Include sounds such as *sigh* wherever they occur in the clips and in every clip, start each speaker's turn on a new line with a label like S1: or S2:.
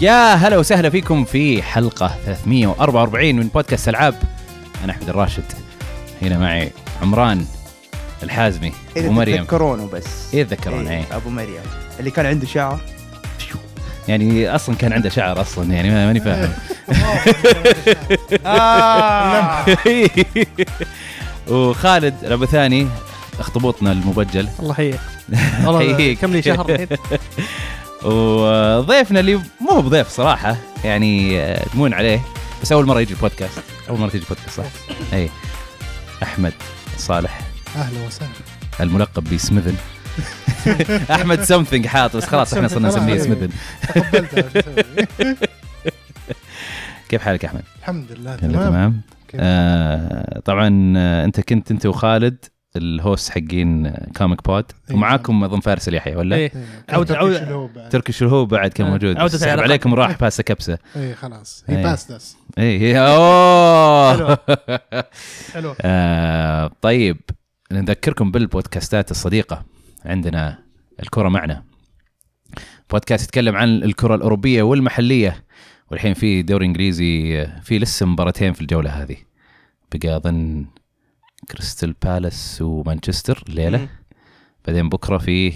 S1: يا هلا وسهلا فيكم في حلقة 344 من بودكاست ألعاب أنا أحمد الراشد هنا معي عمران الحازمي
S2: اذا
S1: ومريم
S2: تتذكرونه بس
S1: إيه تذكرون إيه.
S2: ابو مريم اللي كان عنده شعر
S1: يعني أصلا كان عنده شعر أصلا يعني ما- ماني فاهم
S2: آه.
S1: *laughs* وخالد الأبثاني اخطبوطنا المبجل
S3: الله
S1: *laughs*
S3: يحييك والله
S1: يحييك.
S3: كم لي شهر الحين
S1: *laughs* وضيفنا اللي مو هو بضيف صراحه يعني آه، تمون عليه بس اول مره يجي البودكاست اول مره تجي البودكاست
S3: *laughs*
S1: صح؟ اي احمد صالح
S4: اهلا وسهلا
S1: الملقب *laughs* بسميثن احمد سمثينج حاط بس خلاص احنا صرنا
S3: *laughs*
S1: نسميه سميثن
S4: تقبلتها شو أسوي؟ إيه،
S1: كيف حالك يا احمد؟
S4: الحمد
S1: كله
S4: لله تمام
S1: يعني تمام؟ آه طبعا آه، انت كنت انت وخالد الهوست حقين آه، كوميك بود
S4: أيوة.
S1: ومعاكم اظن فارس اليحيى ولا؟
S3: إيه. عودة- عودة-
S4: عودة
S1: تركي شلهوب بعد كان
S3: آه،
S1: موجود
S3: عودة
S1: بس
S3: العلاقات.
S1: عليكم راح باسه كبسه
S4: اي خلاص
S1: إيه.
S4: هي باست اس
S1: اي اوه
S3: حلوة.
S4: حلو
S1: *laughs* آه طيب نذكركم بالبودكاستات الصديقة عندنا الكرة معنا بودكاست يتكلم عن الكرة الأوروبية والمحلية والحين في دوري إنجليزي آه، في لسه مباراتين في الجولة هذه بقى أظن كريستال بالاس ومانشستر الليلة
S2: مم.
S1: بعدين بكرة في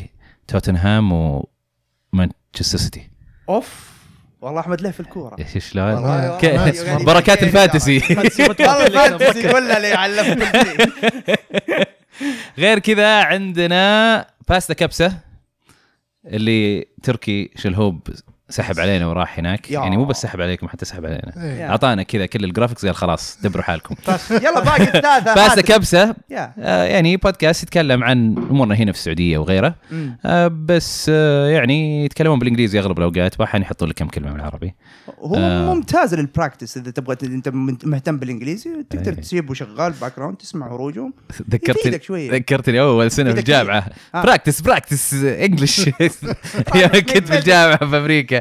S1: توتنهام ومانشستر سيتي
S2: اوف والله احمد له في الكوره
S4: آه.
S1: إيش- إيش لا إيه.
S4: والله-
S1: ك-
S4: والله-
S1: بركات
S2: *laughs*
S1: الفانتسي
S2: والله فانتسي ولا اللي علمت كل شيء.
S1: غير كذا عندنا باستا كبسه اللي تركي شلهوب سحب علينا وراح هناك
S2: يا.
S1: يعني مو بس سحب عليكم حتى سحب علينا
S4: إيه.
S1: اعطانا كذا كل الجرافيكس قال خلاص دبروا حالكم
S2: *laughs*
S1: *laughs*
S2: يلا باقي الثلاثه
S1: باستا
S2: عادل.
S1: كبسه
S2: يا.
S1: آه، يعني بودكاست يتكلم عن امورنا هنا في السعوديه وغيره
S2: مم.
S1: آه، بس آه، يعني يتكلمون بالانجليزي اغلب الاوقات واحيانا يحطون لك كم كلمه بالعربي
S2: هو
S1: آه.
S2: ممتاز للبراكتس اذا تبغى ت- انت من- مهتم بالانجليزي تقدر
S1: إيه.
S2: تسيبه شغال باك جراوند تسمع هروجهم
S1: ذكرتني
S2: يفيدك شوية.
S1: ذكرتني اول سنه في
S2: يفيدك
S1: الجامعه
S2: آه.
S1: براكتس براكتس
S3: *laughs*
S1: انجلش يوم كنت في الجامعه في امريكا *laughs*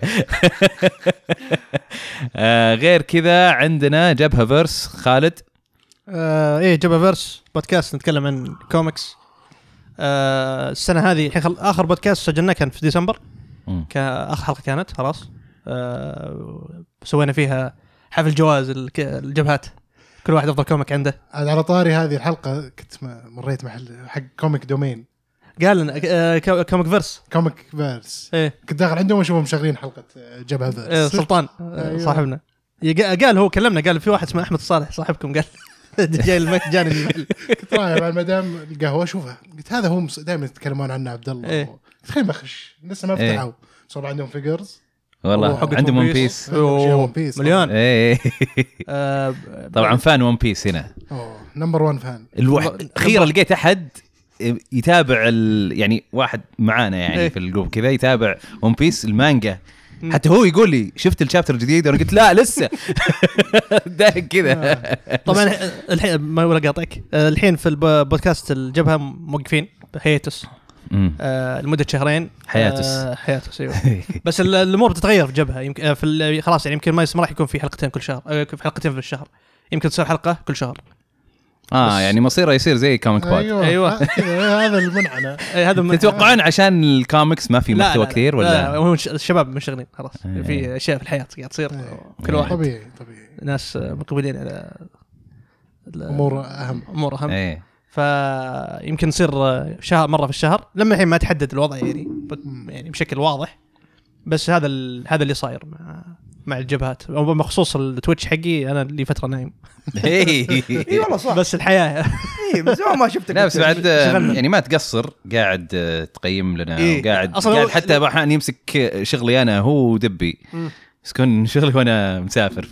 S1: آه، غير كذا عندنا جبهه فيرس خالد
S3: آه، ايه جبا فيرس بودكاست نتكلم عن كوميكس آه، السنه هذه الحين خل- اخر بودكاست سجلناه كان في ديسمبر
S1: مم.
S3: كان اخر حلقه كانت خلاص آه، سوينا فيها حفل جوائز الك- الجبهات كل واحد افضل كوميك عنده
S4: عاد على طاري هذه الحلقه كنت م- مريت محل حق كوميك دومين
S3: قال لنا آه، كو- كوميك فيرس
S4: كوميك فيرس
S3: ايه
S4: كنت داخل عندهم واشوفهم مشغلين حلقه جبهه
S3: آه،
S4: فيرس
S3: سلطان آه،
S4: أيوة.
S3: صاحبنا يق- قال هو كلمنا قال في واحد اسمه احمد صالح صاحبكم قال *laughs* جاي المك جاني المحل
S4: كنت رايح مع المدام القهوه اشوفها قلت هذا هو دائما يتكلمون عنه عبد الله
S3: إيه.
S4: قلت خليني بخش لسه ما
S1: إيه.
S4: فتحوا صار عندهم فيجرز
S1: والله
S3: وحقة
S1: عندهم ون
S3: One Piece.
S1: بيس
S3: أوه،
S4: One Piece.
S3: مليون
S1: إيه. *laughs*
S3: آه،
S1: طبعا فان ون بيس هنا
S4: نمبر 1 فان
S1: الوحد اخيرا لقيت احد يتابع ال... يعني واحد معانا يعني
S3: إيه.
S1: في الجروب كذا يتابع ون بيس المانجا حتى هو يقول لي شفت الشابتر الجديد وانا قلت لا لسه *laughs* دايق
S3: آه.
S1: كذا
S3: طبعا الحين ما ولا قاطعك آه، الحين في البودكاست الجبهه موقفين هيتس *laughs*
S1: مم.
S3: آه، لمده شهرين
S1: حياتس.
S3: آه، حياتس ايوه بس ال- الامور بتتغير في الجبهه يمكن آه، في ال- خلاص يعني يمكن ما يس- ما راح يكون في حلقتين كل شهر آه، في حلقتين في الشهر يمكن تصير حلقه كل شهر
S1: اه
S3: بس-
S1: يعني مصيره يصير زي كوميك بود
S3: أيوة.
S4: آه، كذا، *laughs* هذا المنعنى
S3: آه، هذا من-
S1: تتوقعون عشان الكوميكس ما في
S3: لا، لا،
S1: محتوى
S3: لا،
S1: كثير
S3: لا
S1: ولا
S3: هم ش- الشباب منشغلين خلاص
S1: إيه.
S3: في اشياء في الحياه قاعد تصير
S1: آه.
S4: إيه.
S3: كل واحد
S4: طبيعي طبيعي
S3: ناس آه، مقبلين على ال-
S4: امور اهم
S3: امور اهم *laughs*
S1: ايه
S3: فيمكن يصير شهر مره في الشهر لما الحين ما تحدد الوضع يعني ب- يعني بشكل واضح بس هذا ال... هذا اللي صاير مع مع الجبهات مخصوص التويتش حقي انا لي فتره نايم إيه.
S1: *laughs*
S2: اي والله صح
S3: بس الحياه
S2: اي من زمان ما شفتك
S1: إيه. لا بس
S2: أنت.
S1: بعد آه، يعني ما تقصر قاعد آه، تقيم لنا
S3: إيه.
S1: وقاعد
S3: أصلاً
S1: قاعد
S3: هو-
S1: حتى احيانا يمسك شغلي انا هو ودبي بس كن شغلي وانا مسافر في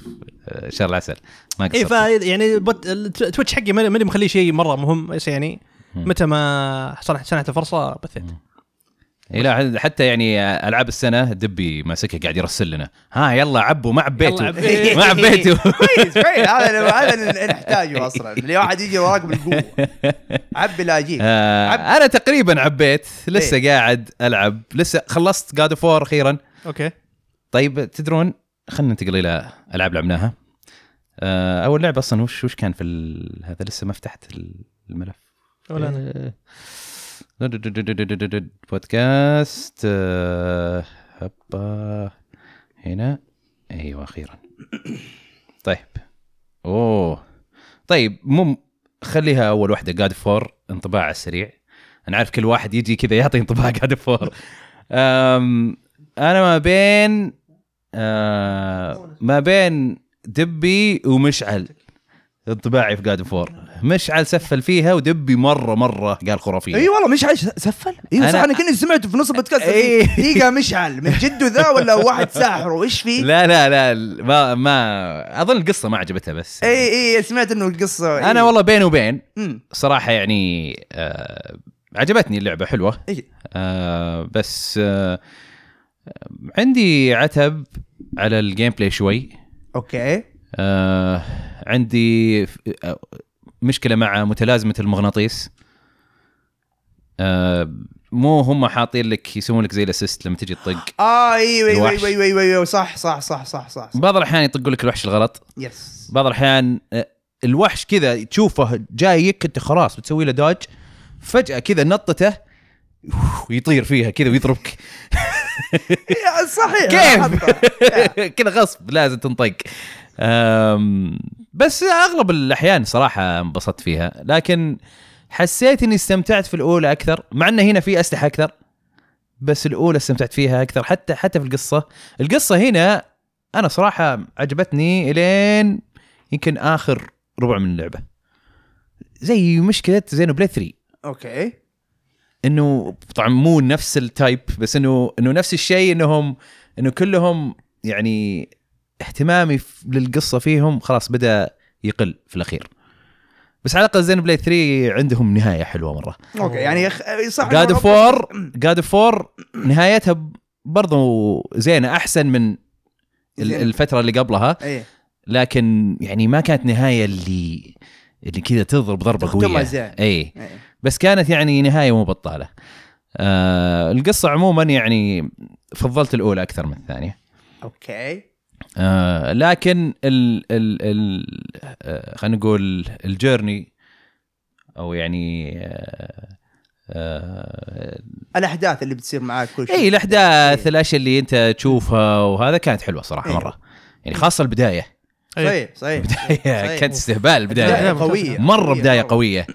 S1: آه، شهر العسل ما
S3: اي *laughs*
S1: قصرت
S3: فا يعني بط... التويتش حقي ماني ماني مخليه شيء مره مهم بس يعني متى ما صنعت سنعت الفرصه بثيت
S1: إيه لا حتى يعني العاب السنه دبي ماسكها قاعد يرسل لنا ها يلا عبوا ما عبيتوا
S3: يلا عبيتوا.
S1: *laughs* ما
S3: *laughs*
S1: عبيتوا
S2: كويس كويس هذا اللي- هذا اللي نحتاجه اصلا اللي واحد يجي وراك بالقوه عبي لا اجيب
S1: آه
S2: عب-
S1: انا تقريبا عبيت لسه قاعد العب لسه خلصت جاد اوف اخيرا
S3: اوكي
S1: طيب تدرون خلينا ننتقل الى العاب اللي لعبناها آه اول لعبه اصلا وش وش كان في ال... هذا لسه ما فتحت الملف
S3: ولا
S1: إيه.
S3: انا
S1: بودكاست آه، هبا آه، هنا ايوه اخيرا طيب اوه طيب مم خليها اول واحده جاد فور انطباع على السريع انا عارف كل واحد يجي كذا يعطي انطباع جاد فور أم انا ما بين آه ما بين دبي ومشعل انطباعي في جاد فور مشعل سفل فيها ودبي مره مره قال خرافيه
S2: اي والله مشعل ش- سفل ايوه صح
S1: أنا-
S2: انا كني سمعته في نص البودكاست
S1: إيه.
S2: دقيقه مشعل من جده ذا ولا واحد ساحر وايش فيه؟
S1: لا لا لا ما ما اظن القصه ما عجبتها بس
S2: اي اي سمعت انه القصه إيه.
S1: انا والله بين وبين
S2: مم.
S1: صراحه يعني آه عجبتني اللعبه حلوه
S2: إيه.
S1: آه بس آه عندي عتب على الجيم بلاي شوي
S2: اوكي
S1: آه عندي ف- آه، مشكله مع متلازمه المغناطيس آه مو هم حاطين لك يسوون لك زي الاسيست لما تجي تطق
S2: اه ايوه ايوه
S1: الوحش.
S2: ايوه ايوه ايوه ايوه صح صح صح صح صح, صح.
S1: بعض الاحيان يطقوا لك الوحش الغلط
S2: يس
S1: بعض الاحيان آه، الوحش كذا تشوفه جايك انت خلاص بتسوي له دوج فجاه كذا نطته يطير فيها كذا ويضربك
S2: إيه، *laughs* صحيح
S1: كيف؟
S2: حطها.
S1: *laughs* كذا غصب لازم تنطق أم، بس اغلب الاحيان صراحه انبسطت فيها لكن حسيت اني استمتعت في الاولى اكثر مع انه هنا في اسلحه اكثر بس الاولى استمتعت فيها اكثر حتى حتى في القصه القصه هنا انا صراحه عجبتني الين يمكن اخر ربع من اللعبه زي مشكله زينو بلاي 3
S2: اوكي
S1: انه طبعا مو نفس التايب بس انه انه نفس الشيء انهم انه كلهم يعني اهتمامي ف- للقصه فيهم خلاص بدا يقل في الاخير بس على الاقل زين بلاي 3 عندهم نهايه حلوه مره
S2: اوكي يعني يخ... صح
S1: جاد فور جاد فور نهايتها ب- برضو زينه احسن من ال-
S2: زينة.
S1: الفتره اللي قبلها
S2: ايه
S1: لكن يعني ما كانت نهايه اللي اللي كذا تضرب ضربه
S2: تختمها
S1: قويه
S2: زين.
S1: اي
S2: إيه.
S1: بس كانت يعني نهايه مو بطاله. آه القصه عموما يعني فضلت الاولى اكثر من الثانيه.
S2: اوكي
S1: آه لكن ال ال ال آه خلينا نقول الجيرني او يعني آه آه
S2: الاحداث اللي بتصير معاك كل شيء
S1: اي الاحداث
S2: إيه.
S1: الاشياء اللي انت تشوفها وهذا كانت حلوه صراحه
S2: إيه.
S1: مره. يعني خاصه البدايه
S2: صحيح صحيح
S1: البدايه
S2: صحيح.
S1: كانت استهبال البدايه
S2: بداية قوية
S1: مره بدايه قويه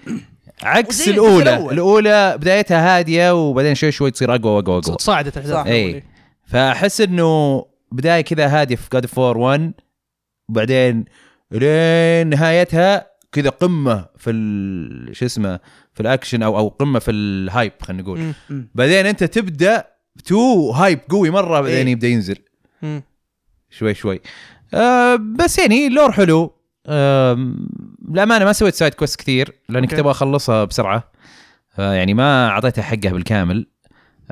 S1: عكس
S2: وزي
S1: الاولى
S2: الجزء الأول.
S1: الاولى بدايتها هاديه وبعدين شوي شوي تصير اقوى واقوى واقوى
S3: تصاعدت
S2: صح.
S3: الاحداث
S1: إيه. فاحس انه بدايه كذا هاديه في جاد فور 1 وبعدين لين نهايتها كذا قمه في ال- شو اسمه في الاكشن او او قمه في الهايب خلينا نقول
S3: مم.
S2: مم.
S1: بعدين انت تبدا تو هايب قوي مره بعدين
S2: إيه.
S1: يبدا ينزل
S3: مم.
S1: شوي شوي أه بس يعني لور حلو آم، للامانه ما سويت سايد كويست كثير لاني
S3: أوكي.
S1: كنت ابغى اخلصها بسرعه أه يعني ما اعطيتها حقها بالكامل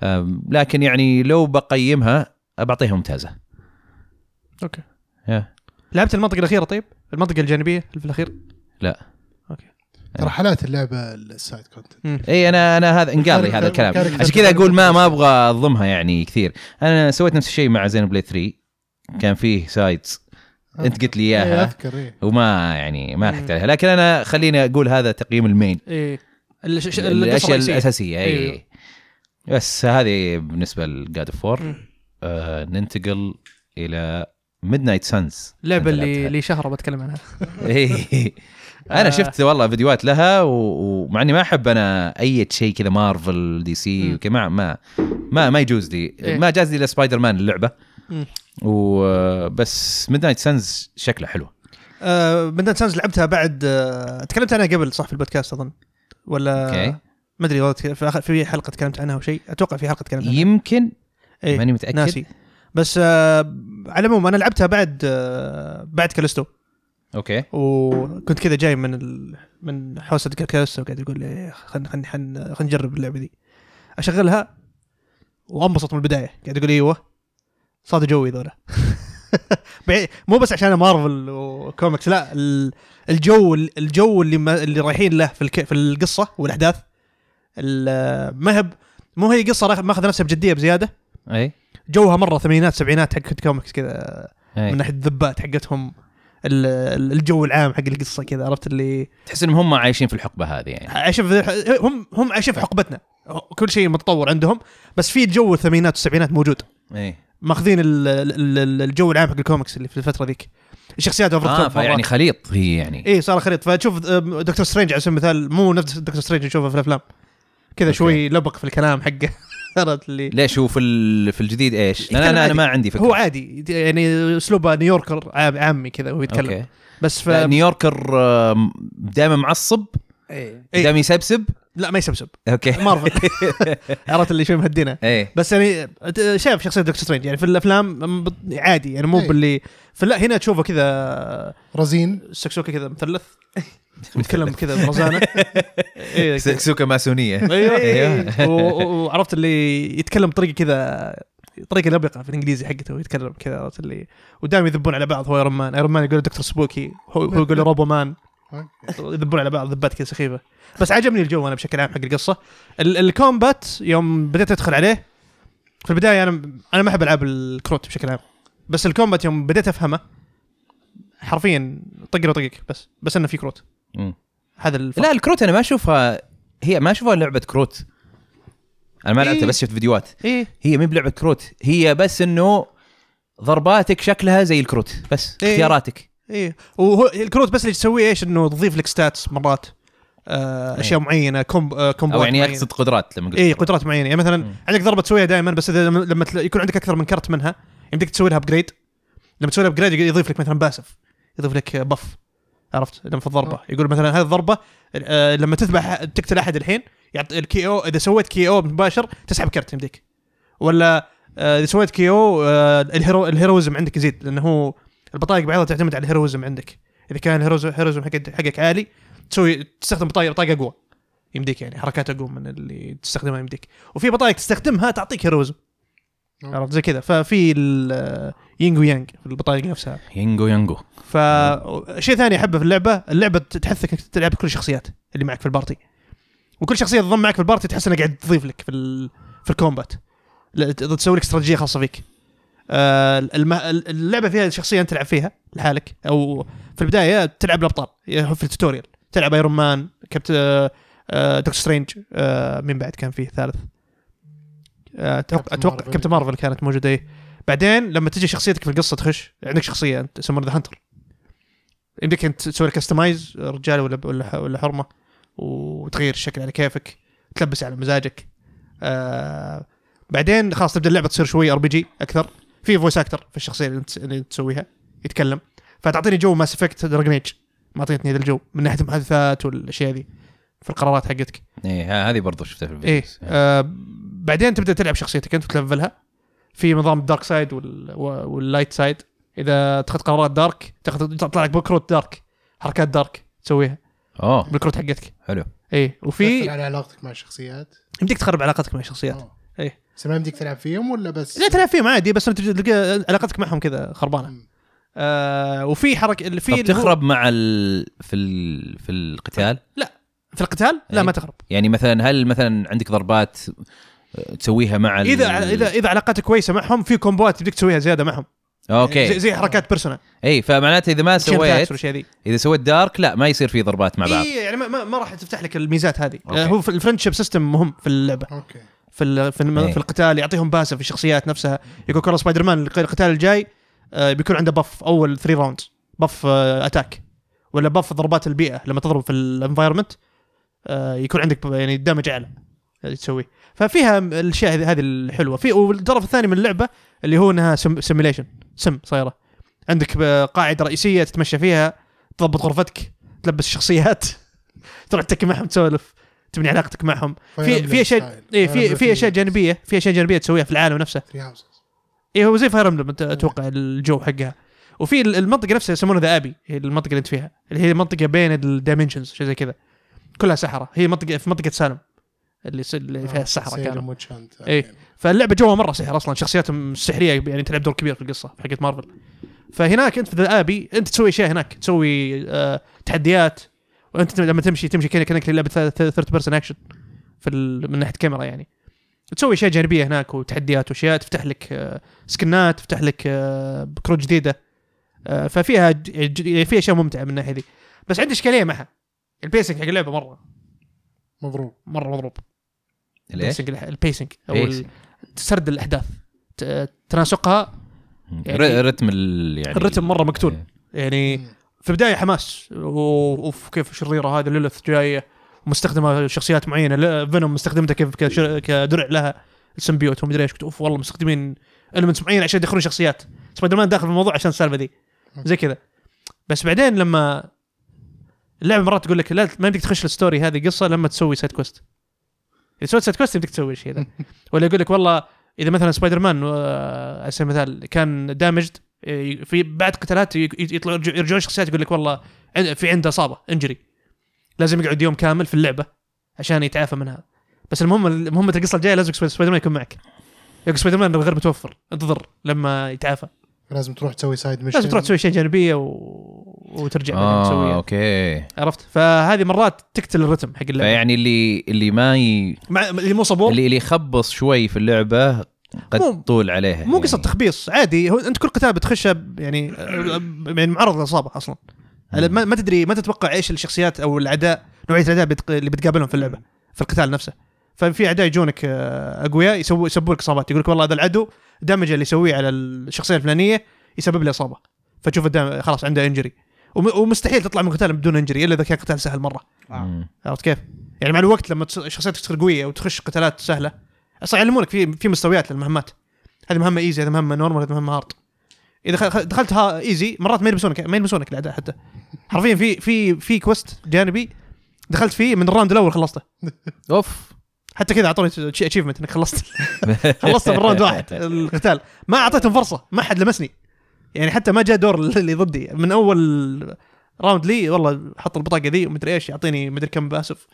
S1: أم، لكن يعني لو بقيمها بعطيها ممتازه
S3: اوكي
S1: يا. إيه.
S3: لعبت المنطقه الاخيره طيب المنطقه الجانبيه اللي في الاخير
S1: لا.
S3: اوكي
S1: إيه.
S4: ترى حالات اللعبه السايد كونتنت
S3: مم.
S1: اي انا انا هذا انقال لي هذا الكلام
S4: كاركتر-
S1: عشان كذا اقول ما ما ابغى اظلمها يعني كثير انا سويت نفس الشيء مع زين بلاي 3 كان فيه سايدز انت قلت لي
S4: إيه،
S1: اياها
S4: اذكر ايه
S1: وما يعني ما لحقت
S3: مم.
S1: عليها لكن انا خليني اقول هذا تقييم المين
S3: ايه ال- ش- ش- القصه
S1: الاشياء
S3: الرئيسيه
S1: الاساسيه
S3: أيوة.
S1: اي إيه. بس هذه بالنسبه لجاد فور
S3: مم.
S1: آه ننتقل الى ميد نايت سانز
S3: اللعبه
S1: *laughs*
S3: اللي لي شهر بتكلم عنها
S1: انا
S3: آه.
S1: إيه. شفت والله فيديوهات لها و- ومع اني ما احب انا اي شيء كذا مارفل دي سي
S3: مم.
S1: وكذا ما ما ما, ما يجوز لي
S3: إيه.
S1: ما جاز لي الا سبايدر مان اللعبه
S3: مم.
S1: وبس ميد نايت سانز شكله حلو
S3: بدنا آه، سانز لعبتها بعد آه، تكلمت عنها قبل صح في البودكاست اظن ولا
S1: اوكي
S3: ما ادري والله تك- في آخر- في حلقه تكلمت عنها او شيء اتوقع في حلقه تكلمت عنها
S1: يمكن
S3: إيه.
S1: ماني متاكد
S3: ناسي بس آه على العموم انا لعبتها بعد آه بعد كالستو
S1: اوكي
S3: وكنت كذا جاي من ال... من حوسه كالستو قاعد اقول إيه، خلينا خلينا خلينا خلينا نجرب اللعبه دي اشغلها وانبسط من البدايه قاعد اقول ايوه صادوا جوي ذولا *laughs* بعي- مو بس عشان مارفل وكوميكس لا ال- الجو الجو اللي ما اللي رايحين له في الك... في القصه والاحداث ال- ما هب مو هي قصه راخ- ماخذه نفسها بجديه بزياده
S1: اي
S3: جوها مره ثمانينات سبعينات حق كوميكس كذا
S1: أي.
S3: من ناحيه الذبات حقتهم ال- ال- الجو العام حق القصه كذا عرفت اللي
S1: تحس انهم هم عايشين في الحقبه هذه يعني
S3: عايشين في- هم هم عايشين في حقبتنا كل شيء متطور عندهم بس في جو الثمانينات والسبعينات موجود
S1: اي
S3: ماخذين ال- ال- ال- الجو العام حق الكوميكس اللي في الفتره ذيك الشخصيات اوفر
S1: اه فيعني خليط هي يعني
S3: اي إيه، صار خليط فتشوف أم، دكتور سترينج على سبيل المثال مو نفس دكتور سترينج نشوفه في الافلام كذا
S1: أوكي.
S3: شوي لبق في الكلام حقه *laughs* عرفت اللي
S1: ليش هو في ال- في الجديد ايش؟ لا
S3: يتكلم
S1: انا انا
S3: عادي.
S1: ما عندي فكره
S3: هو عادي يعني اسلوبه نيويوركر عام- عامي كذا وهو يتكلم
S1: اوكي
S3: بس ف...
S1: نيويوركر آم، دائما معصب
S3: إيه.
S1: دائما يسبسب
S3: لا ما يسبسب
S1: اوكي
S3: *laughs* مارفل عرفت اللي شوي مهدينه
S1: ايه
S3: بس يعني ت- شايف شخصيه دكتور سترينج يعني في الافلام م- بط- عادي يعني مو
S4: إيه.
S3: باللي فلا هنا تشوفه كذا
S4: رزين
S3: سكسوكه كذا مثلث ويتكلم كذا برزانه إيه، كذا.
S1: سكسوكه
S3: *laughs*
S1: ماسونيه
S3: ايوه و- و- وعرفت اللي يتكلم بطريقه كذا طريقه لبقه في الانجليزي حقته يتكلم كذا عرفت اللي ودائما يذبون على بعض هو ايرون مان ايرون مان يقول دكتور سبوكي هو, هو يقول روبو مان يذبون على بعض ذبات كذا سخيفه بس عجبني الجو انا بشكل عام حق القصه ال- الكومبات يوم بديت ادخل عليه في البدايه انا انا ما احب العاب الكروت بشكل عام بس الكومبات يوم بديت افهمه حرفيا طقر وطقك بس بس انه في كروت
S1: مم.
S3: هذا الفرق
S1: لا الكروت انا ما اشوفها هي ما اشوفها لعبه كروت انا ما لعبتها
S3: إيه.
S1: بس شفت فيديوهات
S3: ايه
S1: هي مو بلعبه كروت هي بس انه ضرباتك شكلها زي الكروت بس
S3: إيه.
S1: اختياراتك
S3: ايه وهو الكروت بس اللي تسويه ايش انه تضيف لك ستاتس مرات آه اشياء معينه كومب آه كومبوات
S1: او يعني
S3: معينة.
S1: اقصد قدرات لما قلت
S3: ايه قدرات معينه يعني مثلا
S1: مم.
S3: عندك ضربه تسويها دائما بس اذا لما- لما تل- يكون عندك اكثر من كرت منها يمديك تسوي لها ابجريد لما تسوي لها ابجريد يضيف لك مثلا باسف يضيف لك بف عرفت لما في الضربه يقول مثلا هذه الضربه آه لما تذبح تقتل احد الحين يعطي الكي او اذا سويت كي او مباشر تسحب كرت يمديك ولا آه، اذا سويت كي او آه الهيرو الهيروزم عندك يزيد لانه هو البطايق بعضها تعتمد على الهيروزم عندك اذا كان الهيروز- الهيروزم حقك حقك عالي تسوي تستخدم بطايق بطاقه اقوى يمديك يعني حركات اقوى من اللي تستخدمها يمديك وفي بطايق تستخدمها تعطيك هيروزم
S4: نعم.
S3: عرفت زي كذا ففي ال- يينغ ويانغ في البطايق نفسها
S1: ينجو ينجو
S3: فشيء ثاني احبه في اللعبه اللعبه تحثك انك تلعب كل الشخصيات اللي معك في البارتي وكل شخصيه تضم معك في البارتي تحس انها قاعد تضيف لك في ال... في الكومبات لا، ت- تسوي لك استراتيجيه خاصه فيك آه، الم- اللعبه فيها شخصيه انت تلعب فيها لحالك او في البدايه تلعب الابطال يعني في التوتوريال تلعب ايرون مان كابت آه، آه، دكتور سترينج آه، مين بعد كان فيه ثالث آه، أتوقع-
S4: كابتن
S3: اتوقع
S4: مارفل.
S3: كابتن مارفل كانت موجوده ايه بعدين لما تجي شخصيتك في القصه تخش عندك شخصيه انت يسمونها ذا هانتر يمديك انت تسوي كستمايز رجال ولا ولا ولا حرمه وتغير الشكل على كيفك تلبس على مزاجك آه بعدين خلاص تبدا اللعبه تصير شوي ار بي جي اكثر في فويس اكتر في الشخصيه اللي, انت اللي تسويها يتكلم فتعطيني جو ماس افكت دراجن ايج ما اعطيتني هذا الجو من ناحيه المحادثات والاشياء ذي في القرارات حقتك
S1: ايه ها- هذه برضو شفتها في
S3: ايه
S1: الفيديوز يعني.
S3: آه بعدين تبدا تلعب شخصيتك انت وتلفلها في نظام الدارك سايد وال... واللايت سايد اذا اتخذت قرارات دارك تاخذ تطلع لك بكروت دارك حركات دارك تسويها
S1: اوه
S3: بالكروت حقتك
S1: حلو
S3: ايه
S4: في
S3: وفي
S4: على علاقتك مع الشخصيات
S3: يمديك تخرب علاقتك مع الشخصيات
S4: آه.
S3: إيه.
S4: بس ما يمديك تلعب فيهم ولا بس
S3: لا تلعب فيهم عادي بس انت تلقى علاقتك معهم كذا خربانه
S4: مم.
S3: آه وفي حركه اللي في
S1: طب
S3: اللي هو-
S1: تخرب مع ال... في ال... في القتال
S3: في القتال لا
S1: إيه.
S3: ما تخرب
S1: يعني مثلا هل مثلا عندك ضربات آه، تسويها مع ال...
S3: اذا اذا اذا علاقتك كويسه معهم في كومبوات تبديك تسويها زياده معهم زي,
S1: اوكي
S3: زي حركات بيرسونا
S1: اي فمعناته اذا ما سويت
S3: والاشياء ذي
S1: اذا سويت دارك لا ما يصير في ضربات مع بعض
S3: اي يعني ما, ما, ما راح تفتح لك الميزات هذه
S1: أوكي.
S3: آه، هو في الفرنشيب سيستم مهم في اللعبه
S4: اوكي
S3: في ال- في, الم...
S1: إيه.
S3: في القتال يعطيهم باسه في الشخصيات نفسها يقول كره سبايدر مان الق- القتال الجاي آه، بيكون عنده بف اول 3 راوندز بف آه، اتاك ولا بف ضربات البيئه لما تضرب في الانفايرمنت يكون عندك ب- يعني دمج اعلى اللي تسويه ففيها م- الاشياء هذه- هذه الحلوه في والطرف الثاني من اللعبه اللي هو انها سيميليشن سم صايره عندك آه، قاعده رئيسيه تتمشى فيها تضبط غرفتك تلبس الشخصيات *laughs* تروح تتكي معهم تسولف تبني علاقتك معهم في في اشياء اي إيه، في
S4: إيه.
S3: في اشياء جانبيه في اشياء جانبيه تسويها في العالم نفسه اي هو زي فاير امبلم اتوقع الجو حقها وفي ال- المنطقه نفسها يسمونها ذا ابي هي المنطقه اللي انت فيها اللي هي منطقه بين الدايمنشنز شيء زي كذا كلها سحره هي منطقه في منطقه سالم اللي, س... اللي
S4: آه،
S3: فيها السحره كانوا إيه. فاللعبه جوها مره سحر اصلا شخصياتهم السحريه يعني تلعب دور كبير في القصه في حقت مارفل فهناك انت في ذا ابي انت تسوي اشياء هناك تسوي آه تحديات وانت تم- لما تمشي تمشي كأنك- كانك لعبه ثيرد بيرسون اكشن في ال... من ناحيه كاميرا يعني تسوي اشياء جانبيه هناك وتحديات واشياء تفتح لك آه سكنات تفتح لك آه كروت جديده آه ففيها ج... ج... يعني في اشياء ممتعه من الناحيه دي بس عندي اشكاليه معها البيسنج حق اللعبه مره
S4: مبروك
S3: مره مضروب
S1: ليش؟
S3: البيسنج البيسنج او
S1: إيش؟
S3: ال- سرد الاحداث ت- تناسقها يعني-
S1: ر- رتم ال يعني
S3: الرتم مره مقتول يعني
S4: مم.
S3: في البدايه حماس و- اوف كيف شريره هذه ليلث جايه مستخدمه شخصيات معينه فينوم مستخدمتها كيف كش- كدرع لها السمبيوت ومدري ايش قلت اوف والله مستخدمين المنتس معينه عشان يدخلون شخصيات سبايدر مان داخل في الموضوع عشان السالفه دي زي كذا بس بعدين لما اللعبه مرات تقول لك لا ما بدك تخش الستوري هذه قصه لما تسوي سايد كويست اذا سويت سايد كويست بدك تسوي الشيء ذا ولا يقول لك والله اذا مثلا سبايدر مان آه، على سبيل المثال كان دامجد آه، في بعد قتالات ي- يطلع يرجع- يرجعون شخصيات يقول لك والله عن- في عنده اصابه انجري لازم يقعد يوم كامل في اللعبه عشان يتعافى منها بس المهم مهمه القصه الجايه لازم سبايدر سبايدر مان يكون معك يقول سبايدر مان غير متوفر انتظر لما يتعافى
S4: لازم تروح تسوي سايد ميشن
S3: لازم تروح تسوي شيء جانبيه و... وترجع بعدين
S1: اه
S3: تسويها
S1: اوكي
S3: عرفت فهذه مرات تقتل الرتم حق اللعبه
S1: فيعني اللي اللي ما ي...
S3: مع... اللي مو صبور
S1: اللي اللي يخبص شوي في اللعبه قد
S3: مو-
S1: طول عليها يعني.
S3: مو قصه تخبيص عادي هو انت كل قتال بتخشه ب- يعني يعني معرض للاصابه اصلا هلا ما ما تدري ما تتوقع ايش الشخصيات او الاعداء نوعيه الاعداء بتق- اللي بتقابلهم في اللعبه في القتال نفسه ففي اعداء يجونك آه، اقوياء يسووا يسبوا لك اصابات يقول لك والله هذا العدو دمجه اللي يسويه على الشخصيه الفلانيه يسبب لي اصابه فتشوف الدم- خلاص عنده انجري ومستحيل تطلع من قتال بدون انجري الا اذا كان قتال سهل مره
S2: آه.
S1: مم.
S3: عرفت كيف؟ يعني مع الوقت لما تص- شخصيتك تصير قويه وتخش قتالات سهله اصلا يعلمونك في في مستويات للمهمات هذه مهمه ايزي هذه مهمه نورمال هذه مهمه هارد اذا خ- خ- دخلت ها ايزي مرات ما يلبسونك ما يلبسونك الاعداء حتى حرفيا في في في كوست جانبي دخلت فيه من الراوند الاول خلصته
S1: اوف
S3: حتى كذا اعطوني اتشيفمنت انك خلصت خلصته من راوند واحد القتال ما اعطيتهم فرصه ما حد لمسني يعني حتى ما جاء دور اللي ضدي من اول راوند لي والله حط البطاقه ذي ومدري ايش يعطيني مدري كم باسف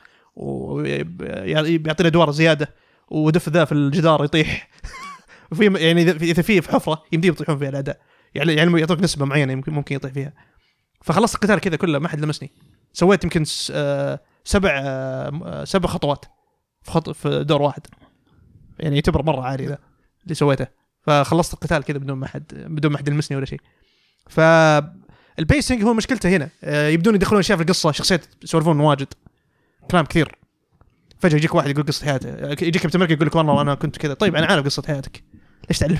S3: ويعطيني ادوار زياده ودف ذا في الجدار يطيح *laughs* وفي يعني اذا في- إذا في في حفره يمديهم يطيحون فيها الاعداء يعني يعني يعطوك نسبه معينه يمكن ممكن يطيح فيها فخلصت القتال كذا كله ما حد لمسني سويت يمكن س- آه، سبع آه، م- آه، سبع خطوات في خط في دور واحد يعني يعتبر مره عالي ذا اللي سويته فخلصت القتال كذا بدون ما حد بدون ما حد يلمسني ولا شيء ف البيسنج هو مشكلته هنا آه، يبدون يدخلون اشياء في القصه شخصيات يسولفون واجد كلام كثير فجاه يجيك واحد يقول قصه حياته آه، يجيك كابتن امريكا يقول لك والله انا كنت كذا طيب انا عارف قصه حياتك ليش تعلمني؟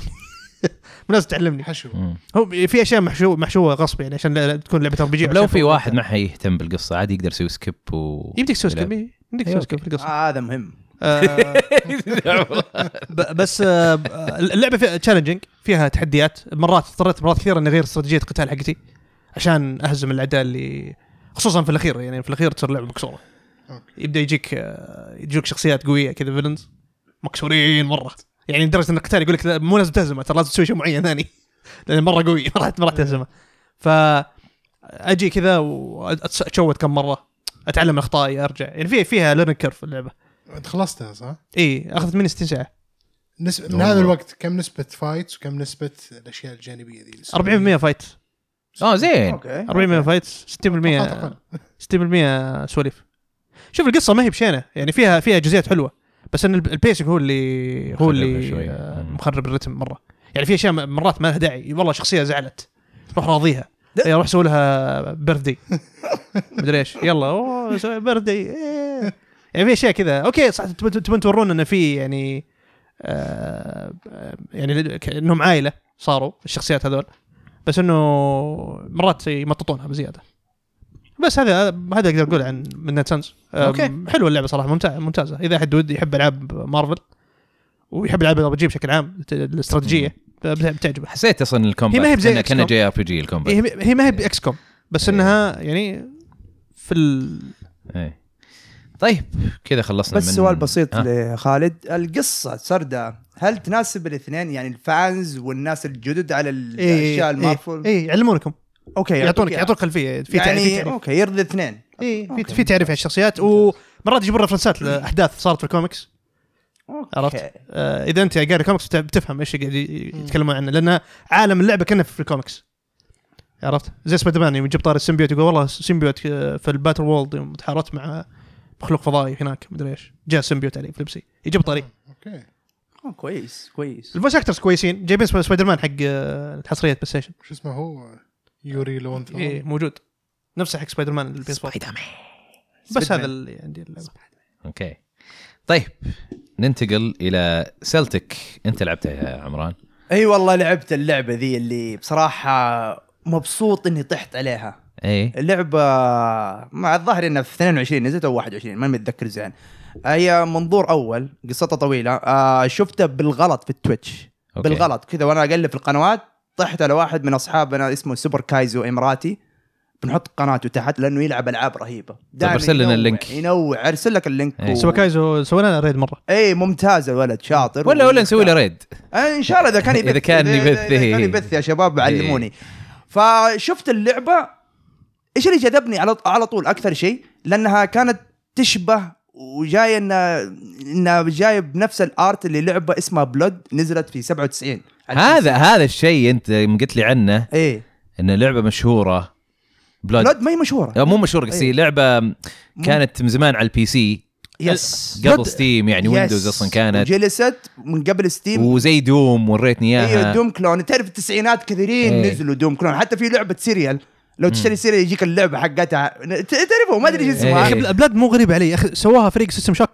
S3: *laughs* مو لازم تعلمني
S4: حشو
S1: مم.
S3: هو في اشياء محشو محشوه غصب يعني عشان لا- لا تكون لعبه ار بي جي
S1: طب طيب لو في واحد ما حيهتم بالقصه عادي يقدر يسوي سكيب و
S3: يمديك تسوي
S1: يلعب.
S3: سكيب إيه، يمديك
S1: أيوة،
S3: تسوي سكيب في القصه
S2: آه هذا مهم
S3: آه، ب- بس آه، ب- آه، اللعبه فيها تشالنجينج فيها تحديات مرات اضطريت مرات كثيره اني اغير استراتيجيه القتال حقتي عشان اهزم الاعداء اللي خصوصا في الاخير يعني في الاخير تصير لعبه مكسوره
S4: أوكي.
S3: يبدا يجيك آه، يجيك شخصيات قويه كذا فيلنز مكسورين مره يعني لدرجه ان القتال يقول لك لا، مو لازم تهزمه ترى لازم تسوي شيء معين ثاني *laughs* لان مره قوي *laughs* ما راح ما راح تهزمه ف اجي كذا واتشوت كم مره اتعلم من اخطائي ارجع يعني في فيها ليرن كيرف اللعبه
S4: انت خلصتها صح؟
S3: اي اخذت مني 60 ساعه
S4: نسبة من
S1: والله.
S4: هذا الوقت كم نسبة فايتس وكم نسبة الاشياء الجانبية ذي؟
S3: 40% فايت
S1: اه زين
S2: اوكي
S3: 40% فايت 60%
S4: أقل.
S3: 60% سواليف شوف القصه ما هي بشينه يعني فيها فيها جزئيات حلوه بس ان الب- البيسنج هو اللي هو
S1: مخربها
S3: اللي
S1: شوي.
S3: آه،
S1: مم.
S3: مخرب الرتم مره يعني في اشياء م- مرات ما لها داعي والله شخصيه زعلت روح راضيها إيه، روح سوي لها بيرثدي مدري ايش يلا اوه سوي بيرثدي يعني في اشياء كذا اوكي صح تبون تبون تورون انه في يعني آه آه، يعني انهم عائله صاروا الشخصيات هذول بس انه مرات يمططونها بزياده بس هذا هذا اقدر اقول عن من سانز
S1: أوكي.
S3: حلوه اللعبه صراحه ممتازه ممتازه اذا حد ودي يحب العاب مارفل ويحب العاب الار جي بشكل عام ت- الاستراتيجيه بتعجبه
S1: حسيت اصلا الكومبات
S3: هي ما هي بزي
S1: كأنه-
S3: XCOM. إيه.
S1: كأنه جي ار بي جي الكومبات
S3: هي هي ما هي باكس كوم بس انها يعني في ال...
S1: إيه. طيب كذا خلصنا
S2: بس
S1: من- آه،
S2: سؤال بسيط
S1: ها؟
S2: لخالد القصه سردة هل تناسب الاثنين يعني الفانز والناس الجدد على الاشياء المارفل
S3: اي إيه، يعلمونكم
S2: اوكي
S3: يعطونك
S2: إيه، أوكي.
S3: يعطونك خلفيه في يعني
S2: يعني
S3: تعريف
S2: اوكي يرضي الاثنين
S3: اي إيه، في-
S2: أوكي.
S3: في تعريف على الشخصيات ومرات يجيبون رفرنسات لاحداث صارت في الكوميكس عرفت؟
S2: أوكي.
S3: آه اذا انت قاري كوميكس بت- بتفهم ايش قاعد ي- يتكلمون عنه لان عالم اللعبه كانه في الكوميكس عرفت؟ زي سبايدر مان يوم يجيب طار السيمبيوت يقول والله السيمبيوت آه، في الباتل وولد يوم تحاربت مع مخلوق فضائي هناك مدري ايش جاء السيمبيوت عليه في لبسي يجيب طاري
S4: اوكي
S2: آه، كويس كويس
S3: الفويس اكترز كويسين جايبين سب- سبايدر مان حق آه، حصريه بلاي ستيشن
S4: شو اسمه هو يوري لون
S3: إيه، موجود نفسه حق سبايدر مان البيس بول
S1: سبايدر مان
S3: بس
S2: سبايدر
S3: هذا اللي عندي اللعبة.
S1: اوكي طيب ننتقل الى سلتك انت لعبتها يا عمران
S2: اي والله لعبت اللعبه ذي اللي بصراحه مبسوط اني طحت عليها
S1: اي
S2: اللعبه مع الظاهر انها في 22 نزلت او 21 ما متذكر زين هي منظور اول قصتها طويله آه شفتها بالغلط في التويتش
S1: أوكي.
S2: بالغلط كذا وانا اقلب في القنوات طحت على واحد من اصحابنا اسمه سوبر كايزو اماراتي بنحط قناته تحت لانه يلعب العاب رهيبه دائما
S1: أرسل لنا
S2: ينوع-
S1: اللينك.
S2: ينوع ارسل لك اللينك
S1: إيه.
S2: و-
S3: سوبر كايزو سوينا لنا ريد مره
S2: اي ممتاز الولد شاطر
S1: ولا ولا
S2: وممتاز.
S1: نسوي له ريد
S2: آه، ان شاء الله اذا كان يبث
S1: إذا كان
S2: إذا-
S1: يبث،
S2: إذا كان
S1: إيه.
S2: يبث يا شباب علموني فشفت اللعبه ايش اللي جذبني على على طول اكثر شيء لانها كانت تشبه وجايه انها انها جايه بنفس الارت اللي لعبه اسمها بلود نزلت في 97 على
S1: هذا هذا الشيء انت قلت لي عنه
S2: ايه
S1: ان لعبه مشهوره بلاد
S2: بلود ما هي مشهوره
S1: لا، مو مشهور قصدي
S2: أيوه.
S1: لعبه كانت من زمان على البي سي
S2: يس
S1: قبل ستيم يعني
S2: يس.
S1: ويندوز اصلا كانت
S2: جلست من قبل ستيم
S1: وزي دوم وريتني
S2: ايوه
S1: اياها
S2: دوم كلون تعرف التسعينات كثيرين
S1: إيه.
S2: نزلوا دوم كلون حتى في لعبه سيريال لو تشتري سيريال يجيك اللعبه حقتها ت- تعرفه ما ادري ايش اسمها
S1: إيه.
S3: اخي بلاد مو غريبه علي اخي سواها فريق سيستم شوك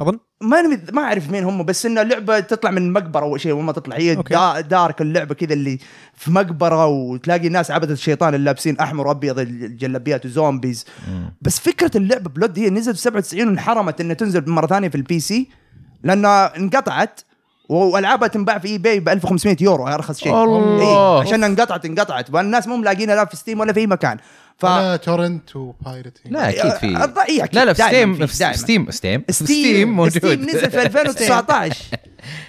S3: اظن
S2: ما أنا- ما اعرف مين هم بس انها لعبه تطلع من مقبره اول شيء وما تطلع هي
S3: أوكي.
S2: دا- دارك اللعبه كذا اللي في مقبره وتلاقي ناس عبده الشيطان اللي لابسين احمر وابيض الجلابيات وزومبيز
S1: مم.
S2: بس فكره اللعبه بلود هي نزلت في 97 وانحرمت انها تنزل مره ثانيه في البي سي لانها انقطعت والعابها تنباع في اي باي ب 1500 يورو ارخص شيء
S1: الله.
S2: إيه عشان انقطعت انقطعت والناس مو ملاقينها لا في ستيم ولا في اي مكان ف
S4: ولا تورنت وبايرت
S1: لا اكيد في
S2: أض- إيه، أكيد.
S1: لا لا في
S2: دائماً
S1: ستيم
S2: فيه،
S1: في
S2: دائماً.
S1: ستيم ستيم
S2: ستيم
S1: موجود
S2: ستيم
S1: *laughs*
S2: نزل في 2019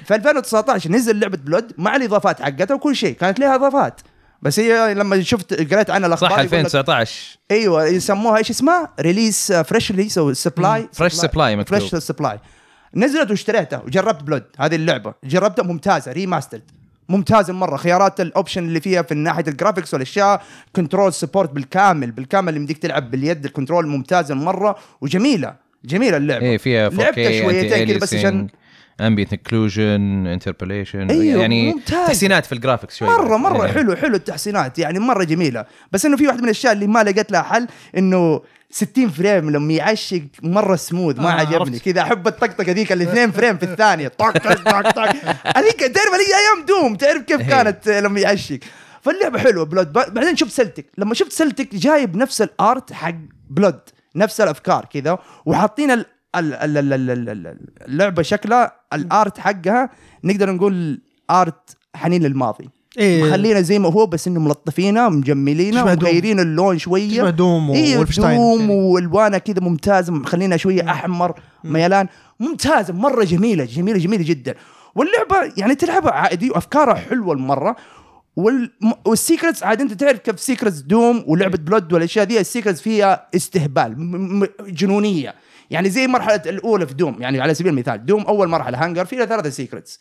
S2: في 2019 نزل لعبه بلود مع الاضافات حقتها وكل شيء كانت لها اضافات بس هي لما شفت قريت عنها الاخبار
S1: صح
S2: يقول لك-
S1: 2019
S2: ايوه يسموها ايش اسمها؟ uh, ريليس فريش ريليس او سبلاي
S1: فريش سبلاي مكتوب
S2: فريش سبلاي نزلت واشتريتها وجربت بلود هذه اللعبه جربتها ممتازه ريماسترد ممتازه مره خيارات الاوبشن اللي فيها في ناحيه الجرافيكس والاشياء كنترول سبورت بالكامل بالكامل اللي مديك تلعب باليد الكنترول ممتازه مره وجميله جميله اللعبه
S1: ايه فيها 4K
S2: إيه، لعبتها شويتين كذا بس عشان
S1: امبيت انكلوجن انتربوليشن
S2: أيوه،
S1: يعني
S2: ممتاز.
S1: تحسينات في الجرافكس شوي
S2: مره مره
S1: إيه.
S2: حلو حلو التحسينات يعني مره جميله بس انه في واحد من الاشياء اللي ما لقيت لها حل انه 60 فريم لما يعشق مره سموث ما
S3: آه،
S2: آه عجبني
S3: عرفت.
S2: كذا احب الطقطقه ذيك اللي 2 فريم في الثانيه طق طق طق طق هذيك تعرف هذيك ايام دوم تعرف كيف
S1: إيه.
S2: كانت آه، لما يعشق فاللعبه حلوه بلود ب- بعدين شفت سلتك لما شفت سلتك جايب نفس الارت حق بلود نفس الافكار كذا وحاطين ال- ال- ال- ال- ال- ال- اللعبه شكلها الارت حقها نقدر نقول ارت حنين للماضي
S3: إيه.
S2: مخلينا زي ما هو بس انه ملطفينه مجملينه
S3: تشبه دوم.
S2: مغيرين اللون شويه
S3: تشبه دوم و-
S2: إيه
S3: وولفشتاين
S2: دوم
S3: يعني.
S2: والوانه كذا ممتازه مخلينها شويه احمر ميلان ممتازه مره جميله جميله جميله جدا واللعبه يعني تلعبها عادي وافكارها حلوه المره وال... م- والسيكرتس عاد انت تعرف كيف سيكرتس دوم ولعبه بلود والاشياء دي السيكرتس فيها استهبال م... م... جنونيه يعني زي المرحله الاولى في دوم يعني على سبيل المثال دوم اول مرحله هانجر فيها ثلاثه سيكرتس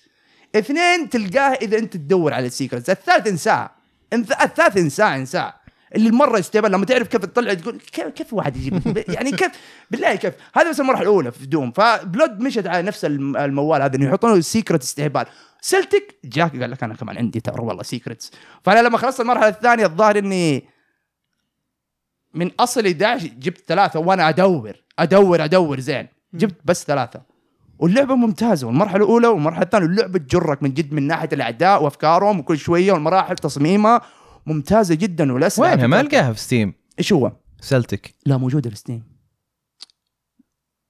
S2: اثنين تلقاه اذا انت تدور على السيكرتس الثالث انساها انت- الثالث انساه انساه اللي مره يستهبل لما تعرف كيف تطلع تقول كيف, كيف واحد يجيب *laughs* يعني كيف بالله كيف هذا بس المرحله الاولى في دوم فبلود مشت على نفس الم- الموال هذا انه يحطون له سيكرت استهبال سلتك جاك قال لك انا كمان عندي ترى والله سيكرتس فانا لما خلصت المرحله الثانيه الظاهر اني من اصل 11 جبت ثلاثه وانا ادور ادور ادور زين جبت بس ثلاثه واللعبه ممتازه والمرحله الاولى والمرحله الثانيه اللعبه تجرك من جد من ناحيه الاعداء وافكارهم وكل شويه والمراحل تصميمها ممتازه جدا والاسلحه
S1: وينها ما القاها في ستيم
S2: ايش هو؟
S1: سلتك
S2: لا موجوده في ستيم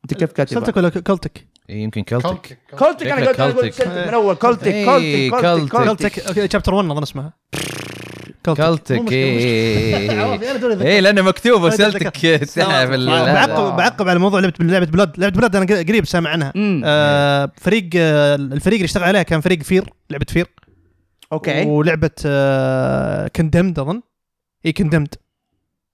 S2: انت كيف كاتبها؟
S3: سلتك ولا كلتك؟
S1: إيه، يمكن كلتك
S2: كولتك انا قلت أنا قلت
S1: كولتك.
S2: سلتك من اول كولتك
S1: إيه،
S2: كولتك
S1: كولتك.
S2: كولتك كولتك
S3: كلتك شابتر 1 اظن اسمها مو
S1: كلتك إيه.
S3: مشكلة، مو مشكلة. *laughs* عوض، أنا دوري
S1: ايه
S3: أذكر.
S1: ايه لانه مكتوبه
S3: أنا دوري
S1: سلتك *laughs*
S3: أذكر.
S1: ساعه في ال- هذا.
S3: بعقب بعقب على موضوع لعبه لعبه بلاد لعبه بلاد انا قر- قريب سامع عنها
S2: مم.
S3: آه فريق آه الفريق اللي اشتغل عليها كان فريق فير لعبه فير
S2: اوكي
S3: ولعبه آه إيه، كندمد اظن اي كندمد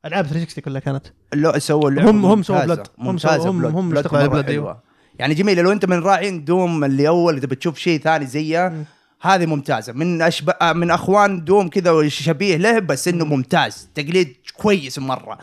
S3: العاب 360 كلها كانت
S2: لا سووا اللعبة
S3: هم- هم سووا
S2: ممتازة.
S3: بلد. هم
S2: ممتازة
S3: سووا- هم-
S2: بلد.
S3: هم
S2: بلد
S3: اشتغلوا على
S2: مرة
S3: بلد، أيوة.
S2: حلوة. يعني جميله لو انت من راعين دوم اللي اول اذا بتشوف شيء ثاني زيه هذه ممتازه من اشبه آه، من اخوان دوم كذا شبيه له بس انه ممتاز تقليد كويس مره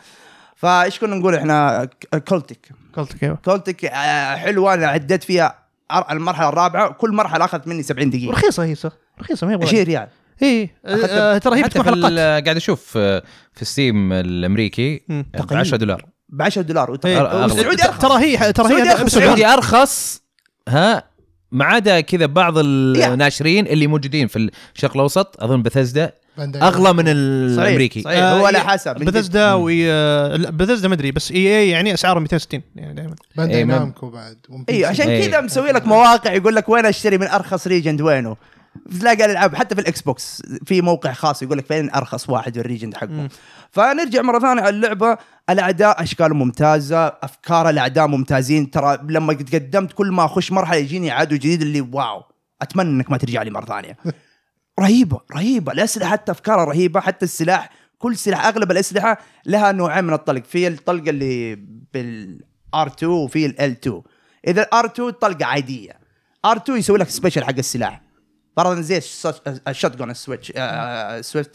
S2: فايش كنا نقول احنا كولتك
S3: قلتك ايوه
S2: كولتك آه، حلوه انا عديت فيها أر- المرحله الرابعه كل مرحله اخذت مني 70 دقيقه
S3: ورخيصه هي صح رخيصه ما هي
S2: 20
S3: غالية.
S2: ريال
S3: اي آه، آه، ترى هي
S1: إيه. حتى
S3: بتكون
S1: في ال-
S3: حلقات
S1: قاعد اشوف آه، في ستيم الامريكي
S3: مم.
S1: ب
S2: تقريباً.
S1: 10 دولار
S2: ب 10 دولار وت-
S3: إيه.
S1: أغلى.
S2: والسعودي ارخص
S3: ترى هي
S2: السعودي
S3: ترى هي
S2: أرخص.
S3: بس-
S1: السعودي ارخص ها ما عدا كذا بعض
S2: يا.
S1: الناشرين اللي موجودين في الشرق الاوسط اظن بثزدا
S4: فان دايم.
S1: اغلى من الامريكي
S2: صحيح هو
S3: آه،
S2: على حسب من جد.
S3: بثزدا وي بثزدا آه، ما ادري بس اي اي يعني اسعاره 260 يعني دائما
S4: بانداي
S1: إيه، ما-
S4: نامكو بعد ون بيس.
S2: ايوه عشان
S1: إيه.
S2: كذا مسوي لك مواقع يقول لك وين اشتري من ارخص ريجند وينه تلاقي الالعاب حتى في الاكس بوكس في موقع خاص يقول لك فين ارخص واحد والريجند حقه فنرجع مره ثانيه على اللعبه الاعداء اشكال ممتازه افكار الاعداء ممتازين ترى لما تقدمت كل ما اخش مرحله يجيني عدو جديد اللي واو اتمنى انك ما ترجع لي مره ثانيه رهيبه رهيبه الاسلحه حتى افكارها رهيبه حتى السلاح كل سلاح اغلب الاسلحه لها نوعين من الطلق في الطلقه اللي بالار 2 وفي ال 2 اذا الار 2 طلقه عاديه ار 2 يسوي لك سبيشل حق السلاح فرضا زي الشوت جون السويتش آه، آه، سويفت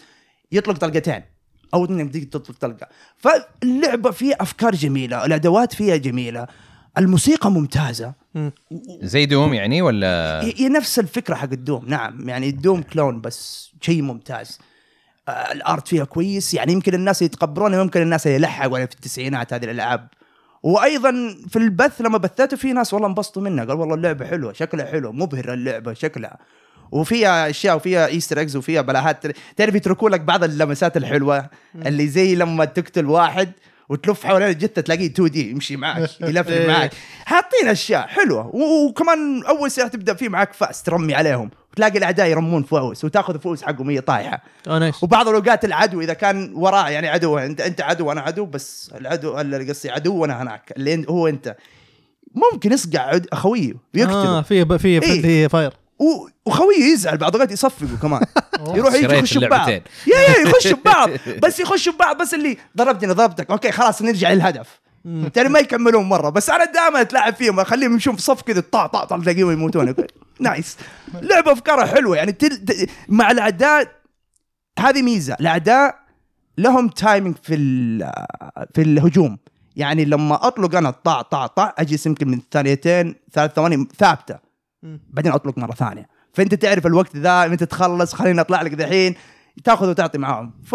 S2: يطلق طلقتين او إنه يمديك تطلق طلقه فاللعبه فيها افكار جميله الادوات فيها جميله الموسيقى ممتازه
S1: زي دوم يعني ولا
S2: هي هي نفس الفكره حق الدوم نعم يعني الدوم كلون بس شيء ممتاز آه، الارت فيها كويس يعني يمكن الناس يتقبلونه ممكن الناس يلحقوا عليه في التسعينات هذه الالعاب وايضا في البث لما بثته في ناس والله انبسطوا منها قال والله اللعبه حلوه شكلها حلو مبهره اللعبه شكلها وفيها اشياء وفيها ايستر اكس وفيها بلاهات تعرف يتركوا لك بعض اللمسات الحلوه اللي زي لما تقتل واحد وتلف حوالين الجثه تلاقيه 2 دي يمشي معك يلفلف معك حاطين اشياء حلوه و- وكمان اول سلاح تبدا فيه معك فاس ترمي عليهم وتلاقي الاعداء يرمون فوز وتاخذ فوز حقهم هي طايحه
S3: اه نايس
S2: وبعض الاوقات العدو اذا كان وراه يعني عدو انت انت عدو وانا عدو بس العدو اللي قصدي عدو وانا هناك اللي أنت- هو انت ممكن يصقع عد- خويه
S3: اه
S2: ويقتله
S3: في في
S2: إيه.
S3: في فاير
S2: و- وخويه يزعل بعض الاوقات يصفقوا كمان يروح يجي
S1: شريت
S2: يخشوا ببعض
S1: اللعبتين.
S2: يا يا
S1: *laughs*
S2: يخشوا ببعض بس يخشوا ببعض بس اللي ضربتني ضربتك اوكي خلاص نرجع للهدف ترى ما يكملون مره بس انا دائما اتلاعب فيهم اخليهم يمشون في صف كذا طع طع طع تلاقيهم يموتون نايس لعبه افكارها حلوه يعني تل... ت- مع الاعداء هذه ميزه الاعداء لهم تايمينج في ال... في الهجوم يعني لما اطلق انا طع طع طع اجلس يمكن من ثانيتين ثلاث ثواني ثابته بعدين اطلق مره ثانيه فانت تعرف الوقت ذا متى تخلص خليني اطلع لك دحين تاخذ وتعطي معاهم ف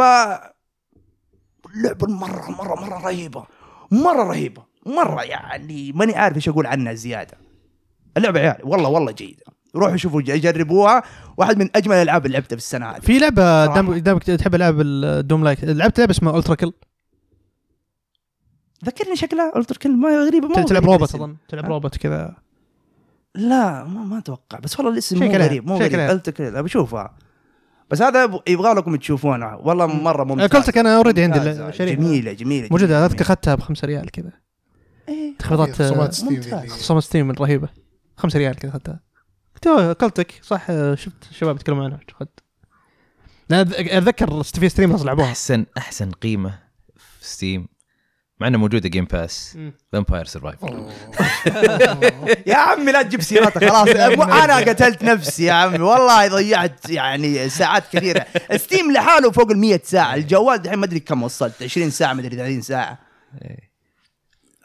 S2: لعبه مره مره مره رهيبه مره رهيبه مره يعني ماني عارف ايش اقول عنها زياده اللعبه يا عيال والله والله جيده روحوا شوفوا ج- جربوها واحد من اجمل الالعاب اللي لعبتها في السنه هذه
S3: في لعبه
S2: صراحة.
S3: دام دامك تحب العاب الدوم لايك لعبت لعبه اسمها التراكل
S2: ذكرني شكلها قلت كلمه ما غريبه ما هو
S3: تلعب
S2: غريب
S3: روبوت
S2: الاسم.
S3: اظن تلعب
S2: ها؟
S3: روبوت كذا
S2: لا ما, ما اتوقع بس والله الاسم مو
S3: شيك عليها،
S2: غريب مو
S3: شيك
S2: غريب
S3: عليها.
S2: قلت كذا بشوفها بس هذا يب- يبغى لكم تشوفونها والله مره ممتاز
S3: قلت لك انا اوريدي عندي
S2: ممتازة،
S3: الشريك
S2: جميله جميله
S3: موجوده
S2: جميلة.
S3: اذكر اخذتها ب 5 ريال كذا
S2: إيه.
S3: تخفيضات آه،
S4: خصومات ستيم ذي اللي-
S3: خصومات ستيم رهيبه 5 ريال كذا اخذتها قلت أوه، قلتك صح آه، شفت الشباب يتكلمون عنها اخذت انا أذ- اتذكر ست- في ستريمرز لعبوها
S1: احسن احسن قيمه في ستيم مع انه موجوده جيم باس
S3: مم.
S1: فامباير سرفايف
S2: يا عمي لا تجيب سيرتها خلاص انا قتلت نفسي يا عمي والله ضيعت يعني ساعات كثيره ستيم لحاله فوق ال 100 ساعه الجوال دحين ما ادري كم وصلت 20 ساعه ما ادري 30 ساعه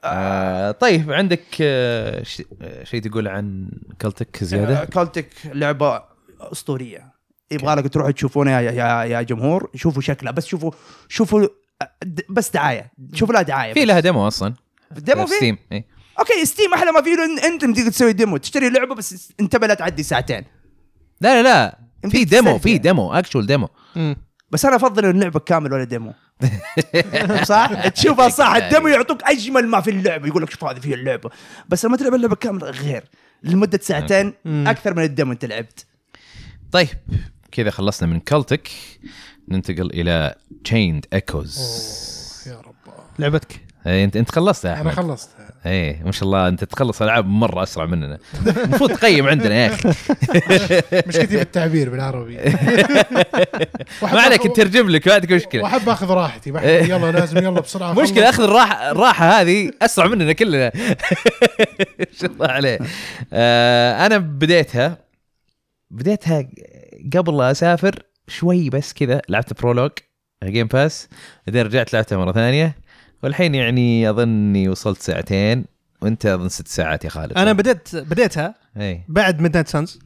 S1: آه طيب عندك آه ش- آه، شيء تقول عن كلتك زياده؟
S2: كالتك لعبه اسطوريه يبغى لك تروحوا تشوفونها يا, يا يا جمهور شوفوا شكلها بس شوفوا شوفوا د- بس دعايه شوفوا لها دعايه
S1: في لها ديمو اصلا
S2: ديمو
S1: في
S2: في
S1: ستيم إيه.
S2: اوكي ستيم احلى ما فيه إنه إن- انت تقدر تسوي ديمو تشتري لعبه بس انتبه لا تعدي ساعتين
S1: لا لا لا في
S2: يمديك
S1: ديمو
S2: تسترجع.
S1: في ديمو اكشول ديمو
S3: مم.
S2: بس انا افضل اللعبه كامل ولا
S1: *laughs*
S2: ديمو صح؟ تشوفها صح
S1: يعني.
S2: الديمو يعطوك اجمل ما في اللعبه يقول لك شوف هذه فيها اللعبه بس لما تلعب اللعبه كامله غير لمده ساعتين
S3: مم.
S2: اكثر من الديمو انت لعبت
S1: طيب كذا خلصنا من كلتك ننتقل الى تشيند ايكوز
S4: أوه، يا رب
S3: لعبتك
S1: انت انت خلصتها يا
S4: انا
S1: احمد
S4: خلصت
S1: ايه ما شاء الله انت تخلص العاب مره اسرع
S4: *laughs*
S1: مننا المفروض تقيم عندنا يا اخي
S4: مشكلتي في
S1: *laughs*
S4: التعبير بالعربي
S1: ما عليك إيه. نترجم لك ما عندك مشكله
S4: واحب اخذ راحتي بحب يلا لازم
S1: *laughs*
S4: يلا بسرعه أخلص.
S1: مشكله اخذ الراحه الراحه هذه اسرع مننا كلنا *laughs* ما شاء الله عليه آه انا بديتها بديتها قبل لا اسافر شوي بس كذا لعبت برولوج جيم باس بعدين رجعت لعبتها مره ثانيه والحين يعني اظني وصلت ساعتين وانت اظن ست ساعات يا خالد إيه.
S3: انا بديت بديتها
S1: اي
S3: بعد ميد نايت سانز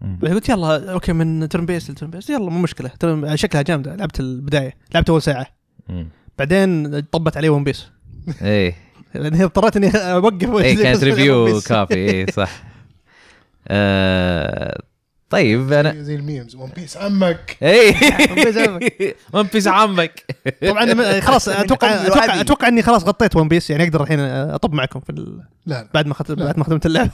S1: مم.
S3: قلت يلا اوكي من ترن بيس لترن بيس يلا مو مشكله ترن شكلها جامده لعبت البدايه لعبت اول ساعه
S1: مم. إيه.
S3: بعدين طبت علي ون بيس
S1: اي
S3: *laughs* لان يعني هي اضطريت اني اوقف
S1: اي
S3: وأجلس
S1: إيه، كانت
S3: *laughs* One
S1: ريفيو
S3: Piece.
S1: كافي اي صح إيه، آه طيب انا
S4: زي الميمز ون بيس عمك
S1: اي
S3: *laughs* بيس عمك.
S1: ون بيس عمك
S3: طبعا أنا- *laughs* خلاص اتوقع
S2: قبل
S3: اتوقع
S2: عادي.
S3: اتوقع اني خلاص غطيت ون بيس يعني اقدر الحين اطب معكم في ال...
S4: لا لا
S3: بعد ما خت... بعد ما ختمت *laughs* اللعبه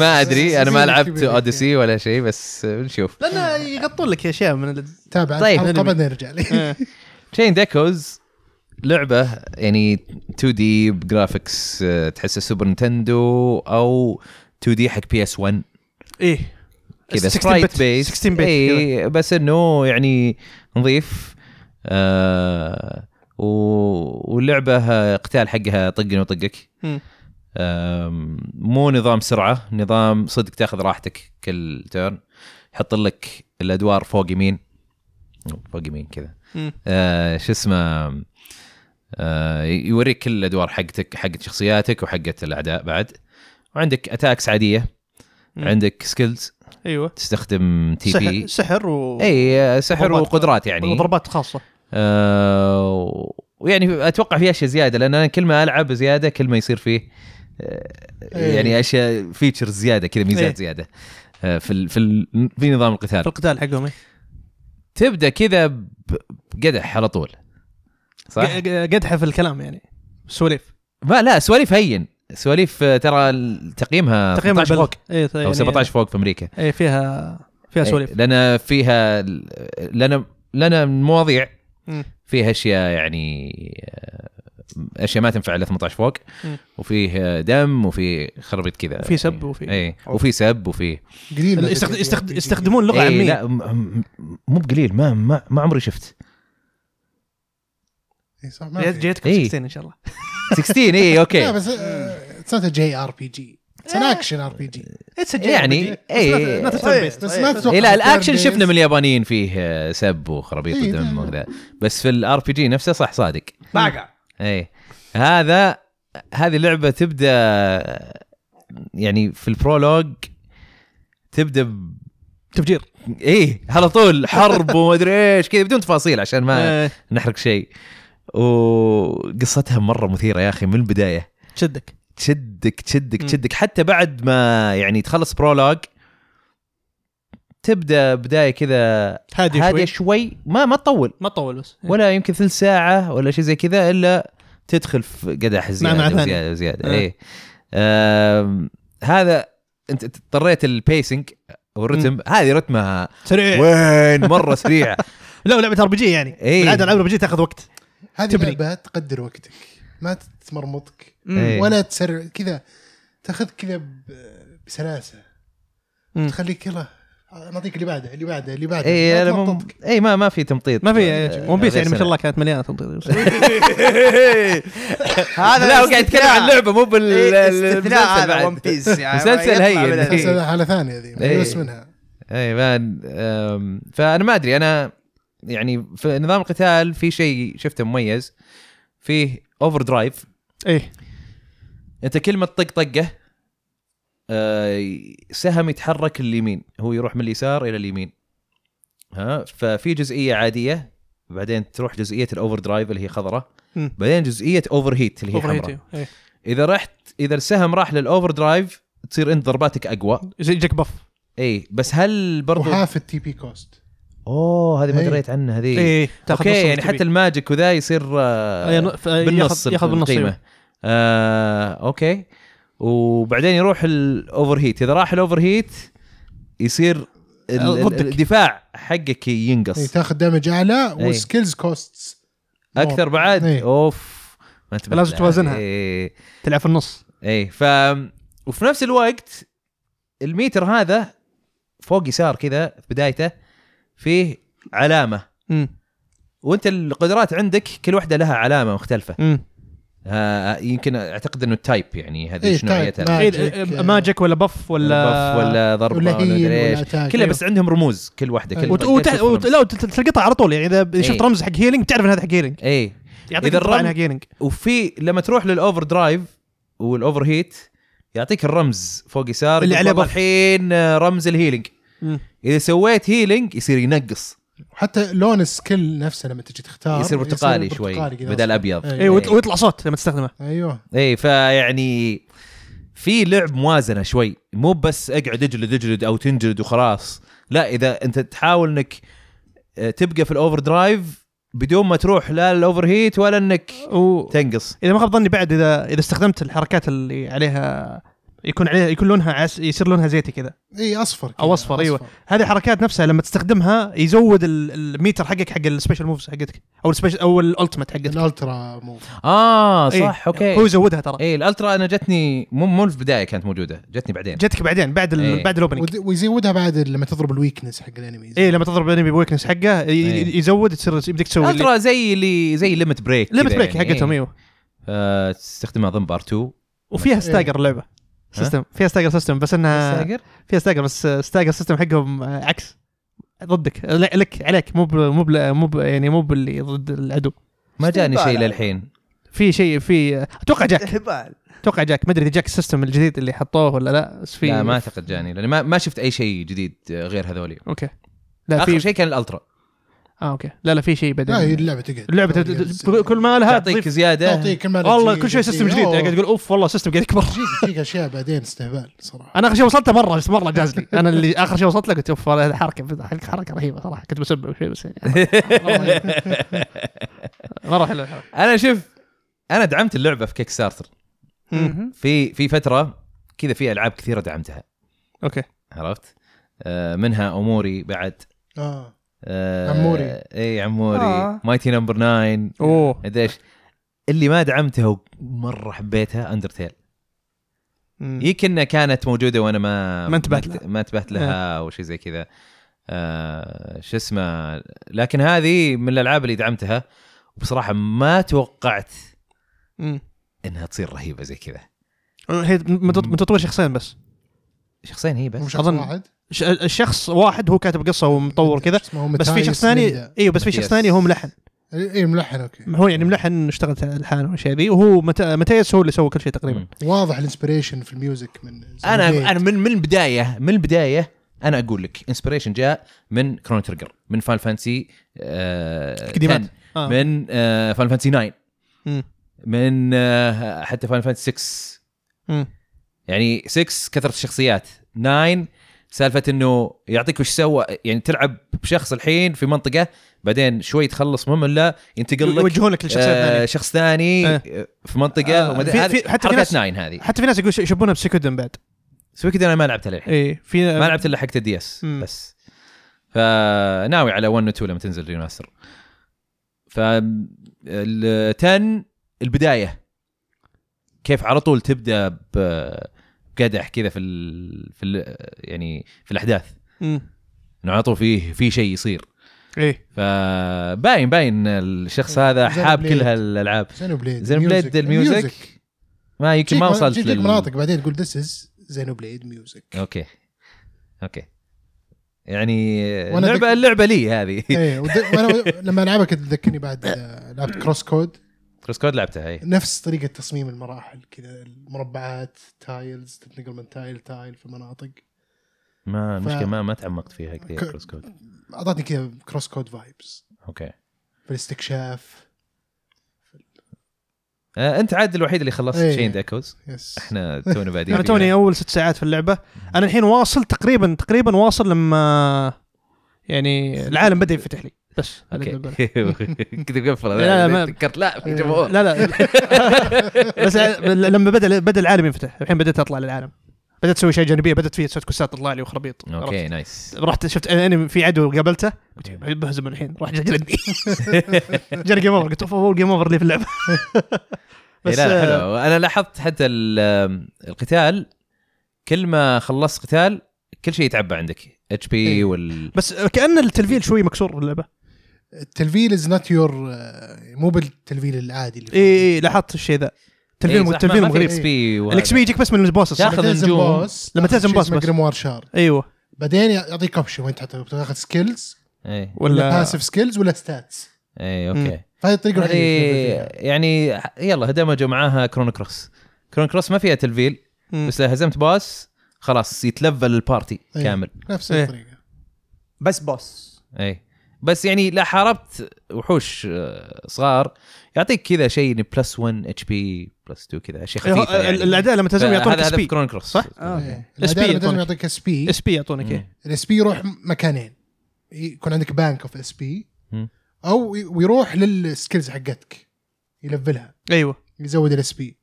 S1: ما
S3: *laughs*
S1: ادري انا ما لعبت اوديسي ولا شيء بس نشوف
S3: لان يغطون لك اشياء من ال...
S4: تابع
S1: طيب. إيه.
S4: طيب الحلقه
S3: أنمي.
S4: بعدين نرجع لي
S3: آه.
S1: تشين ديكوز لعبه يعني 2 دي بجرافيكس آه، تحسها سوبر نتندو او 2 دي حق بي اس 1
S3: ايه
S1: كذا إيه.
S3: 16
S1: سبرايت
S3: bit.
S1: بيس
S3: 16 bit
S1: اي بس انه يعني نظيف آه و- واللعبه آه، قتال حقها طقني وطقك
S3: مم.
S1: آم، مو نظام سرعه نظام صدق تاخذ راحتك كل تيرن يحط لك الادوار فوق يمين فوق يمين كذا
S3: مم.
S1: آه، شو اسمه آه، يوريك كل الادوار حقتك حقت شخصياتك وحقت الاعداء بعد وعندك اتاكس عاديه
S3: مم.
S1: عندك سكيلز
S3: ايوه
S1: تستخدم تي
S3: سحر,
S1: بي
S3: سحر و
S1: اي آه، سحر
S3: ضربات.
S1: وقدرات يعني
S3: وضربات خاصه
S1: آه، ويعني اتوقع في اشياء زياده لان انا كل ما العب زياده كل ما يصير فيه آه،
S4: إيه.
S1: يعني اشياء فيتشرز زياده كذا
S3: إيه.
S1: ميزات زياده آه، في ال في ال في نظام القتال
S3: في القتال حقهم إيه.
S1: تبدا كذا ب- بقدح على طول صح؟
S3: ق- ق- قدحه في الكلام يعني سواليف
S1: ما لا سواليف هين سواليف آه، ترى ال- تقييمها
S3: تقريبا
S1: 18 فوق
S3: اي
S1: او 17 فوق في امريكا
S3: اي إيه، فيها يعني فيها
S1: إيه.
S3: سواليف
S1: لان فيها لنا لنا مواضيع
S3: مم.
S1: فيها اشياء يعني آه، اشياء ما تنفع الا 18 فوق
S3: مم.
S1: وفيه آه، دم وفي خربت كذا
S3: وفي سب وفي-
S1: اي وفي سب وفي
S4: *laughs* قليل ما
S3: يستخد-
S4: تجي-
S3: يستخد-
S4: تجي-
S3: يستخدمون لغه
S1: إيه
S3: عاميه
S1: لا م- م- مو بقليل ما ما, ما عمري شفت
S4: إيه، صح ما
S3: جيت-
S4: في.
S3: جيتكم
S1: إيه.
S3: 16 ان شاء الله
S1: 16 اي
S4: *laughs* لا
S1: اوكي
S4: بس آه، اتس نوت جي ار بي جي اتس ان
S1: إيه.
S4: اكشن ار بي جي
S3: اتس
S1: يعني اي
S3: not a turn-based.
S4: بس ما
S1: إيه
S4: اتوقع
S1: لا الاكشن شفنا من اليابانيين فيه آه، سب وخرابيط
S4: إيه،
S1: ودم
S4: لا.
S1: وكذا بس في الار بي جي نفسه صح صادق
S2: باقع
S1: اي إيه. هذا هذه اللعبه تبدا يعني في البرولوج تبدا ب...
S3: تفجير
S1: ايه على طول حرب ومدري ايش كذا بدون تفاصيل عشان ما
S3: آه،
S1: نحرق شيء وقصتها مره مثيره يا اخي من البدايه
S3: تشدك
S1: تشدك تشدك
S3: مم.
S1: تشدك حتى بعد ما يعني تخلص برولوج تبدا بدايه كذا
S3: هادي
S1: هاديه
S3: شوي
S1: شوي ما ما تطول
S3: ما تطول بس
S1: إيه.
S3: إيه.
S1: ولا يمكن ثلث ساعة ولا شيء زي كذا إلا تدخل في قدح زيادة
S3: مع ثاني.
S1: وزيادة وزيادة
S3: آه.
S1: إيه. آم، هذا أنت اضطريت البيسنج والرتم هذه رتمها
S3: سريع
S1: وين مرة
S3: *laughs*
S1: سريعة
S3: لا لعبه ار بي جي يعني
S1: إيه.
S3: بالعاده العاب ار بي جي تاخذ وقت
S4: هذه
S3: تبني.
S4: لعبه تقدر وقتك ما تمرمطك
S1: إيه.
S4: ولا تسرع كذا تاخذ كذا ب- بسلاسه
S3: مم.
S4: تخليك يلا نعطيك اللي بعده اللي بعده اللي بعده
S1: إي
S4: ما
S1: أنا إيه، مو-
S4: تمرمطك.
S1: إي ما ما في تمطيط
S3: ما في
S1: آه،
S3: ون بيس يعني ما
S1: غير
S3: شاء الله كانت مليانه
S1: *laughs*
S3: تمطيط
S1: سنة.
S2: هذا
S1: *laughs* لا هو قاعد يتكلم عن اللعبه مو بال
S2: إيه،
S1: المسلسل
S2: استثناء هذا
S1: بعد.
S2: ون بيس يعني
S1: مسلسل
S2: ما يطلع
S1: هين.
S2: من
S1: *laughs* إيه.
S4: بس هذا حاله ثانيه ذي
S1: إيه.
S4: بس منها
S1: اي إيه، ما أم، فانا ما ادري انا يعني في نظام القتال في شيء شفته مميز فيه اوفر درايف
S3: ايه
S1: انت كل ما تطق طقه آه، سهم يتحرك اليمين هو يروح من اليسار الى اليمين ها ففي جزئيه عاديه بعدين تروح جزئيه الاوفر درايف اللي هي خضراء
S3: مم.
S1: بعدين جزئيه اوفر هيت اللي هي
S3: Overheat،
S1: حمراء
S3: إيه.
S1: اذا رحت اذا السهم راح للاوفر درايف تصير انت ضرباتك اقوى
S3: زي يجيك بف
S1: اي بس هل برضو
S4: وحاف التي بي كوست
S1: اوه هذه ما
S4: إيه.
S1: دريت عنها هذه
S3: ايه
S1: اوكي
S3: نص
S1: يعني
S3: التي بي.
S1: حتى الماجيك وذا يصير آه،
S3: أي نو- ف-
S1: بالنص
S3: ياخذ ياخذ بالنص
S1: القيمة.
S3: أيوة.
S1: آه، اوكي وبعدين يروح الاوفر هيت اذا راح الاوفر هيت يصير ال-
S3: آه،
S1: ال-
S3: ضدك.
S1: الدفاع حقك
S4: إيه،
S1: ينقص
S4: تاخذ دامج اعلى
S1: إيه.
S4: وسكيلز كوستس
S1: اكثر بعد
S4: إيه.
S1: اوف ما انتبهت
S3: لازم
S1: لها.
S3: توازنها.
S1: اي
S3: تلعب في النص
S1: إيه. ف وفي نفس الوقت الميتر هذا فوق يسار كذا في بدايته فيه علامه
S3: امم
S1: وانت القدرات عندك كل واحده لها علامه مختلفه
S3: امم
S1: آه يمكن اعتقد انه التايب يعني هذه
S4: إيه،
S1: شنو
S4: تايب.
S1: نوعيتها
S4: ماجيك،
S3: إيه،
S4: آه،
S3: ماجيك ولا بف ولا
S1: ولا يعني ولا ضربه
S4: ولا
S1: ولا
S4: هيل
S1: مدري
S4: ولا إيه.
S1: ايش
S4: اتاك
S1: كلها
S3: أيوه.
S1: بس عندهم رموز كل واحده كل
S4: وت-
S1: طقة
S3: وتح...
S1: تشوف
S3: وت...
S1: رمز.
S3: لا وت- تلقطها على طول يعني اذا شفت رمز حق هيلينج تعرف ان هذا حق هيلينج
S1: اي
S3: يعطيك
S1: إيه. إذا
S3: إذا
S1: الرمز-
S3: الرمز هيلينج
S1: إيه. وفي لما تروح للاوفر درايف والاوفر هيت يعطيك الرمز فوق يسار
S3: اللي
S1: يقول
S3: عليه
S1: والله
S3: بف.
S1: الحين آه، رمز الهيلينج اذا سويت هيلينج يصير ينقص
S4: حتى لون السكيل نفسه لما تجي تختار
S1: يصير برتقالي
S4: آه، برتقالي
S1: شوي
S4: كذا
S3: أيوه.
S1: بدل ابيض
S4: إيه.
S3: اي ويطلع صوت لما تستخدمه
S4: ايوه
S1: اي إيه، فيعني في لعب موازنه شوي مو بس اقعد اجلد اجلد او تنجلد وخلاص لا اذا انت تحاول انك آه، تبقى في الاوفر درايف بدون ما تروح لا الاوفر هيت ولا انك
S3: و...
S1: تنقص
S3: اذا ما خاب ظني بعد اذا اذا استخدمت الحركات اللي عليها يكون عليها يكون لونها عس... يصير لونها زيتي كذا
S4: اي اصفر إيه، كذا،
S3: أو أصفر،
S1: أيوه.
S3: أيوة. هذه الحركات نفسها لما تستخدمها يزود ال- الميتر حقك حق السبيشل موفز حقتك او السبيشل او الالتيميت حقتك
S4: الالترا موف
S1: اه
S3: إيه.
S1: صح اوكي
S3: هو يزودها ترى
S1: اي الالترا انا جتني مو مو في البدايه كانت موجوده جتني بعدين
S3: جتك بعدين بعد ال...
S1: إيه.
S3: بعد الاوبننج
S4: ود- ويزودها بعد لما تضرب الويكنس حق الانميز
S3: اي لما تضرب الانمي بويكنس حقه ي...
S1: إيه.
S3: يزود تصير يبدك تسوي اللي-
S1: الالترا زي اللي زي ليمت بريك
S3: ليمت بريك
S1: يعني.
S3: حقتهم ايوه
S1: آه تستخدمها ضمن بار 2 إيه.
S3: وفيها ستاجر اللعبه سيستم فيها ستاجر سيستم بس انها
S1: ساقر؟
S3: فيها ستاجر بس ستاجر سيستم حقهم آه، عكس ضدك آه، لا، لك عليك مو ب- مو ب- مو ب- يعني مو باللي ضد العدو
S1: ما جاني شيء
S2: استهبال.
S1: للحين
S3: في شيء في
S1: *laughs*
S3: اتوقع جاك
S2: هبال
S3: اتوقع جاك ما ادري اذا جاك السيستم الجديد اللي حطوه ولا لا بس في
S1: لا ما اعتقد جاني لاني ما, ما شفت اي شيء جديد آه، غير هذولي
S3: اوكي لا
S1: اخر
S3: في
S1: شيء كان الالترا
S3: اه اوكي لا لا في شيء
S4: لا هي
S3: بعدين
S4: اللعبه تقعد
S3: اللعبه ت- ت- كل ما لها
S1: تعطيك
S3: تضيف
S1: زياده *laughs*
S4: تعطيك كل ما لها
S3: والله
S4: شيء
S3: كل شيء سيستم
S4: جديد.
S3: جديد
S4: أوه.
S3: قاعد تقول اوف والله السيستم قاعد يكبر
S4: آه. تجيك- تجيك اشياء بعدين استهبال
S3: *laughs*
S4: صراحه
S3: انا اخر شيء وصلت مره بس مره جاز لي انا اللي اخر شيء وصلت له قلت اوف والله هذه حركه حركه رهيبه صراحه كنت بسبب شيء بس *laughs* يعني مره حلوه الحركه
S1: انا شوف انا دعمت اللعبه في كيك ستارتر في في فتره كذا في العاب كثيره دعمتها
S3: اوكي
S1: عرفت آه، منها اموري بعد
S4: اه
S1: آه،
S4: عموري.
S1: اي عموري
S2: آه.
S1: مايتي نمبر 9
S3: اوه
S1: مدري ايش اللي ما دعمتها ومره حبيتها اندرتيل
S3: إيه.
S1: يمكن كانت موجوده وانا ما
S3: ما انتبهت
S1: ما- ما انتبهت لها او شيء زي كذا آه شو اسمه لكن هذه من الالعاب اللي دعمتها وبصراحه ما توقعت
S3: مم.
S1: انها تصير رهيبه زي كذا
S3: هي من تط- من تطوير شخصين بس
S1: شخصين هي بس
S4: مو شخص
S3: أظن-
S4: واحد
S3: ش- الشخص واحد هو كاتب قصه ومطور كذا
S4: شو اسمه، هو
S3: بس في
S4: متايس
S3: شخص ثاني
S4: ليندا.
S3: ايوه بس في شخص
S1: متياس.
S3: ثاني هو ملحن
S4: اي ملحن اوكي
S3: هو يعني ملحن اشتغلت على الحان والاشياء ذي وهو مت- متياس هو اللي سوى كل شيء تقريبا
S1: مم.
S4: واضح الانسبريشن في الميوزك من
S1: انا
S4: زين
S1: انا من من البدايه من البدايه انا اقول لك انسبريشن جاء من كرون تريجر من فان فانسي آه
S3: تقديمات
S1: 10،
S3: آه.
S1: من آه فان فانسي 9
S3: مم.
S1: من آه حتى فان فانسي 6
S3: مم.
S1: يعني 6 كثره الشخصيات 9 سالفه انه يعطيك وش سوى يعني تلعب بشخص الحين في منطقه بعدين شوي تخلص مهمه لا ينتقل لك
S3: يوجهون لك لشخصيات
S1: آه
S3: ثانيه
S1: شخص ثاني
S3: إيه.
S1: آه، في منطقه
S3: آه،
S1: ومدري-
S3: في-
S1: هذه
S3: في- حتى في
S1: حركات
S3: ناس-
S1: 9 هذه
S3: حتى في ناس يقول يشبونها بسيكودن بعد
S1: سوي كذا انا ما لعبتها للحين
S3: اي في
S1: ما لعبت الا حق الدي اس
S3: مم.
S1: بس فناوي على 1 و 2 لما تنزل ريماستر ف ال 10 البدايه كيف على طول تبدا ب- بقدح كذا في ال... في ال... يعني في الاحداث
S3: مم.
S1: انه على طول فيه في شيء يصير
S3: ايه
S1: فباين باين الشخص هذا
S4: زين
S1: حاب
S4: بليد.
S1: كل هالالعاب
S4: زينوبليد
S1: زين بليد الميوزك ما يمكن ما وصلت
S4: لل... مناطق بعدين تقول ذس از زينوبليد ميوزك
S1: اوكي اوكي يعني
S4: وأنا
S1: اللعبه
S4: ذك-
S1: اللعبه لي
S3: *laughs*
S1: هذه *laughs*
S3: إيه.
S4: ايه ود- وانا لما العبها كنت تذكرني بعد آه، لعبت كروس كود
S1: كروس كود لعبتها هي
S4: نفس طريقه تصميم المراحل كذا المربعات تايلز تتنقل من تايل تايل في مناطق
S1: ما
S4: ف-
S1: المشكله ما ما تعمقت فيها كثير
S4: ك-
S1: كروس كود
S4: اعطتني كذا كروس كود فايبس
S1: اوكي
S4: في الاستكشاف
S1: آه انت عاد الوحيد اللي خلصت
S4: إيه.
S1: تشين ايكوز
S4: يس
S3: *laughs*
S1: احنا تونا بادين
S3: انا
S1: فيها.
S3: يعني توني اول ست ساعات في اللعبه انا الحين واصل تقريبا تقريبا واصل لما يعني العالم بدا ينفتح لي بس هذا
S1: اوكي
S3: اللي بقوله. *laughs*
S1: *laughs* كنت مقفل
S3: لا، لا، ما- إيه.
S1: أنا تذكرت لا في جمهور
S3: لا لا *laughs* بس لما بدا بدا العالم ينفتح الحين بدات اطلع للعالم بدات اسوي اشياء جانبيه بدات فيها سويت كوستات تطلع لي وخرابيط
S1: اوكي
S3: عرفت؟
S1: نايس
S3: رحت شفت انمي في عدو قابلته قلت بهزمه الحين راح
S1: *laughs*
S3: جلدني جاني جيم اوفر قلت اوف هو جيم اوفر لي في اللعبه
S1: بس
S3: بس
S1: إيه، لا لا،
S3: آه،
S1: حلو انا لاحظت حتى ال- آم، القتال كل ما خلصت قتال كل شيء يتعبى عندك اتش بي
S4: إيه.
S1: وال
S3: بس كان التلفيل شوي مكسور في اللعبه
S4: التلفيل از نوت يور آه، مو بالتلفيل العادي اللي
S3: اي اي إيه، لاحظت الشيء ذا
S1: إيه،
S3: التلفيل التلفيل مغريب
S1: اكس بي
S3: الاكس بي يجيك بس من البوسس
S1: تاخذ نجوم.
S3: لما تهزم بوس بس.
S4: جريموار شارد
S3: ايوه
S4: بعدين يعطيك اوبشن وين تحط تاخذ سكيلز
S1: اي
S4: ولا
S3: ولا
S4: باسف سكيلز ولا ستاتس
S1: اي اوكي
S3: مم.
S4: فهذه الطريقه
S1: هذه
S4: الوحيده اللي
S1: يعني يلا دمجوا معاها كرون كروس كرون كروس ما فيها تلفيل
S3: مم.
S1: بس لو هزمت باس خلاص يتلفل البارتي
S4: أي.
S1: كامل
S4: نفس
S3: إيه.
S4: الطريقه
S2: بس بوس
S1: اي بس يعني لا حاربت وحوش آه، صغار يعطيك كذا شيء يعني بلس 1 اتش بي بلس 2 كذا اشياء خفيفه
S3: ال-
S1: يعني.
S3: الاعداء لما تهزمهم يعطونك
S1: هذا- هذا
S3: سبي
S1: في كرون كروس
S3: صح؟
S2: اوكي
S3: إيه. SP يعطونك.
S4: لازم يعطيك اس بي
S3: اس بي يعطونك
S1: مم.
S3: ايه
S4: الاس بي يروح مكانين يكون عندك بانك اوف اس بي
S1: مم.
S4: او ي- ويروح للسكيلز حقتك يلفلها
S3: ايوه
S4: يزود الاس بي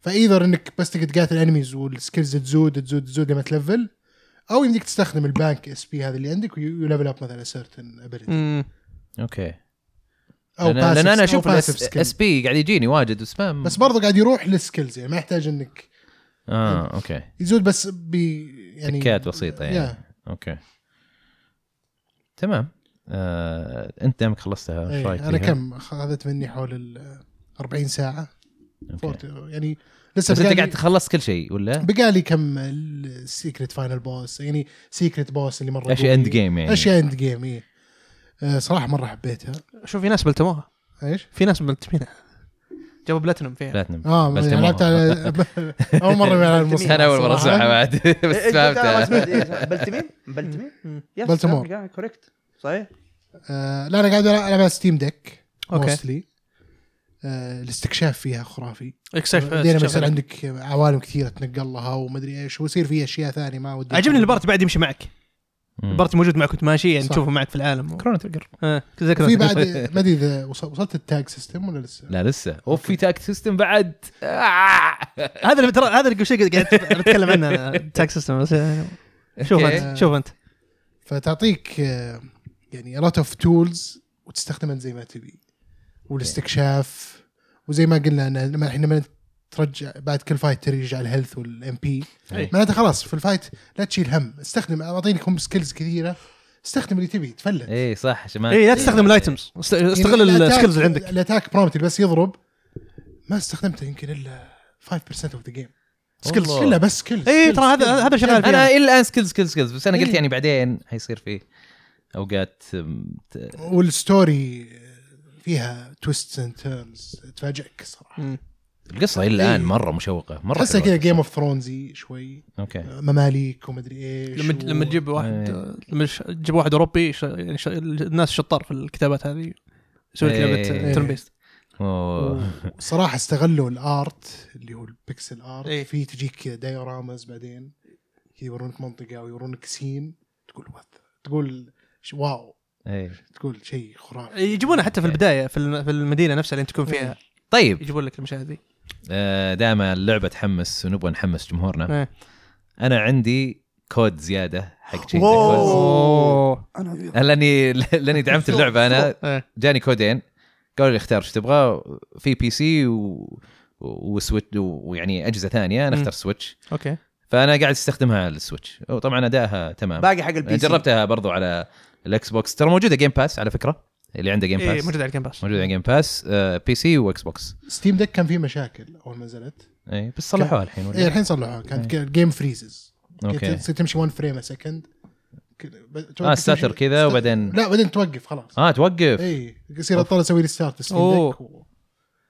S4: فايذر انك بس تقدر تقاتل انميز والسكيلز تزود تزود تزود لما تلفل او يمديك تستخدم البانك اس بي هذا اللي عندك ويلفل اب مثلا سيرتن ابيلتي
S3: مم.
S1: اوكي
S4: او
S1: لأن, لان انا اشوف
S4: باسف
S1: الاس بي قاعد يجيني واجد بس ما
S4: بس برضه قاعد يروح للسكيلز يعني ما يحتاج انك
S1: اه اوكي
S4: يزود بس بي يعني
S1: تكات بسيطه يعني
S4: يا.
S1: اوكي تمام آه، انت دامك خلصتها ايش رايك
S4: ايه انا
S1: فيها؟
S4: كم اخذت مني حول ال 40 ساعه
S1: أوكي.
S4: 40 يعني لسه
S1: بس انت
S4: بقالي-
S1: قاعد تخلص كل شيء ولا؟
S4: بقالي كم السيكريت فاينل بوس يعني سيكريت بوس اللي مره
S1: اشياء
S4: قوي.
S1: اند جيم يعني
S4: اشياء اند جيم اي إيه. آه، صراحه مره حبيتها
S3: شوف في ناس بلتموها
S4: ايش؟
S3: في ناس ملتمينها جابوا بلاتنم فيها
S1: بلاتنم
S4: اه
S1: بس
S4: بس
S1: تمام.
S4: لعبت على
S1: *laughs*
S4: اول مره على المصنع
S1: انا اول مره اسمعها بعد بس
S2: إيه، إيه، أنا
S1: فهمتها
S2: سمعت، إيه، سمعت. بلتمين بلتمين يس،
S4: بلتمور.
S2: لا، كوريكت صحيح
S4: آه، لا انا قاعد العب على ستيم ديك
S3: أوكي.
S4: موستلي آه، الاستكشاف فيها خرافي
S3: اكسكشف
S4: بعدين لما يصير
S3: اكسكشف.
S4: عندك عوالم كثيره تنقل لها ومدري ايش ويصير في اشياء ثانيه ما ودي
S3: عجبني البارت بعد يمشي معك البارت موجود معك وانت ماشي يعني
S4: صح.
S3: تشوفه معك في العالم و...
S1: كرونو تريجر
S3: آه، كذا كذا
S4: في بعد ما ادري اذا وص- وصلت التاج سيستم ولا لسه؟
S1: لا لسه اوف في تاك سيستم بعد آه.
S3: هذا اللي ترى هذا اللي قبل شوي قاعد
S4: *laughs*
S3: اتكلم عنه انا تاك سيستم بس يعني شوف
S1: أوكي.
S3: انت شوف انت
S4: فتعطيك آه، يعني لوت اوف تولز وتستخدمها زي ما تبي والاستكشاف وزي ما قلنا ان لما الحين لما ترجع بعد كل فايت ترجع الهيلث والام بي
S1: أي.
S4: معناته خلاص في الفايت لا تشيل هم استخدم اعطينك هم سكيلز كثيره استخدم اللي تبي تفلت
S1: اي إيه، صح عشان ما
S3: اي لا تستخدم الايتمز است- إيه. استغل
S4: يعني الأتاك-
S3: السكيلز اللي عندك
S4: الاتاك برومت اللي بس يضرب ما استخدمته يمكن الا 5% اوف ذا جيم سكيلز
S1: والله.
S4: كلها بس سكيلز
S3: اي إيه، ترى هذا هذا شغال
S1: انا
S3: فيه
S1: الى الان سكيلز سكيلز سكيلز بس انا قلت
S4: إيه.
S1: يعني بعدين حيصير فيه اوقات أم، ت-
S4: والستوري فيها تويست اند تيرنز تفاجئك صراحه
S3: مم.
S1: القصه الى الان
S4: إيه.
S1: مره مشوقه مره
S4: تحسها
S1: حلوة. إيه.
S4: كذا جيم اوف ثرونزي شوي آه،
S1: اوكي
S4: مماليك ومدري ايش
S3: لما
S4: و-
S3: لما تجيب واحد
S1: إيه.
S3: لما ش- تجيب واحد اوروبي ش... يعني ش... الناس شطار في الكتابات هذه يسوي لك
S1: إيه.
S3: لعبه ترن بيست
S1: أوه.
S4: صراحه استغلوا الارت اللي هو البكسل ارت
S3: إيه.
S4: في تجيك كذا دايورامز بعدين كذا يورونك منطقه ويورونك سين تقول وات تقول ش- واو
S1: إيه.
S4: تقول شيء خرافي
S3: يجيبونها حتى في البدايه في الم- في المدينه نفسها اللي انت تكون فيها
S1: طيب
S3: يجيبون لك المشاهد ذي
S1: آه، دائما اللعبه تحمس ونبغى نحمس جمهورنا
S3: إيه.
S1: انا عندي كود زياده حق شيء
S2: واو.
S1: Oh.
S3: اوه
S2: انا
S1: لاني لاني دعمت اللعبه انا
S3: إيه.
S1: جاني كودين قالوا لي اختار ايش تبغى في بي سي و... وسويتش ويعني اجهزه ثانيه انا
S3: مم.
S1: اختار سويتش
S3: اوكي
S1: فانا قاعد استخدمها على السويتش وطبعا ادائها تمام
S2: باقي حق البي سي
S1: جربتها برضو على الاكس بوكس ترى موجوده جيم باس على فكره اللي عنده جيم
S3: اي
S1: باس
S3: إيه، موجود على الجيم باس
S1: موجوده على جيم باس آه، بي سي واكس بوكس
S4: ستيم دك كان فيه مشاكل اول ما نزلت
S1: اي بس صلحوها الحين
S4: إيه
S1: ولا
S4: الحين صلحوها كانت
S1: إيه.
S4: جيم فريزز
S1: اوكي
S4: تصير تمشي 1 فريم سكند
S1: اه ستاتر كذا وبعدين
S4: لا بعدين توقف خلاص
S1: اه توقف
S4: اي يصير اضطر اسوي ريستارت بس
S3: أوه.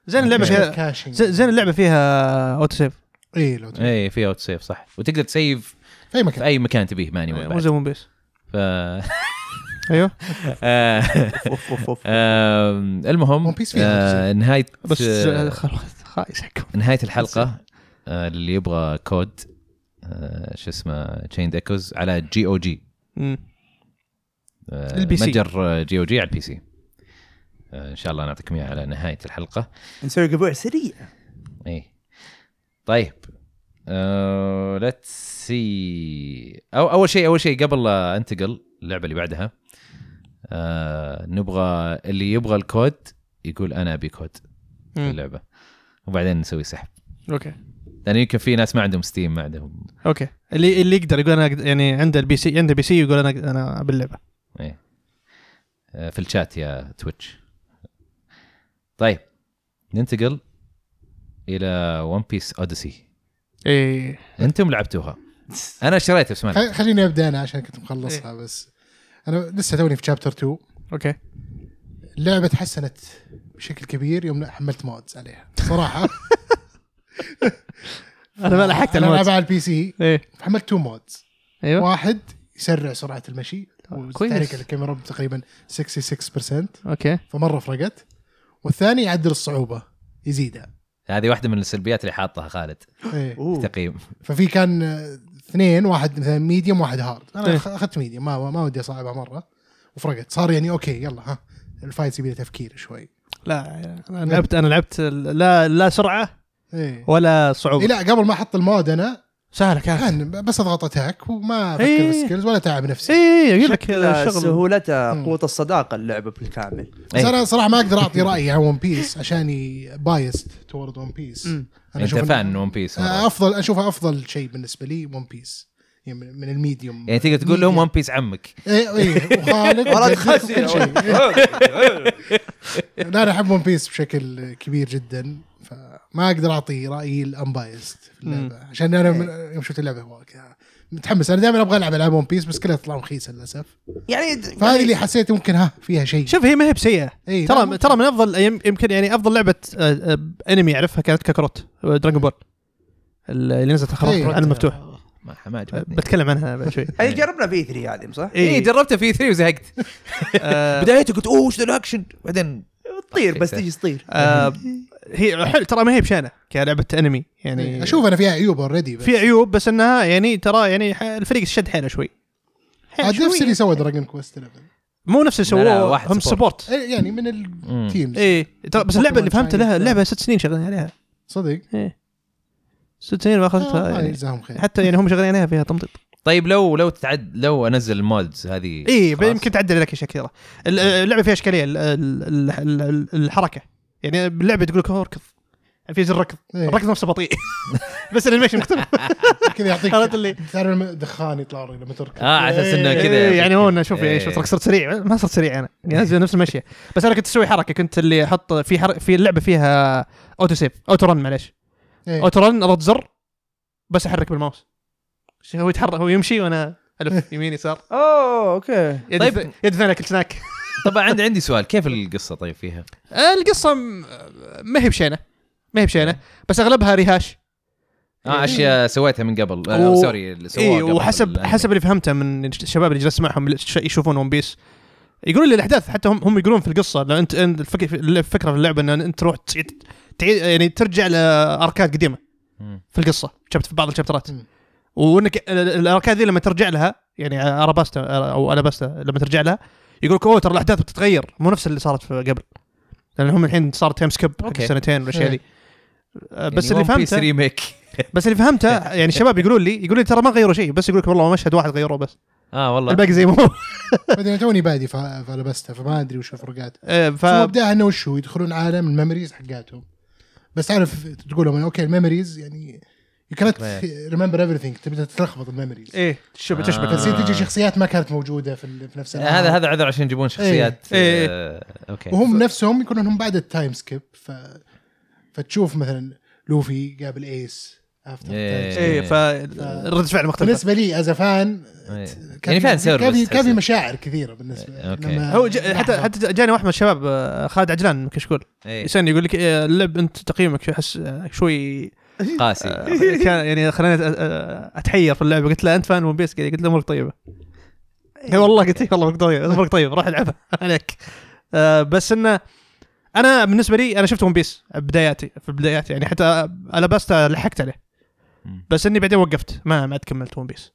S3: زين اللعبه
S1: أوكي.
S3: فيها
S4: كاشنج
S3: زين زين اللعبه فيها اوتو سيف
S4: اي يعني إيه، لو تبي.
S1: اي في اوت سيف صح وتقدر تسيف
S4: في اي
S1: إيه. في
S4: مكان
S1: اي مكان تبيه ماني وين
S3: آه، مو
S1: بعد
S3: زي ون بيس
S1: ف *laughs*
S3: ايوه
S1: آه،
S2: اوف
S1: *laughs*
S2: اوف اوف
S1: آم، آه، المهم
S4: One Piece فيها
S1: آه، نهايه
S3: بس
S1: آه،
S3: خلاص خايس حكم
S1: نهايه الحلقه آه، اللي يبغى كود آه، شو اسمه تشين ديكوز على جي او جي
S3: البي سي.
S1: آه، متجر جي او جي على البي سي آه، ان شاء الله نعطيكم اياه على نهايه الحلقه
S2: نسوي قبوع سريع
S1: اي إيه. طيب ليتس سي أو اول شيء اول شيء قبل لا انتقل اللعبه اللي بعدها آه نبغى اللي يبغى الكود يقول انا ابي كود في اللعبه وبعدين نسوي سحب
S3: اوكي
S1: لان يمكن في ناس ما عندهم ستيم ما عندهم
S3: اوكي اللي اللي يقدر يقول انا أقدر- يعني عنده البي سي عنده بي سي يقول انا انا ابي اللعبه
S1: آه في الشات يا تويتش طيب ننتقل الى ون بيس اوديسي
S3: اي
S1: انتم لعبتوها انا اشتريتها بس ما لعبتها.
S4: خل- خليني ابدا انا عشان كنت مخلصها بس انا لسه توني في شابتر 2
S3: اوكي
S4: اللعبه تحسنت بشكل كبير يوم حملت مودز عليها
S3: *laughs*
S4: صراحه
S3: انا ما لحقت إيه.
S4: انا
S3: المواد
S4: العبها على البي سي
S3: ايه
S4: حملت تو مودز
S3: ايوه
S4: واحد يسرع سرعه المشي
S3: كويس.
S4: وتحرك الكاميرا تقريبا 66%
S3: اوكي
S4: فمره فرقت والثاني يعدل الصعوبه يزيدها
S1: هذه واحده من السلبيات اللي حاطها خالد
S4: إيه.
S1: في تقييم
S4: ففي كان آه، اثنين واحد مثلا ميديوم واحد هارد
S3: إيه.
S4: انا أخ- اخذت ميديوم ما ما ودي اصعبها مره وفرقت صار يعني اوكي يلا ها الفايت يبي له تفكير شوي
S3: لا انا لعبت انا لعبت لا لا سرعه
S4: ايه
S3: ولا
S4: إيه
S3: صعوبه
S4: لا قبل ما احط المود انا
S3: سهله كانت
S4: كان بس اضغط اتاك وما افكر في
S3: إيه.
S4: السكيلز ولا اتعب نفسي
S3: اي اي اقول لك
S2: شكل
S3: الشغل
S2: سهولتها
S4: مم.
S2: قوه الصداقه اللعبه بالكامل
S4: بس
S1: إيه.
S4: انا صراحه ما اقدر اعطي رايي عن ون بيس عشاني بايست تورد ون بيس
S2: مم.
S1: انت فان ون بيس
S4: آه، افضل اشوفها افضل شيء بالنسبه لي ون بيس يعني من من الميديوم
S1: يعني تقدر تقول
S3: إيه.
S1: لهم ون بيس عمك
S4: ايه ايه وخالد
S2: ولد
S4: وجدك
S2: خسي
S4: وكل شيء لا انا احب ون بيس بشكل كبير جدا فما اقدر اعطي رايي الانبايست في اللعبه عشان انا من- يوم شفت اللعبه هو ك- متحمس انا دائما ابغى العب العاب ون بيس بس كلها تطلع رخيصه للاسف
S2: يعني
S4: فهذه اللي حسيت ممكن ها فيها شيء
S3: إيه. شوف هي ما هي بسيئه
S4: إيه، لا،
S3: ترى
S4: ممكن.
S3: ترى من افضل يم- يمكن يعني افضل لعبه آه، آه، انمي اعرفها كانت كاكروت دراجون بول اللي نزلت
S4: إيه.
S3: اخر على المفتوح
S1: ما ما
S3: آه،
S1: عجبتني
S3: بتكلم عنها بعد
S4: *laughs*
S3: شوي إيه،
S2: هي يعني جربنا في 3 هذه صح؟
S4: إيه،
S1: اي جربته في 3
S3: *laughs*
S1: وزهقت
S3: آه،
S1: بدايته قلت اوه وش ذا الاكشن بعدين
S2: تطير بس تجي تطير
S3: آه، هي حلو ترى ما هي بشانه كلعبه انمي يعني
S4: اشوف انا فيها عيوب اوريدي
S3: في عيوب بس انها يعني ترى يعني ح- الفريق شد حيله شوي حيل
S4: عاد
S3: شوي.
S4: نفس اللي سوى دراجون كويست 11
S3: مو نفس اللي
S1: لا، لا،
S3: سووه
S1: واحد
S3: هم
S1: سبورت.
S3: سبورت
S4: إيه، يعني من
S1: مم.
S4: التيمز
S3: اي إيه، ترى بس اللعبه اللي فهمتها لها اللعبه ست سنين شغالين عليها
S4: صدق
S3: ايه ست سنين ما
S4: إيه. آه،
S3: اخذتها
S4: الله
S3: يعني
S4: يجزاهم خير
S3: حتى يعني هم شغالين عليها فيها تمطيط
S1: طيب لو لو تعد لو انزل المودز
S4: إيه،
S1: هذه
S3: اي
S1: خلاص.
S3: إيه، يمكن تعدل لك اشياء كثيره ال- اللعبه فيها اشكاليه ال- ال- ال- ال- الحركه يعني باللعبه تقول لك "أوه، اركض يعني في زر ركض
S4: إيه.
S3: الركض
S4: *laughs*
S3: نفسه بطيء بس الانيميشن مختلف
S4: كذا يعطيك
S3: عرفت اللي-
S4: تعرف لما دخان يطلع لما تركب
S3: آه،
S1: اه على اساس انه كذا
S3: إيه، يعني هو أنا شوف
S1: إيه.
S3: يعني شفت رك صرت سريع ما صرت سريع انا يعني أنزل نفس المشيه بس انا كنت اسوي حركه كنت اللي احط في حر... في اللعبه فيها اوتو سيف اوتو رن معلش
S4: إيه.
S3: اوتو رن اضغط زر بس احرك بالماوس شي هو يتحرك هو يمشي وانا الف يمين يسار
S2: اوه اوكي
S3: يد
S1: طيب.
S3: طيب يد ثانيه كل سناك
S1: طبعا عندي عندي سؤال كيف القصه طيب فيها؟
S3: آه، القصه م- ما هي بشينه ما هي بشينه بس اغلبها ريهاش
S1: اه اشياء سويتها من قبل آه،
S3: و-
S1: سوري اللي سووها
S3: اي
S1: قبل
S3: إيه. وحسب
S1: الأنمي.
S3: حسب اللي فهمته من الشباب اللي جلست معهم اللي ش- يشوفون ون بيس يقولون لي الاحداث حتى هم هم يقولون في القصه لو انت أنت الفك- الفكره في اللعبه ان انت تروح تعيد تعيد يعني ترجع لاركاد قديمه
S1: مم.
S3: في القصه شبت في بعض الشابترات
S4: مم.
S3: وانك ال- الاركاد ذي لما ترجع لها يعني اراباستا او الاباستا لما ترجع لها يقول لك اوه ترى الاحداث بتتغير مو نفس اللي صارت في قبل لان هم الحين صار تايم سكيب
S1: أوكي.
S3: سنتين والاشياء ذي بس
S1: يعني
S3: اللي
S1: One Piece
S3: فهمته
S1: ريميك
S3: *laughs* بس اللي فهمته
S1: *laughs*
S3: يعني الشباب يقولون لي يقولون لي ترى ما غيروا شيء بس يقول لك والله مشهد واحد غيروه بس
S1: اه والله
S3: الباقي
S1: *laughs*
S3: زي ما هو
S4: بعدين توني بادي فا- فلبستها فما ادري وش الفرقات
S3: آه، ف
S4: فمبداها انه وش هو يدخلون عالم الميموريز حقاتهم بس تعرف تقول لهم اوكي الميموريز يعني يو كانت ريمبر ايفريثينج تبدا تتلخبط الميموريز
S3: ايه شبه
S1: آه.
S3: تشبك
S4: تصير تجي شخصيات ما كانت موجوده في, ال- في نفس
S1: آه، هذا هذا عذر عشان يجيبون شخصيات
S3: إيه، إيه، إيه.
S1: آه، اوكي
S4: وهم نفسهم يكونون هم بعد التايم سكيب ف... فتشوف مثلا لوفي قابل ايس after
S1: إيه.
S4: time skip.
S3: ايه ف
S1: آه.
S3: رد فعل مختلف
S4: بالنسبه لي از فان
S1: إيه. يعني فان
S4: كان في-
S1: سيرفس
S4: كان في
S1: تحسه. إيه،
S4: مشاعر كثيره بالنسبه
S1: أوكي.
S4: لما
S3: هو ج... حتى
S4: لحظة.
S3: حتى جاني واحد من الشباب آه، خالد عجلان من كشكول
S1: إيه.
S3: يسالني يقول لك آه، اللعب انت تقييمك شو احس آه، شوي آه،
S1: قاسي
S3: كان يعني خلاني أت- آه، اتحير في اللعبه قلت له انت فان ون بيس قلت له امورك طيبه اي والله قلت له والله امورك طيبه امورك طيبه روح العبها *laughs* عليك آه، بس انه انا بالنسبه لي انا شفت ون بيس بداياتي في بداياتي يعني حتى الاباستا لحقت عليه
S1: مم.
S3: بس اني بعدين وقفت ما ما عاد كملت ون بيس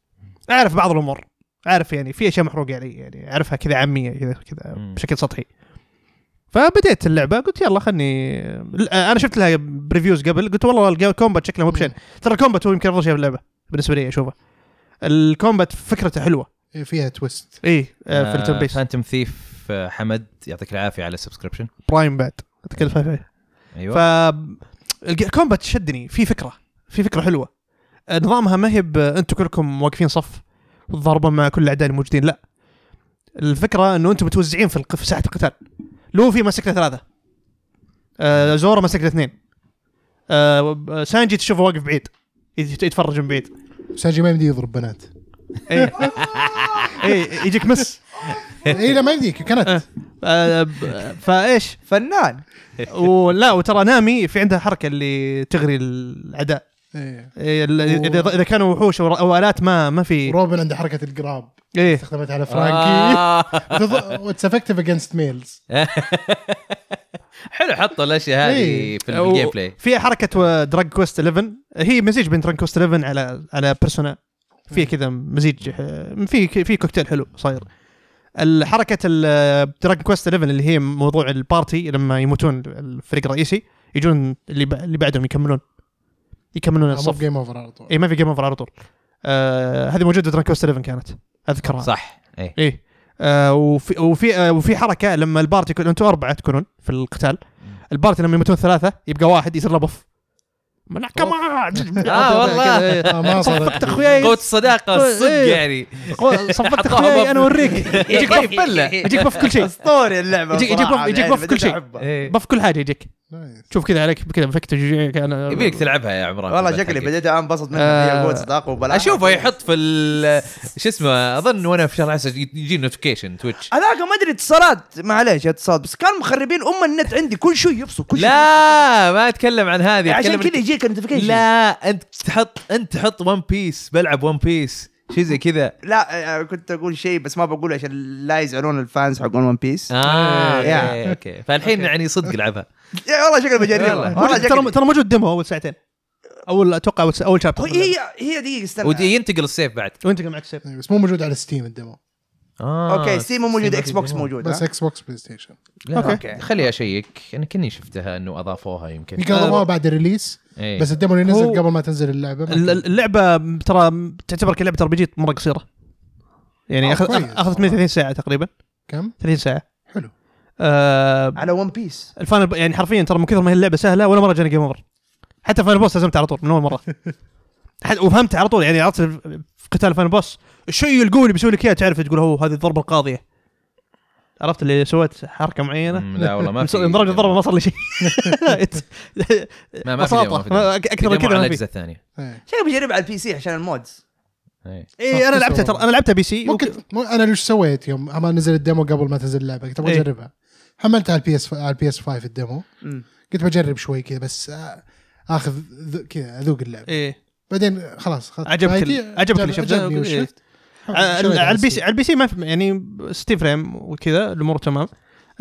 S3: اعرف بعض الامور اعرف يعني في اشياء محروقه علي يعني اعرفها كذا عاميه كذا كذا
S1: مم.
S3: بشكل سطحي فبديت اللعبه قلت يلا خلني انا شفت لها بريفيوز قبل قلت والله الكومبات شكله مو بشين ترى الكومبات هو يمكن افضل شيء في اللعبه بالنسبه لي اشوفه الكومبات فكرته حلوه
S4: إيه، فيها تويست
S3: اي آه، في التون بيس
S1: فانتوم ثيف آه، حمد يعطيك العافيه على السبسكريبشن
S3: برايم بعد اتكلم فيه
S1: ايوه
S3: ف الكومبات شدني في فكره في فكره حلوه آه، نظامها ما هي ب- انتم كلكم واقفين صف وتضاربون مع كل الاعداء الموجودين لا الفكره انه انتم متوزعين في, الق- في ساحه القتال لوفي مسك له ثلاثه آه زورا مسك له اثنين آه وب- سانجي تشوفه واقف بعيد يت- يتفرج من بعيد
S4: سانجي ما يمدي يضرب
S3: *laughs*
S4: بنات
S3: ايه ايه يجيك مس
S4: اي إيه، لا ما يمديك كانت
S3: آه، ب- فايش
S2: فنان
S3: ولا وترى نامي في عندها حركه اللي تغري الاعداء
S4: إيه.
S3: إيه، ال- اذا اذا كانوا وحوش او أو الات ما ما في
S4: روبن عنده حركه القراب
S3: ايه
S4: استخدمتها على
S3: آه.
S4: *laughs* فرانكي
S1: آه،
S4: واتس افكتيف اجينست
S3: *laughs*
S4: ميلز
S1: حلو حطوا الاشياء هذه
S4: إيه.
S1: في الجيم بلاي
S3: في حركه دراج كويست 11 هي مزيج بين دراج كويست 11 على على بيرسونا في كذا مزيج آه، في في كوكتيل حلو صاير الحركه الدراج كويست 11 اللي هي موضوع البارتي لما يموتون الفريق الرئيسي يجون اللي ب- اللي بعدهم يكملون
S4: آه،
S3: يكملون الصف
S4: جيم اوفر على طول
S3: اي ما في جيم اوفر على طول آه هذه موجوده دراج كويست 11 كانت اذكرها
S1: صح إيه. اي
S3: ايه آه وفي وفي آه وفي حركه لما البارتي يكون انتم اربعه تكونون في القتال البارتي لما يموتون ثلاثه يبقى واحد يصير له بف من
S1: *laughs*
S3: كمان *laughs*
S1: اه *laughs* والله
S4: آه، ما
S3: إيه. صفقت
S4: صارت
S3: اخوياي
S1: قوه الصداقه الصدق
S3: إيه.
S1: يعني
S3: قو- صفقت
S1: حطوها بف.
S3: اخوياي
S1: *laughs*
S3: انا اوريك
S1: يجيك بف بله
S3: يجيك بف كل شيء
S2: اسطوري اللعبه
S3: يجيك- يجيك
S2: صراحة،
S3: بف- يجيك
S2: يعني
S3: بف كل شيء.
S2: بديت
S1: إيه.
S2: أحبها.
S3: بف كل حاجه يجيك
S4: نايس.
S3: شوف كذا عليك كذا فكت كان
S1: يبيك تلعبها يا عمران
S2: والله شكلي بديت انبسط منها هي
S3: آه.
S2: قوه صداقه وبلاها
S1: اشوفه يحط في ال- شو اسمه اظن وانا في شهر 10 يجي نوتيفيكيشن تويتش
S2: هذاك ما ادري اتصالات معليش اتصالات بس كان مخربين ام النت عندي كل شيء يفصل كل شيء
S1: لا ما اتكلم عن هذه
S2: عشان
S1: أتكلم
S2: كذا يجيك نوتيفيكيشن
S1: لا انت تحط انت تحط ون بيس بلعب ون بيس شيء زي كذا
S2: لا آه، كنت اقول شيء بس ما بقوله عشان لا يزعلون الفانز حقون ون بيس
S3: آه،
S1: اه
S2: إيه.
S1: اوكي اوكي فالحين يعني صدق العبها
S2: يا والله شكلي بجربها
S1: يلا.
S2: والله
S3: موجود- ترى
S2: شكلي
S3: ترى موجود ديمو اول ساعتين اول اتوقع اول, أول شابتر
S1: طيب.
S2: هي هي دقيقه استنى
S1: ودي ينتقل السيف بعد
S3: وانت كان معك سيف
S4: إيه، بس مو موجود على ستيم الديمو
S1: آه
S2: اوكي ستيم مو موجود
S1: ستيم
S2: اكس بوكس
S1: موجود.
S2: موجود
S4: بس
S2: ها؟
S4: اكس بوكس بلاي ستيشن
S3: إيه.
S1: لا
S2: أوكي.
S1: اوكي خلي اشيك انا كني شفتها انه اضافوها يمكن
S4: يمكن ضموها بعد الريليس
S1: إيه.
S4: بس الديمو اللي نزل
S3: آه. هو-
S4: قبل ما تنزل اللعبه ما
S3: ال-
S4: كان-
S3: ال- اللعبه ترى تعتبر كلعبه ار بي جي مره قصيره يعني
S4: آه،
S3: اخذت
S4: كويس.
S3: اخذت 130 ساعه تقريبا
S4: كم
S3: 30 ساعه
S4: حلو
S3: آه
S2: على ون بيس
S3: الفاينل يعني حرفيا ترى من كثر ما هي اللعبه سهله ولا مره جاني جيم اوفر حتى فاينل بوس هزمت على طول من اول
S4: *laughs*
S3: مره حد- وفهمت على طول يعني عرفت ال- في قتال فاينل بوس الشيء القوي اللي بيسوي لك اياه تعرف تقول هو هذه الضربه القاضيه عرفت اللي سويت حركه معينه
S1: مم، لا والله
S3: *laughs*
S1: ما في يعني.
S3: ضربة الضربه ما صار
S1: *laughs*
S3: لي شيء *laughs*
S1: ما ما في ديمو، ما في
S3: بساطة.
S1: ديمو.
S3: ما- اكثر
S1: ديمو
S3: من كذا
S1: على
S3: ما في
S1: الاجهزه الثانيه
S4: إيه.
S2: شكلي بجربها على البي سي عشان المودز
S1: إيه.
S3: اي انا
S4: صح،
S3: لعبتها
S4: صح.
S3: ترى انا لعبتها بي سي
S4: إيه. ممكن مو- انا ليش سويت يوم اما نزل الديمو قبل ما تنزل اللعبه قلت ابغى
S3: إيه.
S4: اجربها حملت على البي اس على البي اس 5 الديمو
S2: مم.
S4: قلت بجرب شوي كذا بس آه، اخذ ذ- كذا اذوق اللعبه
S3: ايه
S4: بعدين خلاص خلاص
S3: عجبك ال- عجبك اللي شفته؟
S4: عجبني
S3: إيه.
S4: وشفت
S3: على على البي سي على البي سي ما في يعني 60 فريم وكذا الامور تمام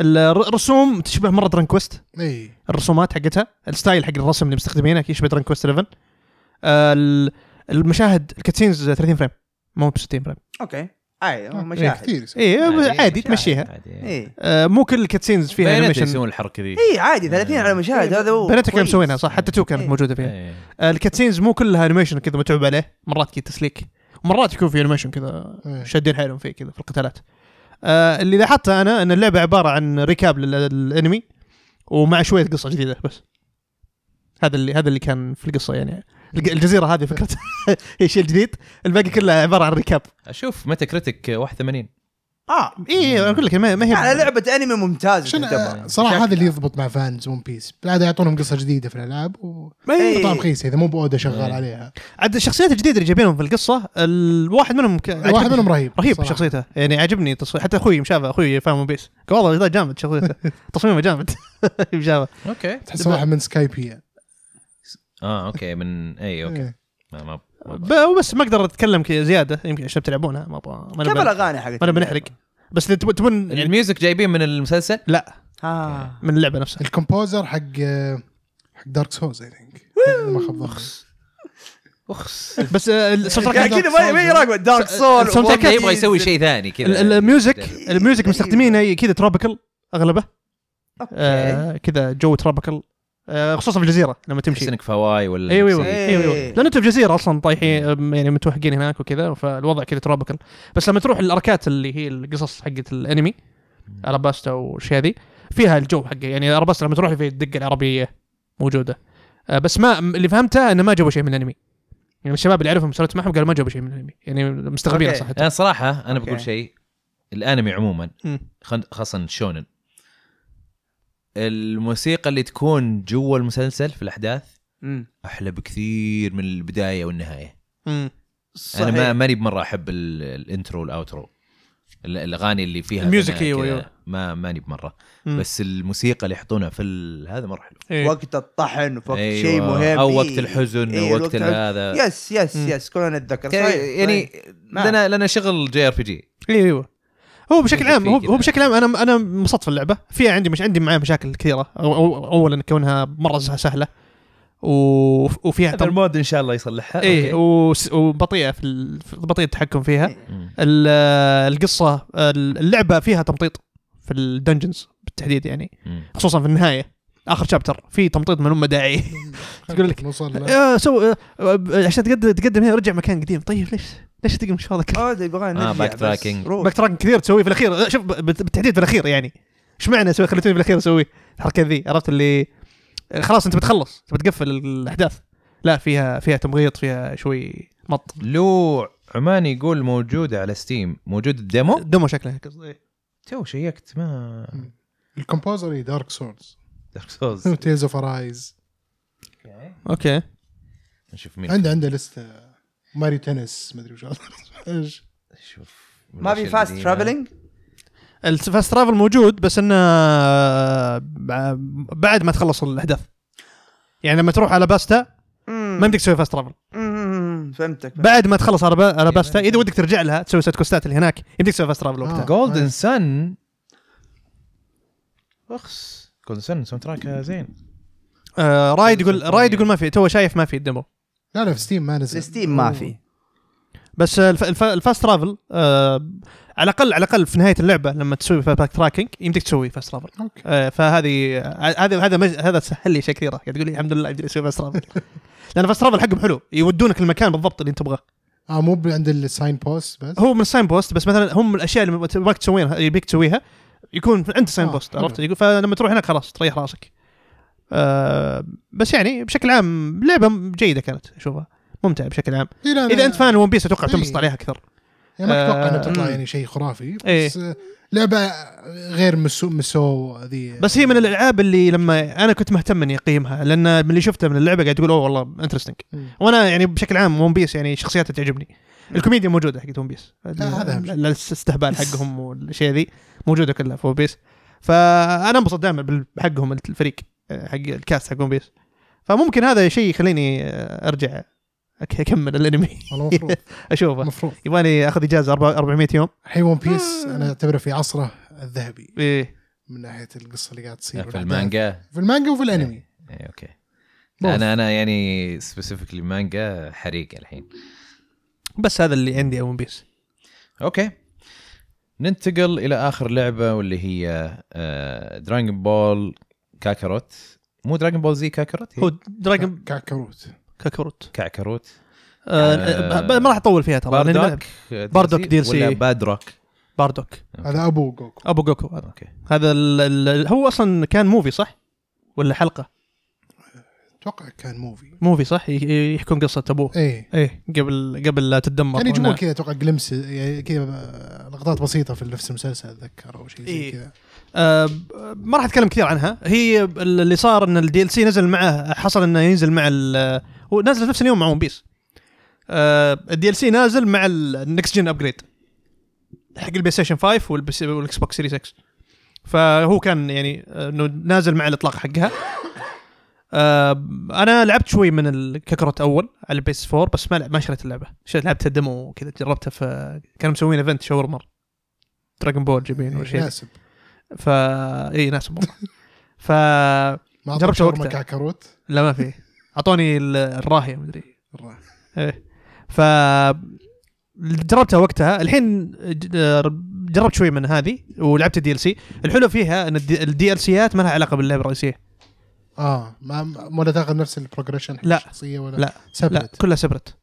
S3: الرسوم تشبه مره دران كويست
S4: اي
S3: الرسومات حقتها الستايل حق الرسم اللي مستخدمينه يشبه دران كويست 11 آه، ال- المشاهد الكاتسينز 30 فريم مو ب 60 فريم
S2: اوكي اي آه، مشاهد
S4: آه، إيه، كثير
S3: اي
S1: عادي،
S3: عادي, عادي
S1: يعني مشاهد.
S3: تمشيها
S1: عادي، إيه.
S2: اي
S3: آه، مو كل الكاتسينز فيها إيه.
S1: بيانات
S3: انيميشن
S1: يسوون الحركه ذي
S2: اي إيه، عادي 30 على مشاهد هذا هو
S3: بناتها كانوا
S2: كويس.
S3: مسوينها صح حتى تو كانت
S2: إيه.
S3: موجوده فيها
S1: إيه.
S3: آه، الكاتسينز مو كلها انيميشن كذا متعوب عليه مرات كذا تسليك ومرات يكون في انيميشن كذا
S4: إيه.
S3: شادين حيلهم فيه كذا في القتالات آه اللي لاحظته انا ان اللعبه عباره عن ريكاب لل- للانمي ومع شويه قصه جديده بس هذا اللي هذا اللي كان في القصه يعني الج- الجزيره هذه فكرة *laughs* هي شيء جديد الباقي كله عباره عن ريكاب
S1: اشوف متى كريتك 81
S3: آه،
S2: اه
S3: اي انا اقول إيه، لك ما ما
S2: على
S3: هي
S2: لعبه انمي ممتازه
S4: عشان
S2: تعتبر.
S4: آه، صراحه هذا
S2: شكلها.
S4: اللي يضبط مع فانز ون بيس بالعاده يعطونهم قصه جديده في الالعاب و
S3: ما هي
S2: إيه.
S4: طعم خيس اذا مو باودا شغال
S1: إيه.
S4: عليها
S3: عاد الشخصيات الجديده اللي جايبينهم في القصه الواحد منهم ك...
S4: واحد منهم رهيب
S3: رهيب
S4: صراحة.
S3: شخصيته يعني عجبني تصوير حتى اخوي مشابه اخوي فاهم ون بيس قال والله ذا جامد شخصيته *laughs* تصميمه جامد مشابه
S1: اوكي
S4: تحس واحد من سكايبيا
S1: إيه، اه اوكي من اي اوكي
S4: إيه.
S1: ما ما ما-
S3: ب- بس ما اقدر اتكلم ك- زياده يمكن عشان بتلعبونها ما ابغى ما
S2: كيف
S3: نبي-
S2: الاغاني حقت
S3: ما انا بنحرق بس اذا تبون- تبون يعني
S1: الميوزك جايبين من المسلسل
S3: لا
S2: آه.
S3: من
S4: *laughs*
S3: اللعبه نفسها
S4: الكومبوزر حق آه، حق دارك سوز اي ثينك
S3: إيه.
S4: ما خاب ظني.
S1: اخس
S3: بس آه، ال- الساوند
S2: قاعد
S3: تراك-
S2: يعني كذا ما ما يراقب دارك سول
S3: الساوند تراك
S2: وورد
S1: يبغى يسوي
S2: ديز.
S1: شيء ثاني
S3: ال-
S1: يعني كذا
S3: ال- الميوزك الميوزك مستخدمينه كذا تروبيكال اغلبه
S2: اوكي
S3: آه، كذا جو تروبيكال آه، خصوصا في الجزيره لما تمشي
S1: تحس انك في هاواي ولا
S3: ايوه ايوه
S1: إيه.
S3: ايوه
S2: إيه.
S3: ايوه لان انتم في جزيره اصلا طايحين أم، يعني متوهقين هناك وكذا فالوضع كذا تروبيكال بس لما تروح الاركات اللي هي القصص حقت الانمي اراباستا والاشياء ذي فيها الجو حقه يعني اراباستا لما تروح في الدقه العربيه موجوده آه، بس ما م- اللي فهمته انه ما جابوا شيء من الانمي يعني الشباب اللي اعرفهم سولفت معهم قالوا ما جابوا شيء من الانمي يعني مستغربين
S2: أوكي.
S3: صح
S1: انا صراحه انا بقول
S2: أوكي.
S1: شيء الانمي عموما
S3: مم.
S1: خن- خاصه شونن الموسيقى اللي تكون جوا المسلسل في الاحداث
S2: مم.
S1: احلى بكثير من البدايه والنهايه
S3: مم.
S1: انا
S2: صحيح.
S1: ما ماني بمره احب ال- الانترو والاوترو ال- الاغاني اللي فيها
S3: الميوزك
S1: غناء
S3: أيوة،
S1: كذا،
S3: أيوة.
S1: ما ماني بمره
S3: مم.
S1: بس الموسيقى اللي يحطونها في ال- هذا مره حلو
S3: إيه.
S2: وقت الطحن في وقت
S1: أيوة.
S2: شيء مهم
S1: او
S2: إيه.
S1: وقت الحزن
S2: إيه،
S1: أو وقت
S2: الحزن.
S1: هذا
S2: يس يس
S3: مم.
S2: يس كلنا نتذكر
S1: يعني-
S2: صحيح، صحيح.
S1: يعني
S2: نعم.
S1: لنا لنا شغل جي ار بي جي
S3: ايوه ايوه هو بشكل
S1: يمكن
S3: عام
S1: في
S3: هو,
S1: كذا.
S3: هو بشكل عام انا انا انبسطت في اللعبه فيها عندي مش عندي معاها مشاكل كثيره أو أو اولا كونها مره سهله و... وفيها
S1: هذا
S3: طب...
S1: المود ان شاء الله يصلحها
S2: إيه،
S3: ايه
S1: أوكي.
S3: وس... وبطيئه في ال... في- بطيء التحكم فيها
S1: مم.
S3: ال- آه، القصه آه، اللعبه فيها تمطيط في الدنجنز بالتحديد يعني
S1: مم.
S3: خصوصا في النهايه اخر شابتر في تمطيط من ام
S1: *laughs*
S3: داعي تقول لك-
S4: نوصل له.
S3: *laughs* آه، سو آه، آه، عشان تقدم تقدم هنا رجع مكان قديم طيب ليش ليش تقدم مشوارك كله
S2: اه ده يبغى نرجع
S1: back
S2: بس.
S1: tracking.
S2: روح.
S3: باك تراك كثير تسويه في الاخير شوف ب- بالتحديد في الاخير يعني ايش معنى سوي خليتوني في الاخير اسوي الحركه ذي عرفت اللي خلاص انت بتخلص انت بتقفل الاحداث لا فيها فيها تمغيط فيها شوي مط
S1: لو عماني يقول موجوده على ستيم موجود الديمو
S3: دمو شكلها إيه. قصدي
S1: تو شيكت ما
S4: الكومبوزر دارك *laughs* سورز
S1: دارك سولز *laughs*
S4: تيلز اوف ارايز
S3: اوكي
S1: نشوف مين
S4: عنده عنده لسته ماريو تنس ما ادري وش *laughs* ايش
S1: شوف
S2: ما في فاست ترافلنج
S3: الفاست ترافل موجود بس انه ب- بعد ما تخلص الاحداث يعني لما تروح على باستا ما يمديك تسوي فاست ترافل
S2: فهمتك
S3: بعد ما تخلص على با- على باستا اذا ودك ترجع لها تسوي سيت كوستات اللي هناك يمديك تسوي فاست ترافل وقتها
S4: آه.
S1: جولدن سن اخس جولدن سن ساوند تراكها زين
S3: آه رايد يقول رايد يقول ما في تو شايف ما في الديمو
S4: لا لا في ستيم ما نزل
S2: الستيم ما في
S3: بس الف... الف... الفاست ترافل آه... على الاقل على الاقل في نهايه اللعبه لما تسوي باك تراكنج يمديك تسوي فاست ترافل
S4: اوكي
S3: آه فهذه آه، هذا هذا مج... هذا سهل لي اشياء كثيره قاعد تقول لي الحمد لله يمديني اسوي فاست ترافل *laughs* لان فاست ترافل حقهم حلو يودونك المكان بالضبط اللي انت تبغاه
S4: اه مو عند الساين بوست بس
S3: هو من ساين بوست بس مثلا هم الاشياء اللي تبغاك تسويها يبيك تسويها يكون عند ساين
S4: آه،
S3: بوست
S4: حلو.
S3: عرفت يقول فلما تروح هناك خلاص تريح راسك آه بس يعني بشكل عام لعبه جيده كانت اشوفها ممتعه بشكل عام
S4: إيه، لا، لا،
S3: اذا انت فان ون بيس اتوقع
S4: إيه.
S3: تنبسط عليها اكثر
S4: يعني ما اتوقع انها
S3: آه،
S4: بتطلع
S2: مم.
S4: يعني شيء خرافي
S3: إيه.
S4: بس آه، لعبه غير مسو مسو ذي
S3: بس هي من الالعاب اللي لما انا كنت مهتم اني اقيمها لان من اللي شفته من اللعبه قاعد تقول اوه والله انترستنج
S4: مم.
S3: وانا يعني بشكل عام ون بيس يعني شخصياتها تعجبني الكوميديا موجوده حقت ون بيس
S4: هذا أهم شيء. *laughs*
S3: ال- الاستهبال حقهم والاشياء ذي موجوده كلها في ون بيس فانا انبسط دائما بال- بحقهم الفريق آه، حق الكاست حق ون بيس فممكن هذا شيء يخليني آه، ارجع أك- اكمل *laughs* الانمي
S4: والله مفروض
S3: اشوفه
S4: مفروض
S3: يبغالي اخذ اجازه أربع- 400 يوم
S4: حي ون بيس انا اعتبره في عصره الذهبي
S3: إيه.
S4: من ناحيه القصه اللي قاعد تصير
S1: في المانجا إيه،
S4: في المانجا وفي الانمي
S3: إيه.
S1: اي اوكي
S4: بوث.
S1: انا انا يعني سبيسيفيكلي مانجا حريق الحين
S3: بس هذا اللي عندي ون بيس
S1: اوكي ننتقل الى اخر لعبه واللي هي آه، دراجون بول كاكاروت مو دراجون بول زي كاكاروت
S4: إيه.
S3: هو
S1: هي
S3: دراجون
S4: كاكاروت
S3: كاكروت
S1: كاكاروت
S3: آه،
S1: آه،
S3: ب- ما راح اطول فيها ترى لأن
S1: باردوك
S3: باردوك DLC.
S1: ولا بادروك
S3: باردوك
S4: هذا ابو جوكو
S3: ابو جوكو هذا
S1: اوكي
S3: هذا ال ال هو اصلا كان موفي صح؟ ولا حلقه
S4: اتوقع كان موفي
S3: موفي صح ي- ي- يحكون قصه ابوه
S4: ايه
S3: ايه قبل قبل لا تدمر
S4: كان يجيبون
S3: وأنا-
S4: كذا اتوقع جلمس يعني كذا آه، لقطات بسيطه في نفس المسلسل اتذكر او شيء زي
S3: إيه.
S4: كذا
S3: آه ب- ما راح اتكلم كثير عنها هي ال- اللي صار ان الدي ال سي نزل معه حصل انه ينزل مع ال هو نازل في نفس اليوم مع ون بيس الدي ال سي نازل مع النكست جن ابجريد حق البلاي ستيشن 5 والبس- والاكس بوكس سيريس 6 فهو كان يعني آه، انه نازل مع الاطلاق حقها آه، انا لعبت شوي من الككرت اول على البيس 4 بس ما لعب ما شريت اللعبه شريت لعبت الدمو وكذا جربتها في كانوا مسوين ايفنت شاورما دراجون بول جايبين ولا شيء
S4: إيه، يناسب
S3: ف اي ناس مره ف
S4: ما أعطوك
S3: جربت
S4: شاورما
S3: وقتها.
S4: كاكاروت
S3: لا ما في اعطوني ال- الراهيه مدري
S4: مرة.
S3: ايه ف جربتها وقتها الحين ج- آه، جربت شوي من هذه ولعبت الدي ال سي الحلو فيها ان الدي ال سيات ما لها علاقه باللعبه الرئيسيه
S4: اه ما ما- ولا تاخذ نفس البروجريشن حق
S3: لا.
S4: الشخصيه ولا
S3: لا. لا
S4: سبلت
S3: كلها سبرت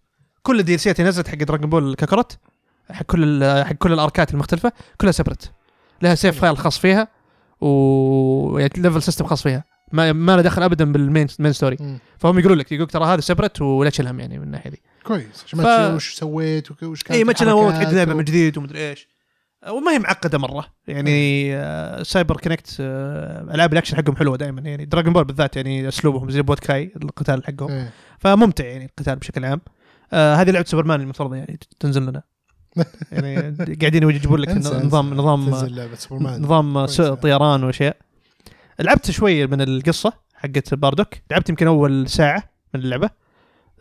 S3: كل الدي ال سيات اللي نزلت حق دراجون بول كاكروت حق كل ال- حق كل الاركات المختلفه كلها سبرت لها سيف فايل خاص فيها و يعني ليفل سيستم خاص فيها ما ما له دخل ابدا بالمين مين ستوري
S4: مم.
S3: فهم يقولون لك يقولك ترى هذا سبرت ولا تشيل هم يعني من الناحيه دي
S4: كويس عشان
S3: ف-
S4: ما تشوف وش سويت وك- وش كانت
S3: اي مثلا هو تعيد لعبه
S4: الحركات
S3: من جديد ومدري ايش وما هي معقده مره يعني آه، سايبر كونكت آه، العاب الاكشن حقهم حلوه دائما يعني دراجون بول بالذات يعني اسلوبهم زي بوتكاي القتال
S4: و-
S3: حقهم
S4: إيه. *laughs*
S3: فممتع يعني القتال بشكل عام آه هذه لعبه سوبرمان المفترض يعني تنزل لنا يعني قاعدين يجيبون لك
S4: انسى،
S3: نظام
S4: انسى.
S3: نظام
S4: تنزل لعبه سوبرمان
S3: نظام
S4: كويس
S3: س-
S4: يعني.
S3: طيران واشياء لعبت شويه من القصه حقت باردوك لعبت يمكن اول ساعه من اللعبه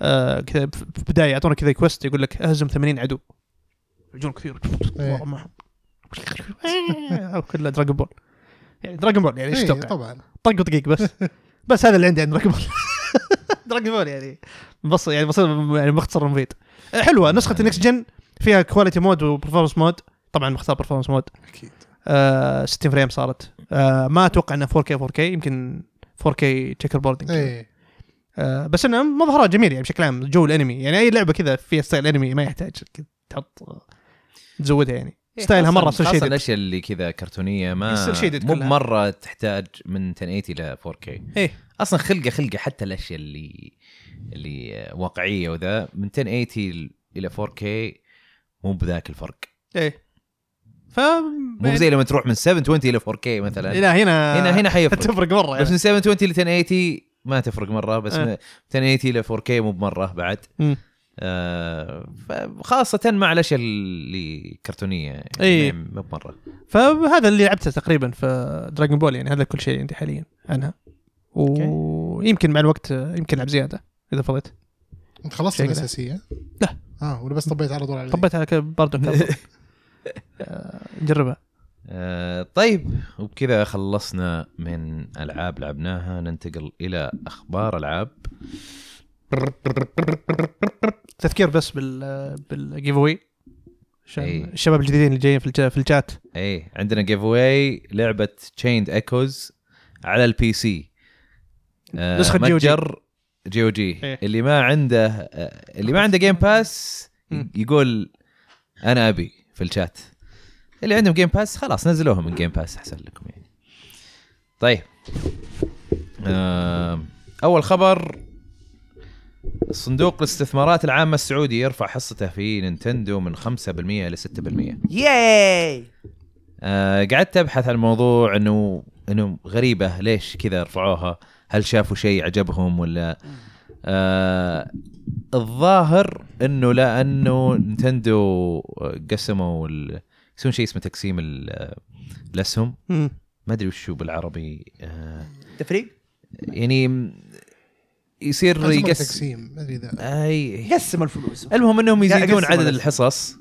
S3: آه كذا في في البدايه يعطونك كذا كويست يقول لك اهزم 80 عدو يجون كثير
S4: إيه.
S3: والله *laughs* معهم. كلها دراجون بول يعني دراجون بول يعني ايش
S4: إيه،
S3: تتوقع؟
S4: طبعا
S3: طق
S1: *laughs*
S3: وطقيق بس بس هذا اللي عندي عن دراجون *laughs* بول دراجون بول يعني بص يعني بصير يعني مختصر مفيد آه، حلوه نسخه النكست جن فيها كواليتي مود وبرفورمانس مود طبعا مختار برفورمانس مود
S4: اكيد
S3: آه 60 فريم صارت آه ما اتوقع انها 4K 4K يمكن 4K تشيكر بوردنج
S1: إيه.
S4: اي
S3: آه بس انها مظهرها جميل يعني بشكل عام جو الانمي يعني اي لعبه كذا فيها ستايل انمي ما يحتاج كذا تحط تزودها يعني ستايلها مره
S1: إيه، خاصة-
S3: صار
S1: خاصة
S3: شيء
S1: الاشياء اللي كذا كرتونيه ما
S3: يصير shaded
S1: مو
S3: إيه، كلها.
S1: مره تحتاج من 1080 ل 4K
S3: ايه
S1: اصلا خلقه خلقه حتى الاشياء اللي اللي واقعيه وذا من 1080 ل- الى 4K مو بذاك الفرق
S3: ايه ف يعني
S1: مو زي لما تروح من 720 الى 4K مثلا
S3: لا هنا
S1: هنا هنا حيفرق
S3: *laughs* تفرق مره
S1: بس
S3: يعني.
S1: من 720 ل 1080 ما تفرق مره بس
S3: آه.
S1: من 1080 الى 4K مو بمره بعد
S3: مم.
S1: آه، فخاصة مع الاشياء اللي كرتونيه يعني
S3: إيه.
S1: مو بمره
S3: فهذا اللي لعبته تقريبا في دراجون بول يعني هذا كل شيء عندي حاليا عنها ويمكن مع الوقت يمكن العب زياده اذا
S1: *laughs*
S3: فضيت
S4: انت خلصت
S3: شكله.
S4: الاساسيه؟
S3: لا.
S4: اه ولا بس طبيت على طول عليه
S3: طبيتها ك-
S1: *laughs*
S3: برضو كفو. جربها
S1: آه، طيب وبكذا خلصنا من العاب لعبناها ننتقل الى اخبار العاب
S3: تذكير بس بال بالجيف اوي عشان
S1: إيه.
S3: الشباب الجديدين اللي جايين في الج- في الجات
S1: اي إيه، عندنا جيف اواي لعبه تشيند ايكوز على البي سي آه،
S3: نسخة جي أو جي.
S1: متجر جي او جي
S3: إيه.
S1: اللي ما عنده آه، اللي ما عنده جيم باس
S3: مم.
S1: يقول انا ابي في الشات اللي عندهم جيم باس خلاص نزلوها من جيم باس احسن لكم يعني طيب آم، اول خبر صندوق الاستثمارات العامة السعودي يرفع حصته في نينتندو من 5% إلى 6%.
S2: ياي
S1: آه، قعدت ابحث عن الموضوع انه انه غريبه ليش كذا رفعوها هل شافوا شيء عجبهم ولا آه الظاهر انه لانه نتندو قسموا ال- يسوون شيء اسمه تقسيم ال- الاسهم ما ادري وش هو بالعربي آه
S2: تفريق
S1: يعني يصير
S4: اسمه
S1: يقسم
S4: تقسيم ما ادري اذا
S3: آه.
S1: اي
S2: قسم الفلوس
S1: المهم انهم
S2: لا،
S1: يزيدون
S2: أقسم
S1: عدد
S2: الأسهم.
S1: الحصص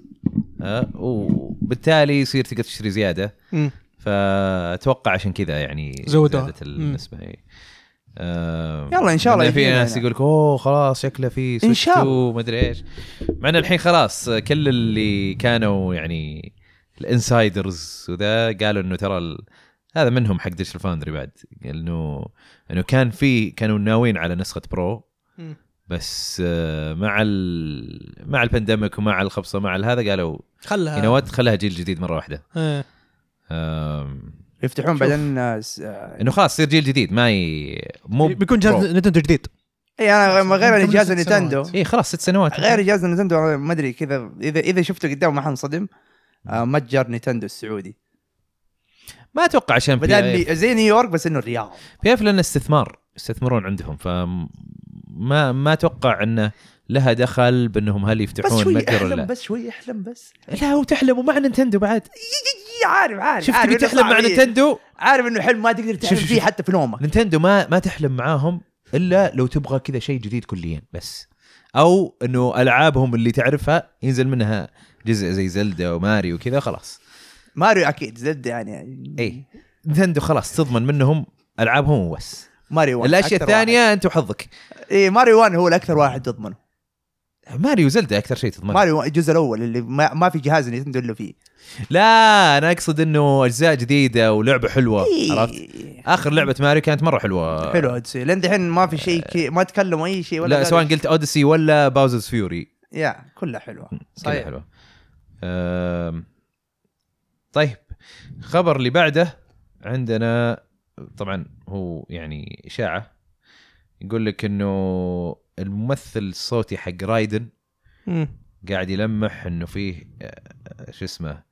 S1: آه وبالتالي يصير تقدر تشتري زياده
S3: مم.
S1: فاتوقع عشان كذا يعني
S3: زودوها.
S1: زادت النسبه هي آه
S2: يلا إن شاء الله
S1: في
S2: يجينا
S1: ناس
S2: هنا.
S1: يقول لك اوه خلاص شكله في
S2: إن
S1: سويتش
S2: شاء
S1: 2
S2: الله.
S1: ومدري ايش مع ان الحين خلاص كل اللي كانوا يعني الانسايدرز وذا قالوا انه ترى ال... هذا منهم حق ديجيتال فاوندري بعد قال انه انه كان في كانوا ناويين على نسخه برو
S3: مم.
S1: بس آه، مع ال... مع البانديميك ومع الخبصه مع هذا قالوا
S3: خلها
S1: يو
S2: آه.
S1: خلها جيل جديد مره واحده
S3: إيه.
S1: آم،
S2: يفتحون
S3: شوف.
S2: بعدين آه، س- آه،
S1: انه خلاص يصير جيل جديد ما ي... مو
S3: بيكون جهاز نتندو جديد
S2: اي انا غ- غير
S4: قبل
S2: جهاز
S4: ست
S2: نينتندو
S4: سنوات.
S1: اي إيه، خلاص ست سنوات
S2: غير جهاز نينتندو أنا ما ادري كذا اذا اذا شفته قدام ما حنصدم آه، متجر نينتندو السعودي
S1: ما اتوقع عشان بي
S2: بدل
S1: اف
S2: لي- زي نيويورك بس انه الرياض
S1: بي اف لان استثمار يستثمرون عندهم فما ما اتوقع انه لها دخل بانهم هل
S2: بس
S1: يفتحون
S2: شوي
S1: متجر ولا
S2: احلم
S1: لا
S2: بس شوي احلم بس
S1: لا وتحلم ومع نينتندو بعد
S2: إي، عارف عارف
S1: شفت
S2: عارف
S1: اللي
S2: إنه
S1: تحلم مع
S2: صعب. إي،
S1: نينتندو
S2: عارف انه حلم ما تقدر تحلم
S1: شوف،
S2: فيه
S1: شوف.
S2: حتى في نومك
S1: نينتندو ما ما تحلم معاهم الا لو تبغى كذا شيء جديد كليا بس او انه العابهم اللي تعرفها ينزل منها جزء زي زلدا وماريو وكذا خلاص
S2: ماريو اكيد زد يعني
S1: اي نينتندو خلاص تضمن منهم العابهم وبس
S2: ماريو 1
S1: الاشياء الثانيه انت وحظك
S2: اي ماريو 1 هو الاكثر واحد تضمنه
S1: ماريو زلدا اكثر شيء تضمن
S2: ماريو وان الجزء الاول اللي ما, ما في جهاز نينتندو الا فيه
S1: لا انا اقصد انه اجزاء جديده ولعبه حلوه عرفت اخر لعبه ماريو كانت مره حلوه
S2: إيه، حلو اوديسي لين دحين ما في شيء كي... ما تكلموا اي شيء ولا
S1: آه. لا
S2: قالوا
S1: سواء
S2: شيء.
S1: قلت اوديسي ولا باوزرز فيوري
S2: يا كلها حلوه
S1: صحيح
S2: صحيح.
S1: حلوه أم... طيب الخبر اللي بعده عندنا طبعا هو يعني اشاعه يقول لك انه الممثل الصوتي حق رايدن
S3: مم.
S1: قاعد يلمح انه فيه آه، شو اسمه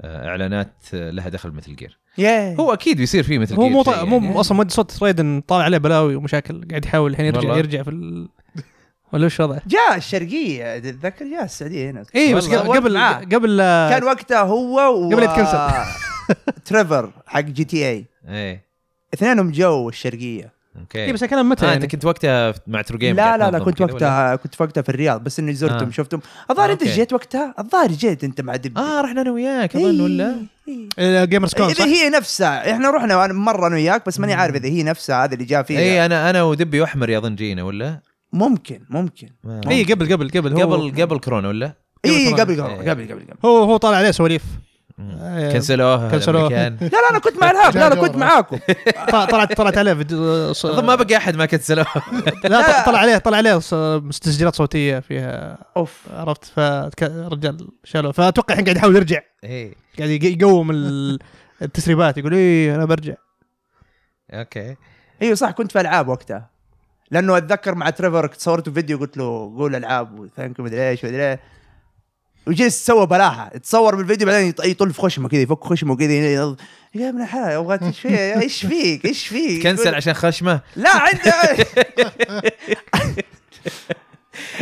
S1: آه، اعلانات آه، لها دخل مثل جير
S2: ياي
S1: هو اكيد بيصير فيه مثل
S3: هو مو
S1: جير شيء
S3: مو
S1: يعني.
S3: اصلا مودي صوت ريدن طالع عليه بلاوي ومشاكل قاعد يحاول الحين يرجع
S1: والله.
S3: يرجع في ال... *laughs* ولا وش وضعه؟
S2: جاء الشرقيه تتذكر جاء السعوديه هنا
S1: إيه،
S3: اي إيه، بس
S2: والله،
S3: قبل
S2: معاه.
S3: قبل آه،
S2: كان وقتها هو و...
S3: قبل يتكنسل.
S2: *laughs* تريفر حق جي تي اي
S1: ايه
S2: اثنينهم جو الشرقيه
S1: اوكي
S3: اي بس كان متى
S1: آه
S3: يعني؟
S1: انت كنت وقتها مع ترو جيم
S2: لا لا لا كنت وقتها كنت وقتها في الرياض بس اني زرتهم
S1: آه.
S2: شفتهم الظاهر
S1: آه،
S2: انت
S1: أوكي.
S2: جيت وقتها الظاهر جيت انت مع دبي
S1: اه رحنا انا وياك اظن
S3: إيه.
S1: ولا إيه،
S3: جيمرز كون
S2: اذا
S3: صح؟
S2: هي نفسها احنا رحنا وأنا- مره انا وياك بس ماني عارف اذا هي نفسها هذا اللي جاء فيها
S1: اي انا انا ودبي واحمر اظن جينا ولا
S2: ممكن ممكن
S1: ما-
S3: اي قبل قبل قبل هو
S1: قبل قبل كورونا ولا
S2: اي
S3: قبل
S2: إيه، قبل
S1: كورونا.
S2: قبل قبل قبل قبل
S3: هو هو طالع عليه
S1: *laughs*
S3: سواليف آه،
S1: كنسلوها
S3: كنسلوها.
S1: كنسلوها
S2: *laughs* لا لا انا كنت مع الهاب لا لا كنت معاكم
S3: ط- طلعت طلعت عليه فيديو ص-
S1: اظن ما بقى احد ما كنسلوها *laughs*
S3: لا طلع- طلع عليه طلع عليه ص- تسجيلات صوتيه فيها
S2: اوف
S3: عرفت فرجال شالوه فاتوقع الحين قاعد يحاول يرجع
S1: اي
S3: قاعد يق- يقوم ال- *laughs* التسريبات يقول اي انا برجع
S1: اوكي
S2: ايوه صح كنت في العاب وقتها لانه اتذكر مع تريفر صورته فيديو قلت له قول العاب وثانك مدري ايش مدري ايه وجلس سوى بلاحه تصور بالفيديو بعدين يط- يطل في خشمه كذا يفك خشمه كذا ينظ- يا ابن الحلال ابغى ايش فيك ايش فيك ايش فيك
S1: كنسل عشان خشمه
S2: لا عنده *laughs*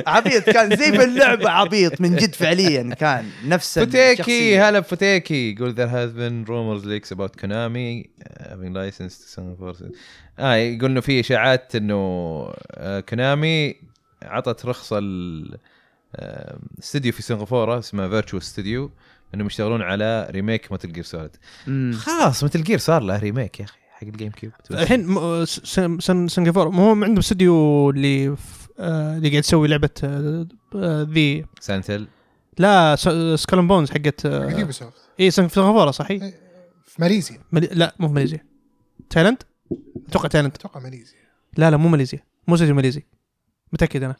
S2: عبيط كان زي في اللعبه عبيط من جد فعليا كان نفس
S1: فوتيكي
S2: الشخصية.
S1: هلا بفوتيكي يقول there has been rumors leaks about Konami uh, having license to some forces اه يقول انه في اشاعات انه آه، كونامي عطت رخصه ل آه، استديو في سنغافوره اسمه فيرتشو ستوديو انهم يشتغلون على ريميك متل جير سوليد
S2: مم. طيب،
S1: خلاص متل جير صار له ريميك يا اخي حق الجيم كيوب
S3: الحين م- س- سن- سن- سنغافوره مو هم عندهم استوديو اللي ف- آه، اللي قاعد يسوي لعبه آه، آه، ذي
S1: سانتل
S3: لا سكالون بونز
S4: حق
S3: حقت آه،
S4: يوبي سوفت
S3: اي سن- سنغافوره صحيح
S4: في ماليزيا
S3: مالي... لا مو في ماليزيا تايلاند اتوقع تايلاند
S4: اتوقع ماليزيا
S3: لا لا مو ماليزيا مو استوديو ماليزي متاكد انا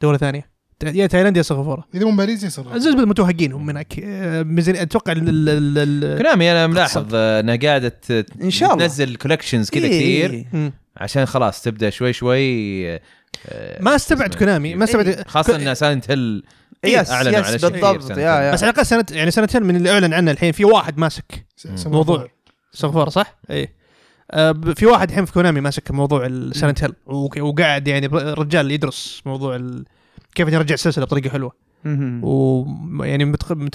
S3: دوله ثانيه تا- يا تايلاند يا سنغافوره
S4: اذا مو ماليزيا صار
S3: زي متوهقين هم هناك آه، ميزانية- اتوقع ال- ال- ال- ال-
S1: كونامي انا ملاحظ آه، انها قاعده ت-
S2: إن شاء الله.
S1: تنزل كولكشنز كذا
S2: إيه.
S1: كثير
S3: مم.
S1: عشان خلاص تبدا شوي شوي آه،
S3: ما استبعد
S1: اسمه
S3: كونامي ما
S2: إيه.
S3: استبعد
S1: خاصه ان سايلنت هيل
S2: يس
S1: إيه، أعلنوا على
S2: يس
S1: شيء إيه،
S2: بالضبط
S1: كثير
S2: يا يا
S3: بس على الاقل سنه يعني سنتين من اللي اعلن عنه الحين في واحد ماسك موضوع سنغافوره صح؟ اي آه، ب- في واحد الحين في كونامي ماسك موضوع سنت هيل وك- وقاعد يعني الرجال يدرس موضوع ال... كيف يرجع السلسله بطريقه حلوه
S2: مهم.
S3: ويعني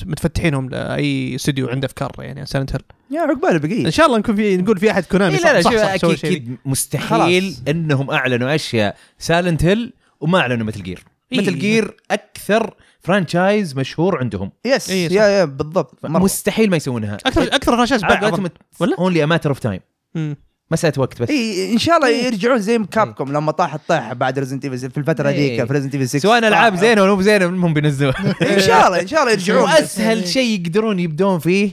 S3: متفتحينهم لاي استوديو عنده افكار يعني عن سنت هيل
S2: يا عقبال البقيه
S3: ان شاء الله نكون في نقول في احد كونامي
S1: إيه
S3: صح
S1: لا لا
S3: صح,
S1: شوف
S3: صح, سوى
S1: اكيد
S3: شيء
S1: أكيد مستحيل
S2: خلاص.
S1: انهم اعلنوا اشياء سايلنت هيل وما اعلنوا مثل جير
S3: إيه.
S1: مثل جير اكثر فرانشايز مشهور عندهم
S2: يس
S3: إيه، صح.
S2: يا يا بالضبط مرة.
S1: مستحيل ما يسوونها
S3: اكثر اكثر فرانشايز
S1: على
S3: باع
S1: قولتهم
S3: أظن. ولا؟ إيه،
S1: اونلي اماتر اوف تايم
S3: مم.
S1: مساله وقت بس
S2: اي ان إيه، شاء الله
S1: إيه.
S2: يرجعون زي كابكم لما طاحت طيحه بعد ريزنت ايفل في الفتره
S1: إيه.
S2: ذيك في ريزنت ايفل 6
S1: سواء العاب
S2: طاح.
S1: زينه ولا مو زينه المهم بينزلوها
S3: إيه.
S1: *laughs*
S2: ان شاء الله ان شاء الله يرجعون
S1: واسهل شيء يقدرون يبدون فيه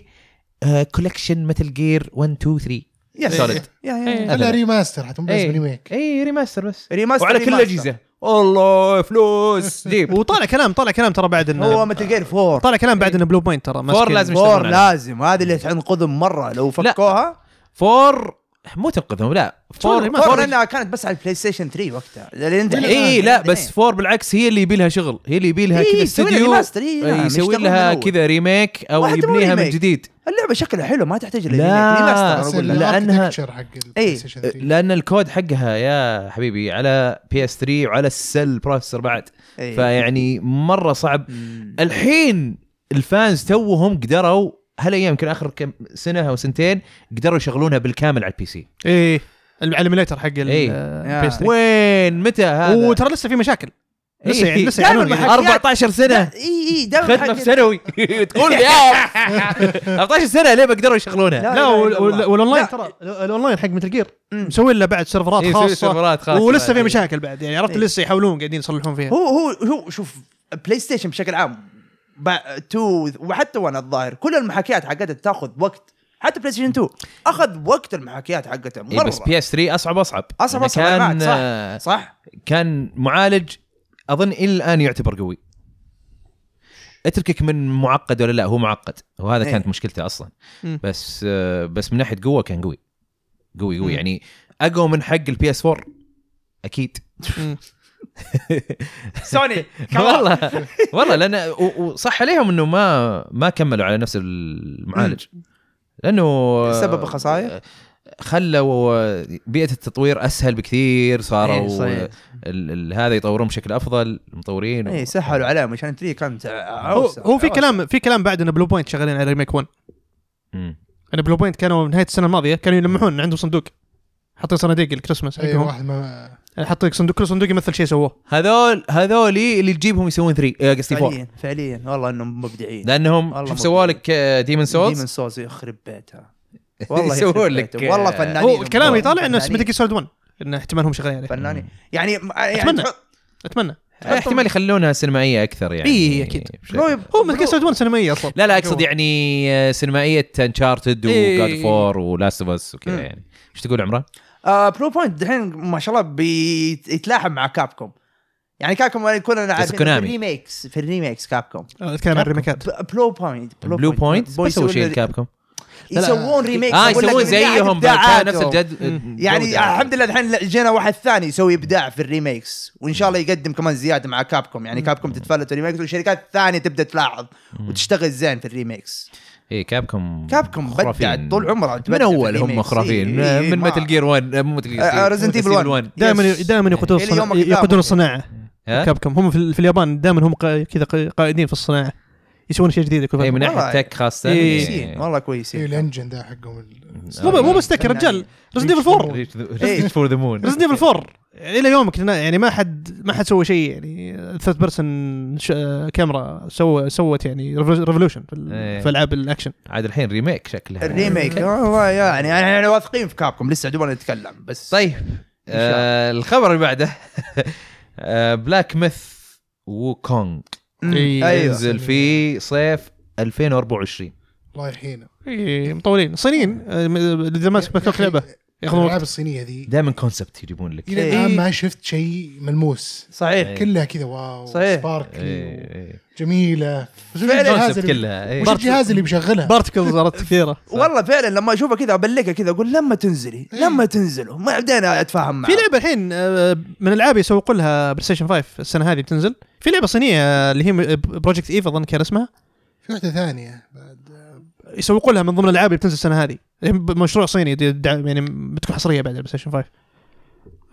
S1: آه، كولكشن مثل جير 1 2 3
S2: يس
S1: Solid.
S2: يا إيه. يا
S4: ولا ريماستر حتى مو لازم
S1: إيه.
S4: ريميك
S1: اي ريماستر بس
S2: ريماستر
S1: وعلى كل
S2: ريماستر.
S1: الاجهزه والله فلوس
S3: *laughs*
S1: جيب
S3: وطالع كلام طالع كلام ترى بعد
S2: هو
S3: انه
S2: متل جير 4
S3: طالع كلام بعد انه بلو بوينت ترى ماسكين.
S1: لازم يشتغلون
S2: 4
S1: عليه.
S2: لازم هذه اللي تنقذهم مره لو فكوها
S1: فور مو تنقذهم لا فور
S3: ما-
S2: 4 انها كانت بس على البلاي ستيشن 3 وقتها
S1: اي إيه، لا بس فور بالعكس هي اللي يبي لها شغل هي اللي يبي لها
S2: إيه،
S1: كذا
S2: يسوي لها
S1: استوديو
S2: remaster، إيه، نعم،
S1: يسوي
S2: يشتغل
S1: لها
S2: من أول.
S1: كذا ريميك او
S2: واحد مو
S1: يبنيها من
S2: remake.
S1: جديد
S2: اللعبه شكلها حلو ما تحتاج
S1: لا.
S4: بس
S2: ريماستر
S1: لأنها-
S4: لانها حق
S3: إيه.
S4: البلاي ستيشن
S2: إيه.
S4: 3
S1: لان الكود حقها يا حبيبي على بي اس 3 وعلى السل بروسيسور بعد
S2: إيه.
S1: فيعني مره صعب الحين الفانز توهم قدروا هالايام يمكن اخر كم سنه او سنتين قدروا يشغلونها بالكامل على البي سي
S3: ايه على الميليتر حق ال
S1: إيه.
S3: آه، PS3.
S1: وين متى هذا
S3: وترى لسه في مشاكل لسه يعني
S1: إيه.
S3: لسه
S2: دائماً
S3: يعلنون يعني.
S2: محاكي-
S1: 14 سنه
S2: اي اي دائما
S1: خدمه في ثانوي *laughs* تقول لي يا *laughs* 14 سنه ليه ما قدروا يشغلونها؟
S2: لا
S3: لا
S2: إله
S3: وال-
S2: إلا الله.
S3: وال- والاونلاين
S2: لا.
S3: ترى الاونلاين حق متل جير مسوي له بعد سيرفرات
S1: إيه، مسوي
S3: خاصه
S1: سيرفرات خاصة
S3: ولسه
S1: بعد،
S3: في
S1: إيه.
S3: مشاكل بعد يعني عرفت
S2: إيه.
S3: لسه يحاولون قاعدين يصلحون فيها
S2: هو هو هو شوف بلاي ستيشن بشكل عام با- 2 وحتى وانا الظاهر كل المحاكيات حقتها تاخذ وقت حتى بلاي ستيشن 2 اخذ وقت المحاكيات حقتها
S1: إيه
S2: مره
S1: بس بي اس 3 اصعب اصعب
S2: اصعب
S1: يعني
S2: اصعب أنا معك،
S1: كان
S2: صح
S1: آه،
S2: صح
S1: كان معالج اظن الى الان يعتبر قوي اتركك من معقد ولا لا هو معقد وهذا
S2: إيه.
S1: كانت مشكلته اصلا
S3: مم.
S1: بس آه، بس من ناحيه قوه كان قوي قوي
S3: مم.
S1: قوي يعني اقوى من حق البي اس 4 اكيد
S3: مم.
S1: *laughs*
S2: سوني
S1: والله والله لان و- وصح عليهم انه ما ما كملوا على نفس المعالج لانه
S2: سبب خسائر؟
S1: خلوا بيئه التطوير اسهل بكثير
S2: إيه،
S1: صاروا
S2: صحيح.
S1: ال- ال- هذا يطورون بشكل افضل المطورين
S3: إيه.
S2: اي
S1: طيب.
S2: سهلوا إيه، عليهم عشان 3 كانت
S3: هو,
S2: عوسة
S3: هو في
S2: عوسة.
S3: كلام في كلام بعد ان بلو بوينت شغالين على ريميك 1
S1: مم.
S3: ان بلو بوينت كانوا نهايه السنه الماضيه كانوا يلمحون إن عندهم صندوق حاطين صناديق الكريسماس
S2: إيه،
S4: اي
S3: حقهم
S4: إيه، واحد ما
S3: حاطين صندوق كل صندوق يمثل شيء سووه
S1: هذول هذول اللي تجيبهم يسوون 3 قصدي 4
S2: فعليا فعليا والله انهم مبدعين
S1: لانهم
S2: والله
S1: شوف
S2: مبدع.
S1: سووا لك آه، ديمون
S2: ديمن
S1: سولز
S2: سولز يخرب
S1: *laughs*
S2: بيتها والله
S1: يسوون
S2: يخرب
S1: لك- آه،
S2: بيتها. والله فنانين
S3: هو الكلام
S2: والله
S3: يطالع انه
S2: فنانين.
S3: ميتال سوليد 1 ان احتمالهم شغالين عليه
S2: *laughs* فنانين يعني يعني
S3: اتمنى
S2: تحط-
S3: اتمنى
S1: احتمال يخلونها سينمائيه اكثر يعني
S3: إيه، أكيد.
S1: بشكل-
S2: هو يب-
S3: هو ميتال سوليد 1 سينمائيه اصلا
S1: لا لا اقصد يعني سينمائيه انشارتد وجاد
S3: إيه.
S1: فور ولاست اوف اس وكذا
S2: مم.
S1: يعني ايش تقول عمران؟
S2: آه بلو بوينت دحين ما شاء الله بيتلاحم مع كابكوم يعني كابكوم كلنا عارفين في
S1: كونامي.
S2: الريميكس في الريميكس كابكوم
S3: آه، اتكلم عن الريميكات
S2: ب- بلو بوينت
S1: بلو بوينت ما يسوي شيء الكابكم
S3: لا،
S2: يسوون ريميك
S1: اه يسوون زيهم كان نفس الجد
S3: مم.
S2: يعني
S1: جودة.
S2: الحمد لله الحين لا- جينا واحد ثاني يسوي ابداع في الريميكس وان شاء الله يقدم كمان زياده مع كابكوم يعني كابكوم تتفلت الريميكس والشركات الثانيه تبدا تلاحظ وتشتغل زين في الريميكس
S1: اي كابكم
S2: إيه، كابكوم بدع طول عمره تبدع
S1: من
S2: في
S1: اول هم
S2: الريميكس.
S1: خرافيين
S2: إي- إي-
S1: من
S2: ما-
S1: متل جير 1 مو متل
S2: آه، آه،
S1: جير
S2: Resident Evil 1.
S3: دائما
S2: Yes.
S3: دائما يقودون
S2: إلى
S3: الصناعه
S2: يومك ذا
S3: يقودون
S2: ممكن.
S3: الصناعه
S1: ها؟
S3: كابكم هم في في اليابان دائما هم قا- كذا قا- قائدين في الصناعه يسوون شيء جديد كل
S1: اي إيه، من
S3: فترة.
S1: ناحيه
S2: والله.
S1: تك خاصه
S3: إيه.
S2: كويسين والله كويسين
S4: اي الانجن ذا حقهم ال-
S3: مو مو بس تك يا رجال ريزدنت ايفل
S2: إيه.
S3: 4
S1: ريزنت فور ذا مون
S3: ريزدنت ايفل 4 الى يومك يعني ما حد ما حد سوى شيء يعني ثيرد بيرسون كاميرا آه، سوى سوت يعني ريفولوشن في, ال-
S1: إيه.
S3: في العاب الاكشن
S1: عاد الحين ريميك شكلها
S2: الريميك
S1: إيه.
S2: والله يعني احنا واثقين في كابكوم لسه دوبنا نتكلم بس
S1: طيب
S2: إن شاء الله.
S1: آه، الخبر اللي بعده *laughs* آه، بلاك ميث وكونغ
S2: مم.
S3: إيه.
S2: ايوه
S1: ينزل في صيف 2024
S4: الله يحيينا
S3: إيه، مطولين الصينيين آه، م- اذا ماسك بكوك لعبه ياخذون
S4: الالعاب
S3: وقت
S4: الصينيه ذي
S1: دائما كونسبت يجيبون لك
S4: الى
S2: إيه.
S4: الان ما شفت شيء ملموس
S2: صحيح
S1: إيه.
S4: كلها كذا واو
S2: صحيح.
S4: سباركلي
S1: إيه، إيه.
S4: جميله بس وش الجهاز
S1: كونسبت
S4: اللي
S1: كلها إيه.
S4: وش الجهاز اللي بيشغلها
S3: بارتكلز صارت كثيره
S2: والله فعلا لما اشوفه كذا ابلغها كذا اقول لما تنزلي لما تنزله ما بدينا اتفاهم معه
S3: في لعبه الحين آه، من العاب يسوقوا لها بلاي ستيشن 5 السنه هذه بتنزل في لعبه صينيه آه، اللي هي بروجكت ايف اظن كان اسمها
S4: في واحده ثانيه بعد
S3: يسوقوا لها من ضمن الالعاب اللي بتنزل السنه هذه هي ب- مشروع صيني دي- دع- يعني بتكون حصريه بعد البلاي ستيشن 5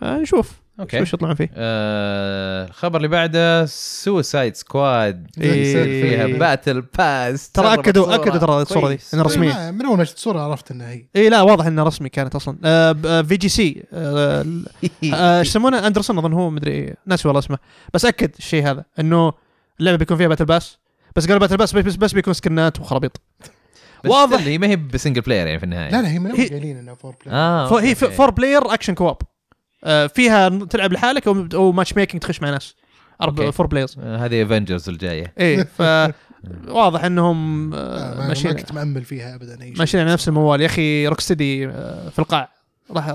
S3: آه، نشوف
S1: اوكي
S3: وش يطلعون فيه
S1: آه، الخبر اللي بعده سوسايد سكواد
S3: إيه.
S1: فيها باتل باس
S3: ترى اكدوا اكدوا ترى الصوره دي
S2: كويس.
S3: انها رسميه
S4: ما- من اول ما شفت الصوره عرفت انها هي
S3: اي لا واضح انها رسمي كانت اصلا آه، ب- آه، في جي سي آه، ال- آه، ايش يسمونه اندرسون اظن هو مدري إيه. ناسي والله اسمه بس اكد الشيء هذا انه اللعبه بيكون فيها باتل باس بس قالوا باتل باس بس, بس بيكون سكنات وخرابيط واضح.
S1: واضح اللي ما هي بسنجل بلاير يعني في النهايه
S4: لا لا هي من اول
S3: هي-
S4: قايلين انها فور بلاي
S1: اه
S3: ف- هي
S1: أوكي.
S3: فور بلاير اكشن كواب آه، فيها ن- تلعب لحالك او او ماتش ميكنج تخش مع ناس
S1: أوكي.
S3: أربع فور بلايرز
S1: آه، هذه افنجرز الجايه
S3: ايه ف واضح انهم آه،
S4: ما ما
S3: ماشيين
S4: كنت مأمل فيها ابدا اي شيء
S3: ماشيين على نفس الموال يا اخي روك ستدي في القاع راح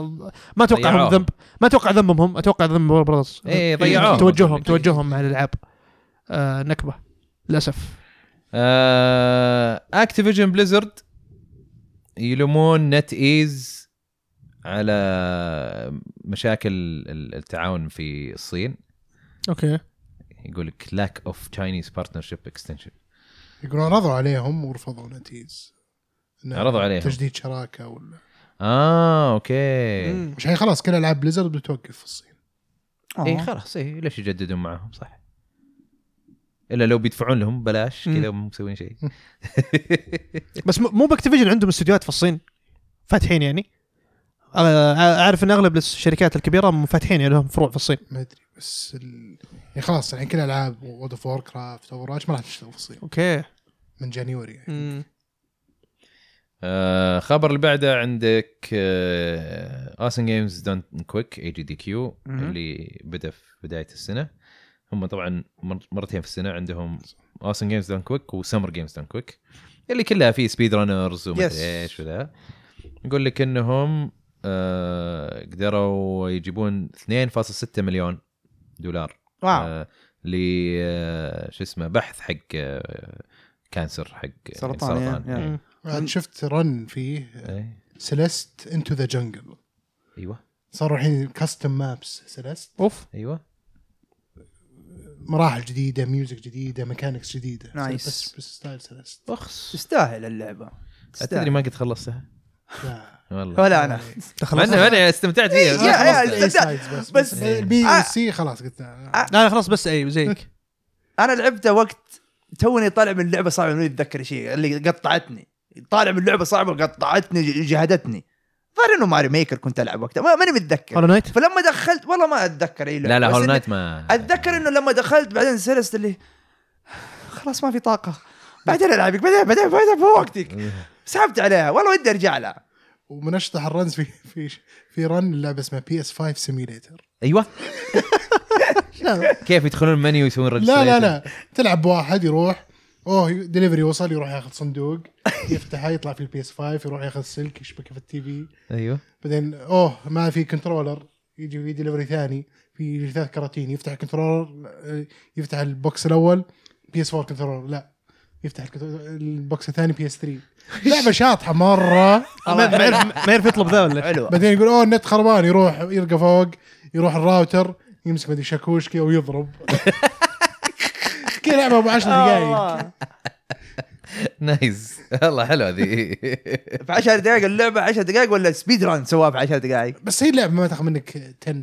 S3: ما اتوقع هم
S1: ضيعوها.
S3: ذنب ما اتوقع ذنبهم هم اتوقع ذنب ورا براز
S1: إيه، ضيعوها.
S3: توجههم توجههم مع الالعاب آه، نكبه للاسف
S1: آه، اكتيفيجن بليزرد يلومون نت ايز على مشاكل ال- التعاون في الصين
S3: اوكي
S1: يقول لك lack of Chinese partnership extension
S4: يقولون رضوا عليهم ورفضوا نتيز إنه
S1: عرضوا عليهم.
S4: تجديد شراكه ولا
S1: اه اوكي
S3: مم.
S4: مش هي خلاص كل العاب بليزرد بتوقف في الصين
S1: اي خلاص اي ليش يجددون معهم صح الا لو بيدفعون لهم بلاش كذا مو مسوين شيء
S3: بس مو- مو باكتيفيجن عندهم استديوهات في الصين فاتحين يعني آه، اعرف ان اغلب الشركات الكبيره منفتحين يعني لهم فروع في الصين
S4: ما ادري بس ال... يعني خلاص الحين كل العاب وورد اوف وور كرافت اوفر ما راح تشتغل في الصين
S3: اوكي
S4: من جانيوري يعني
S1: آه، خبر اللي بعده عندك آه، اوسن جيمز دون كويك اي جي دي كيو
S2: مهم.
S1: اللي بدا في بدايه السنه هم طبعا مر- مرتين في السنه عندهم اوسن جيمز دون كويك وسمر جيمز دون كويك اللي كلها فيه سبيد رانرز وما
S2: Yes.
S1: ادري ايش وذا يقول لك انهم آه، قدروا يجيبون 2.6 مليون دولار
S2: واو
S1: آه، ل آه، شو اسمه بحث حق آه، كانسر حق يعني
S2: سرطان، يا- يا.
S1: إيه.
S4: بعد شفت رن فيه
S1: إيه.
S4: سيليست انتو ذا جنجل
S1: ايوه
S4: صاروا الحين كاستم مابس سيليست
S3: اوف
S1: ايوه
S4: مراحل جديده ميوزك جديده ميكانكس جديده
S2: نايس.
S4: بس بس ستايل سيليست
S1: اخس
S2: تستاهل اللعبه
S1: تدري
S2: تستاهل
S1: ما قد خلصتها
S4: لا
S1: *laughs* والله
S2: ولا انا
S1: مع *laughs* إنه- مع إني استمتعت
S2: إيه، يا-
S1: فيها
S2: يا-
S4: خلاص يعني.
S2: صدق.
S4: sides بس بس
S2: بس-
S4: البي
S2: آه.
S4: سي خلاص قلت
S2: آه.
S3: لا لا خلاص بس اي زيك
S2: انا لعبته وقت توني طالع من اللعبه صعبه ما اتذكر شيء اللي قطعتني طالع من اللعبه صعبه قطعتني ج- جهدتني ظهر انه ماري ميكر كنت العب وقتها ما- ماني متذكر
S3: هولو نايت
S2: فلما دخلت والله ما اتذكر اي لعبة،
S5: لا لا
S2: بس
S5: هول
S2: إني-
S5: نايت ما
S2: اتذكر انه لما دخلت بعدين سلست اللي خلاص ما في طاقه بعدين العبك بعدين بعدين بعدين في وقتك سحبت عليها والله ودي ارجع لها
S4: ومن اشطح الرنز في في في رن اللعبه اسمها بي اس 5 سيميليتر
S2: *laughs*
S1: ايوه كيف يدخلون منيو ويسوون
S4: لا لا
S1: registration؟
S4: لا تلعب بواحد يروح اوه دليفري وصل يروح ياخذ صندوق يفتحه يطلع في البي اس 5 يروح ياخذ سلك يشبكه في التي في
S1: *laughs* ايوه
S4: بعدين اوه ما في كنترولر يجي في دليفري ثاني في ثلاث كراتين يفتح الكنترولر آه، يفتح البوكس الاول بي اس 4 كنترولر لا يفتح الكنترولر- البوكس الثاني بي اس 3 لعبه شاطحه مره
S3: *laughs* ما ما يعرف ما يعرف يطلب ذا ولا
S2: حلو
S4: بعدين يقول اوه النت خربان يروح يلقى فوق يروح الراوتر يمسك مدري شاكوش كذا ويضرب *laughs* كذا لعبه ابو 10 دقائق
S2: آه.
S1: نايس والله حلوه ذي *laughs*
S2: في 10 دقائق اللعبه 10 دقائق ولا سبيد ران سواها في 10 دقائق
S4: بس هي لعبه ما تاخذ منك 10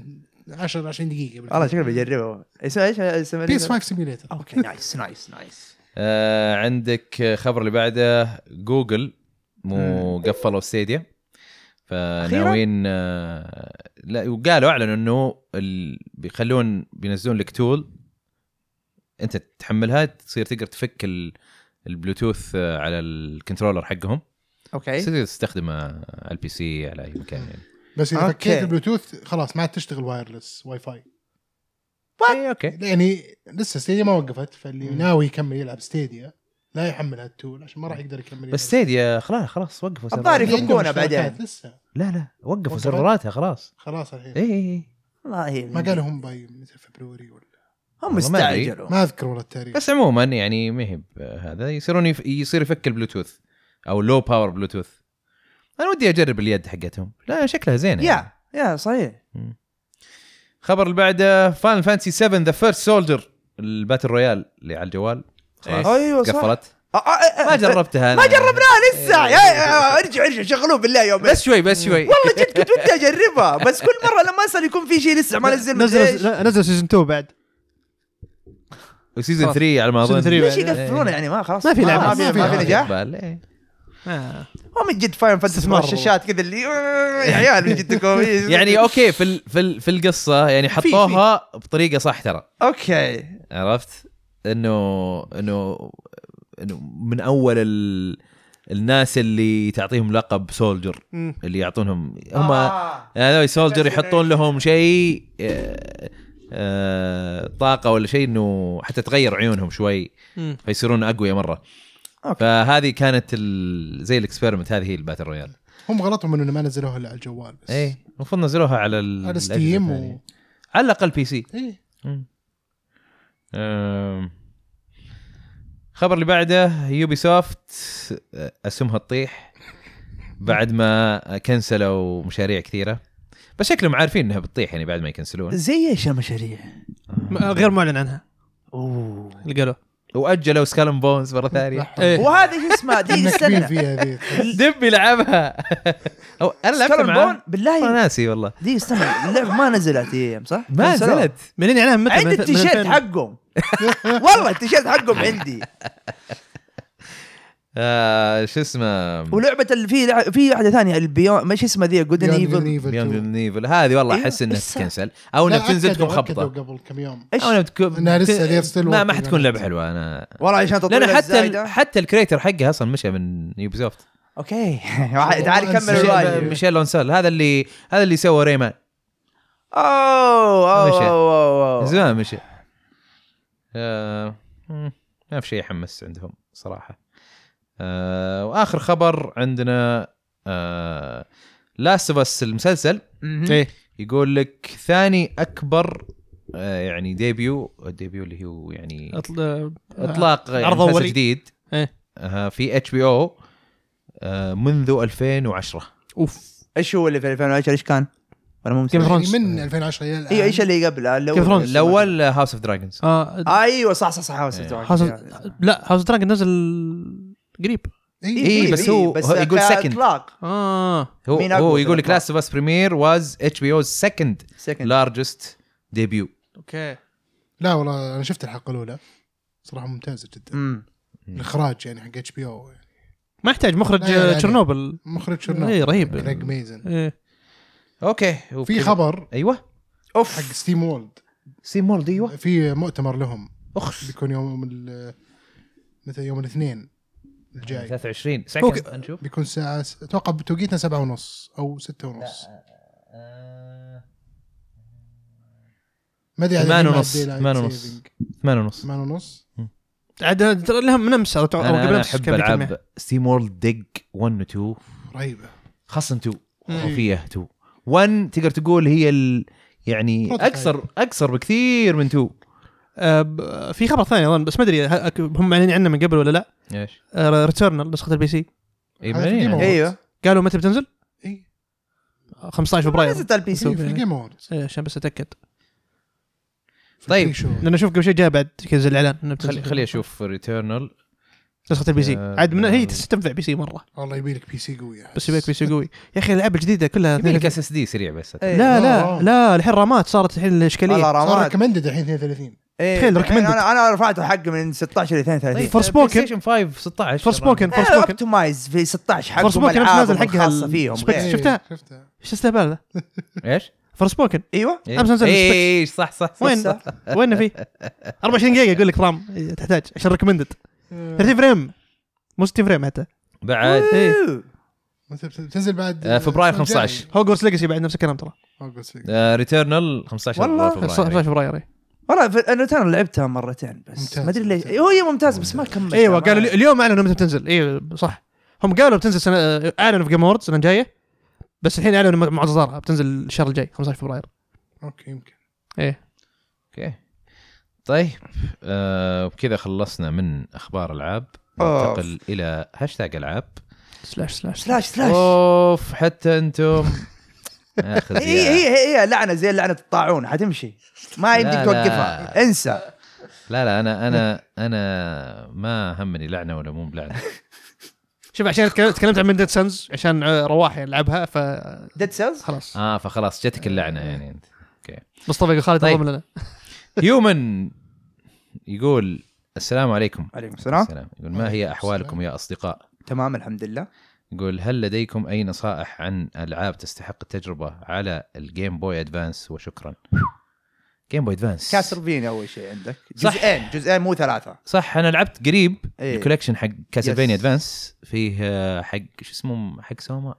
S4: 10 20 دقيقه
S2: والله شكلي بجربها اسمها ايش اسمها
S4: بي اس 5 سيميليتر
S2: *laughs* اوكي نايس نايس نايس
S1: آه، عندك خبر اللي بعده جوجل مو قفلوا ستيديا فناويين آه، لا وقالوا اعلنوا انه ال- بيخلون بينزلون لك تول انت تحملها تصير تقدر تفك ال- البلوتوث آه، على الكنترولر حقهم
S2: اوكي
S1: تقدر تستخدمه على البي سي على اي مكان يعني
S4: بس اذا
S2: أوكي.
S4: فكيت البلوتوث خلاص ما عاد تشتغل وايرلس واي فاي
S1: إيه، اوكي
S4: يعني لسه ستيديا ما وقفت فاللي
S2: مم.
S4: ناوي يكمل يلعب ستيديا لا يحملها التول عشان ما راح يقدر يكمل يلعب.
S1: بس ستيديا خلاص خلاص وقفوا
S2: الظاهر
S4: اللي
S1: سيرفرات.
S4: عنده
S2: يفكونها
S4: مشتركات
S2: بعدين.
S4: لسه
S1: لا لا وقفوا
S4: وقفت؟
S1: سيرفراتها خلاص إيه،
S4: خلاص الحين
S1: اي اي إي.
S2: والله
S4: ما قالوا هم باي متى فبروري ولا
S2: هم
S1: والله ما أدري.
S2: استعجلوا
S4: ما اذكر والله التاريخ
S1: بس عموما يعني ما هي ب- هذا يصيرون يف... يصير يفك البلوتوث او لو باور بلوتوث انا ودي اجرب اليد حقتهم لا شكلها زينه يعني.
S2: يا يا صحيح
S1: خبر اللي بعده فان فانسي 7 ذا فيرست سولجر الباتل رويال اللي على الجوال خلاص
S2: ايوه صح
S1: قفلت
S2: آه، آه، آه،
S1: ما جربتها
S2: *laughs* ما
S1: أنا.
S2: جربناها لسه يا يا- Eh, ارجع ارجع شغلوه بالله يوم
S1: بس شوي بس شوي
S2: والله جد كنت ودي اجربها بس كل مره لما اسال يكون في شيء لسه ما نزل مدري إيش.
S3: نزل نزل سيزون 2 بعد
S1: وسيزون 3 على ما
S3: سيزون
S1: اظن
S3: 3
S2: ليش
S3: بعد.
S2: يقفلون يعني ما خلاص
S3: ما في لعبة.
S2: ما في
S4: ما في
S2: *laughs* ما في
S4: لعبة.
S2: نجاح
S3: آه.
S2: هو من جد فاين فانتسي
S3: استثمار والله.
S2: الشاشات كذا اللي يا عيال من جد كويس
S1: يعني اوكي في ال... في ال... في القصه يعني حطوها بطريقه صح ترى
S2: اوكي
S1: عرفت انه انه انه من اول ال... الناس اللي تعطيهم لقب سولجر
S3: مم.
S1: اللي يعطونهم هم آه.
S2: آه.
S1: هذول سولجر
S2: بس
S1: يحطون لهم شيء آه، آه، طاقه ولا شيء انه حتى تغير عيونهم شوي
S3: مم.
S1: فيصيرون اقوياء مره
S2: أوكي.
S1: فهذه كانت ال... زي الاكسبيرمنت هذه هي الباتل رويال
S4: هم غلطهم انه ما نزلوها الا على الجوال بس
S1: اي المفروض نزلوها على ال...
S4: على
S1: إيه. الأجهزة
S4: ستيم
S1: الثانية.
S4: و...
S1: على الاقل بي سي
S4: ايه
S1: أم. خبر اللي بعده يوبي سوفت اسهمها تطيح بعد ما كنسلوا مشاريع كثيره بس شكلهم عارفين انها بتطيح يعني بعد ما يكنسلون
S2: زي ايش المشاريع؟
S3: م- غير معلن عنها
S2: اوه
S3: اللي قالوا
S1: واجلوا سكالم بونز مره
S4: *laughs*
S1: ثانيه
S4: لحظة.
S2: وهذا ايش اسمه دي
S4: منكبين
S2: استنى
S4: فيها ذي
S1: دبي لعبها أو انا لعبت
S2: سكالون
S1: معاه
S2: بون؟ بالله
S1: والله ناسي والله
S2: دي استنى اللعبه ما نزلت ايام صح؟
S1: ما
S2: كنسلوها.
S1: نزلت
S3: منين اعلانها متى؟
S2: عندي
S3: من- من
S2: التيشيرت
S3: 2000.
S2: حقهم *laughs* والله التيشيرت حقهم عندي
S1: آه، شو اسمه
S2: ولعبه اللي في لع- في واحده ثانيه البيون ما ايش اسمها ذي جود ايفل
S1: بيونج نيفل هذه والله
S2: أيوة،
S1: احس انها
S4: إيه،
S2: بس-
S1: تكنسل او انها بتنزل تكون خبطه
S4: قبل كم يوم
S2: ايش
S1: او انها بتكون
S4: إنها لسه غير still يعني.
S1: ما ما
S4: working
S1: حتكون
S4: on
S1: لعبه
S4: it.
S1: حلوه انا
S2: والله عشان تطوير
S1: لان حتى
S2: الزايدة.
S1: ال... حتى الكريتر حقها اصلا مشى من يوبي سوفت
S2: *laughs* اوكي تعال
S4: والله
S2: كمل
S4: نسيت.
S2: الواجب
S1: ميشيل لونسال هذا اللي هذا اللي سوى ريمان
S2: اوه
S1: مشى.
S2: اوه اوه
S1: من
S2: أوه.
S1: زمان مشى آه... مم، ما في شيء يحمس عندهم صراحه آه... واخر خبر عندنا آه... لاست اوف اس المسلسل إيه.
S2: مهم.
S3: ايه
S1: يقول لك ثاني اكبر آه يعني ديبيو الديبيو اللي هو يعني
S3: أطل-
S1: اطلاق يعني
S3: عرض
S1: مسلسل
S3: أولي.
S1: جديد
S3: إيه.
S1: آه في اتش بي او آه، منذ 2010
S3: اوف
S2: ايش هو اللي في 2010 ايش كان؟ ولا مو
S3: Game of
S2: مسلسل؟
S3: Thrones.
S4: يعني من 2010 الى الان
S2: ايوه ايش اللي قبله
S3: Game of
S2: الاول
S3: Thrones.
S1: الاول هاوس اوف دراجونز
S3: آه،
S2: ايوه صح صح صح هاوس
S1: إيه.
S2: اوف
S4: يعني-
S3: هاوس
S2: دراجون.
S3: لا هاوس دراجون نزل قريب
S4: اي
S6: إيه، بس هو- هو يقول second.
S2: اطلاق
S3: اه
S1: هو
S2: مين
S1: هو
S2: أقوى
S1: يقول لك
S2: بالألقاب؟
S1: لاست اوف اس بريمير واز اتش بي اوز سكند
S2: سكند
S1: لارجست ديبيو
S3: اوكي
S4: لا والله انا شفت الحلقه الاولى صراحه ممتازه جدا الاخراج يعني حق اتش بي او
S3: ما يحتاج مخرج
S4: لا، لا، لا.
S3: تشيرنوبل
S4: مخرج
S3: اي
S4: شرنا
S3: رهيب
S4: كريج ميزن
S3: إيه.
S1: اوكي
S4: في
S1: وبكذا-
S4: خبر
S1: ايوه
S2: اوف
S4: حق ستيم وولد
S1: سي مولد ايوه
S4: في مؤتمر لهم
S1: اخس
S4: بيكون يوم ال- متى يوم الاثنين الجاي
S1: 23
S3: أوكي.
S1: سكند نشوف
S4: بيكون الساعة س- اتوقع بتوقيتنا سبعة ونص او ستة ونص ما ادري عاد
S1: ثمان
S4: مع
S1: ونص،
S4: ال daylight
S1: ثمان ونص.
S4: saving.
S1: 8 ونص
S4: ثمان ونص
S3: عاد ترى لها من امس او أو
S1: انا
S3: قبل
S1: انا
S3: امس
S1: احب
S3: كان في كمية.
S1: العاب ستيم وورلد دق 1 و 2
S4: رهيبة
S1: خاصه 2
S3: مم.
S1: خفيه 2 1 تقدر تقول هي ال... يعني
S4: Prototype.
S1: اقصر اقصر بكثير من 2
S3: آه، ب- في خبر ثاني اظن بس ما ادري ه- هم معلنين عنه من قبل ولا لا آه،
S1: ايش؟
S3: ريتيرنال نسخه البي سي
S1: اي
S4: هذا في Game
S1: يعني.
S4: Awards.
S2: ايوه
S3: قالوا متى بتنزل؟
S1: إيه،
S4: اي
S3: 15 فبراير
S2: نزلت على البي
S4: إيه، في
S2: سي
S4: في
S3: يعني.
S4: جيم اووردز
S3: إيه، عشان بس اتاكد
S1: طيب.
S3: لان اشوف قبل شيء جاء بعد كذا زي الاعلان إنه بتنزل.
S1: خلي خلي اشوف ريتيرنال
S3: نسخه البي سي
S1: آه،
S3: عاد من هي
S1: آه.
S3: تستنفع بي سي مره
S4: والله يبي لك بي سي قوية
S3: بس يبيك بي سي قوي يا اخي الالعاب الجديده كلها
S1: يبي لك اس اس دي سريع بس
S2: إيه.
S3: لا لا
S4: لا.
S3: لا الحين رامات صارت الحين الاشكاليه
S2: والله
S4: صار
S2: رامات
S4: ريكومندد الحين 32
S2: إيه،
S3: تخيل طيب.
S2: الحين
S3: recommended.
S2: انا انا رفعته حق من 16 ل 32
S3: For Spoken.
S1: بلاي ستيشن 5 16
S3: فور سبوكن فور سبوكن
S2: اوبتمايز إيه، في 16 حقهم
S3: فور سبوكن امس نازل
S2: العابهم
S3: حقها
S2: الخاصه فيهم
S3: السبيكس.
S2: غير.
S4: إيه،
S3: شفتها؟
S4: شفتها
S3: ايش استهبال ذا
S1: ايش؟
S2: *laughs*
S3: فور سبوكن
S2: ايوه
S1: إيه.
S3: أمس نزل
S1: إيه،
S3: السبيكس.
S1: إيه، صح صح صح.
S3: وين
S2: صح.
S3: وين فيه 24 دقيقه يقول لك رام إيه، تحتاج عشان ريكومندد 30 فريم مو 60 فريم حتى
S1: بعد
S3: ايه
S4: متى بت- بتنزل بعد
S1: آه، فبراير
S4: الأسبوع الجاي.
S1: 15.
S3: هوجورتس ليجاسي بعد نفس الكلام ترى
S4: أوغست.
S1: آه، ريتيرنال 15
S2: والله.
S1: فبراير
S3: 15 فبراير إيه.
S2: والله في- انا ترى لعبتها مرتين بس
S4: ممتاز.
S2: ما ادري ليش
S4: ممتاز.
S2: هو هي ممتاز بس ما كملت
S3: ايوه قالوا لي- اليوم اعلنوا متى بتنزل ايوه صح هم قالوا بتنزل سنه آه، اعلنوا في جيم اووردز السنه الجايه بس الحين اعلنوا مع اصدارها بتنزل الشهر الجاي 15 فبراير
S4: اوكي يمكن
S3: ايه
S1: اوكي طيب آه، وبكذا خلصنا من اخبار العاب
S2: أوف.
S1: ننتقل الى هاشتاج العاب
S3: سلاش سلاش
S2: سلاش سلاش
S1: اوف حتى
S3: *laughs*
S1: انتم اخذ
S3: إيه،
S2: هي هي هي هي لعنه زي لعنه الطاعون حتمشي ما يمديك
S1: لا، لا.
S2: توقفها انسى
S1: لا لا انا انا انا ما همني لعنه ولا مو بلعنه
S3: شوف عشان تكلمت تكلمت عن ديد سنز عشان آه، رواحي العبها فخلاص
S2: ديد سيلز
S1: اه فخلاص جتك اللعنه يعني انت
S3: مصطفى يقول خالد
S1: طيب.
S3: ضمن لنا
S1: هيومن يقول السلام عليكم
S2: عليكم السلام
S1: السلام يقول ما هي احوالكم يا اصدقاء
S2: تمام الحمد لله
S1: يقول هل لديكم اي نصائح عن العاب تستحق التجربه على الجيم بوي ادفانس وشكرا جيم بوي ادفانس
S2: كاسلفينيا اول شيء عندك
S1: صح.
S2: جزئين جزئين مو ثلاثه
S1: صح انا لعبت قريب
S2: إيه.
S1: الكوليكشن حق كاسلفينيا
S2: Yes.
S1: ادفانس فيه آه، حق شو اسمه حق سوما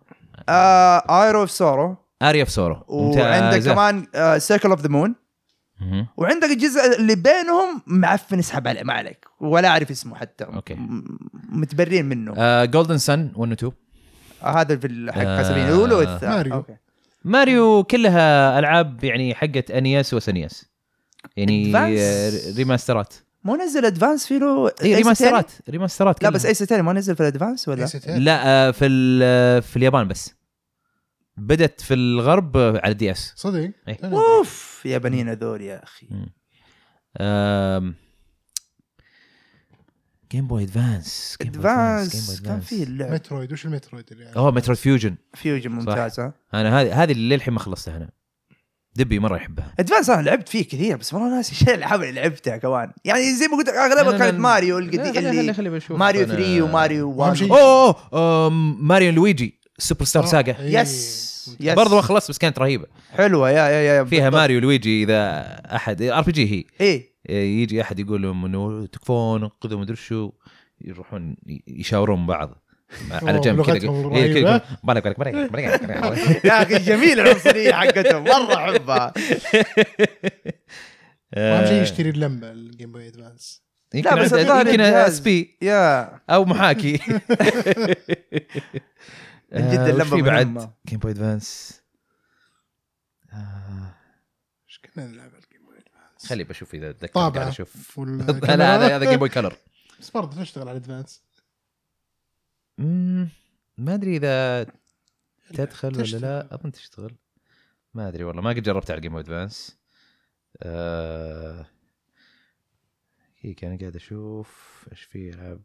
S2: ايرو اوف سورو
S1: اريا اوف سورو
S2: آه. وعندك كمان آه، سيركل اوف ذا مون
S1: مهم.
S2: وعندك الجزء اللي بينهم معفن اسحب عليه ما عليك ولا اعرف اسمه حتى
S1: أوكي. آه.
S2: م- متبرين منه
S1: جولدن سن 1 و 2
S2: آه. هذا في ال- حق
S1: آه،
S2: كاسلفينيا الاولى والثانيه
S4: ماريو.
S2: اوكي
S1: ماريو كلها العاب يعني حقت انيس وسنيس E يعني
S2: Advance.
S1: آه، ريماسترات
S2: مو نزل ادفانس في له
S1: إيه،
S2: أي ستيل؟
S1: ريماسترات ريماسترات
S2: لا
S1: كلها.
S2: بس اي ستيل ما نزل في الادفانس ولا
S4: ACT.
S1: لا آه، في ال- آه، في اليابان بس بدت في الغرب آه، على الدي اس
S4: صدق
S1: إيه.
S4: أنا-
S2: اوف يا بنين هذول يا اخي
S1: جيم بوي ادفانس Game Boy Advance, Game
S2: ادفانس
S1: Boy
S2: كان
S1: Advance.
S2: فيه اللعب
S4: مترويد وش المترويد اللي يعني؟
S1: اوه مترو فيوجن
S2: فيوجن ممتازه
S1: انا هذه هذه اللي للحين ما خلصتها انا دبي مره يحبها
S2: ادفانس انا لعبت فيه كثير بس والله ناسي شيء الالعاب اللي لعبتها كمان يعني زي ما قلت اغلبها كانت ماريو القديم اللي ماريو 3 وماريو
S4: أهم
S2: 1
S4: شيء-
S1: اوه أوه، آم، ماريو لويجي سوبر ستار
S4: آه،
S1: ساجا
S4: إيه.
S2: يس يس
S1: برضه ما خلصت بس كانت رهيبه
S2: حلوه يا يا يا
S1: فيها ماريو لويجي اذا احد ار بي جي هي
S2: ايه
S1: يجي احد يقول لهم انه تكفون انقذوا مدري شو يروحون يشاورون بعض على
S4: أوه،
S1: جنب كذا
S4: لغتهم
S1: إيه، كذا
S4: رهيبة.
S1: يقول، بالك بالك بالك بالك
S2: *laughs*
S1: بالك
S2: يا اخي
S1: *laughs*
S2: جميله العنصريه حقتهم مره احبها
S4: اهم
S1: آه.
S4: شيء يشتري اللمبه الجيم بوي ادفانس
S1: يمكن
S2: لا، بس
S1: عندها-
S2: الظاهر
S1: يمكن
S2: الجهاز.
S1: اس بي
S2: يا
S1: او محاكي *laughs* آه،
S2: من جد اللمبة
S1: في بعد
S2: مهمة.
S1: جيم بوي ادفانس
S4: ايش كنا نلعب على الجيم بوي ادفانس
S1: خلي بشوف اذا اتذكر قاعد
S4: طابعه *laughs*
S1: اشوف *laughs*
S4: آه،
S1: لا
S4: والكاميرا.
S1: لا هذا
S4: *laughs*
S1: هذا جيم بوي كلر
S4: بس برضه تشتغل على ادفانس
S1: مم، ما ادري اذا تدخل ولا
S4: تشتغل.
S1: لا اظن تشتغل ما ادري والله ما قد جربت على الجيم بوي ادفانس آه... هيك انا قاعد اشوف ايش في العاب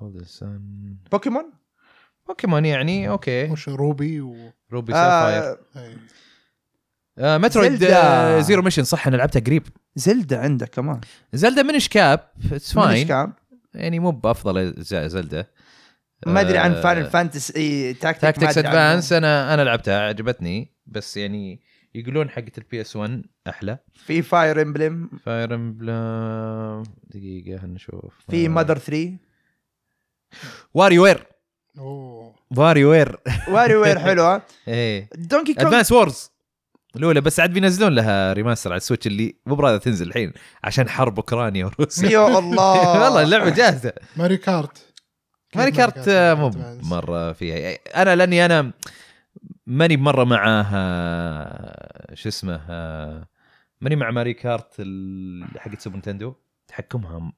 S1: Hold the sun.
S2: بوكيمون
S1: بوكيمون يعني اوكي
S4: وش روبي و إيه.
S1: روبي سافاير
S2: آه
S4: أي.
S1: آه مترويد
S2: زلدا.
S1: آه، زيرو ميشن صح انا لعبتها قريب
S2: زلدة عندك كمان
S1: زلدا منش كاب اتس
S2: مانيش
S1: فاين
S2: كام
S1: يعني مو بافضل اجزاء زلدا
S2: ما ادري عن
S1: آه،
S2: فاينل فانتسي تاكتيك ما
S1: تاكتكس
S2: أدري عنه.
S1: ادفانس انا انا لعبتها عجبتني بس يعني يقولون حقت البي اس 1 احلى
S2: في فاير امبلم
S1: فاير امبلم دقيقه هنشوف
S2: في ماذر 3
S1: واري وير
S4: اوه
S1: واري وير
S2: واري
S1: *laughs*
S2: وير حلوه
S1: ايه
S2: دونكي كونغ
S1: ادفانس وورز الاولى بس عاد بينزلون لها ريماستر على السويتش اللي مو براها تنزل الحين عشان حرب اوكرانيا وروسيا
S2: *laughs* يا الله
S1: *laughs* والله اللعبه جاهزه
S4: ماري كارت
S1: ماري كارت آه، مو
S4: أدفانس.
S1: مره فيها انا لاني انا ماني مره مع آه، شو اسمه آه، ماني مع ماري كارت ال- حقت سوبر نتندو تحكمها م-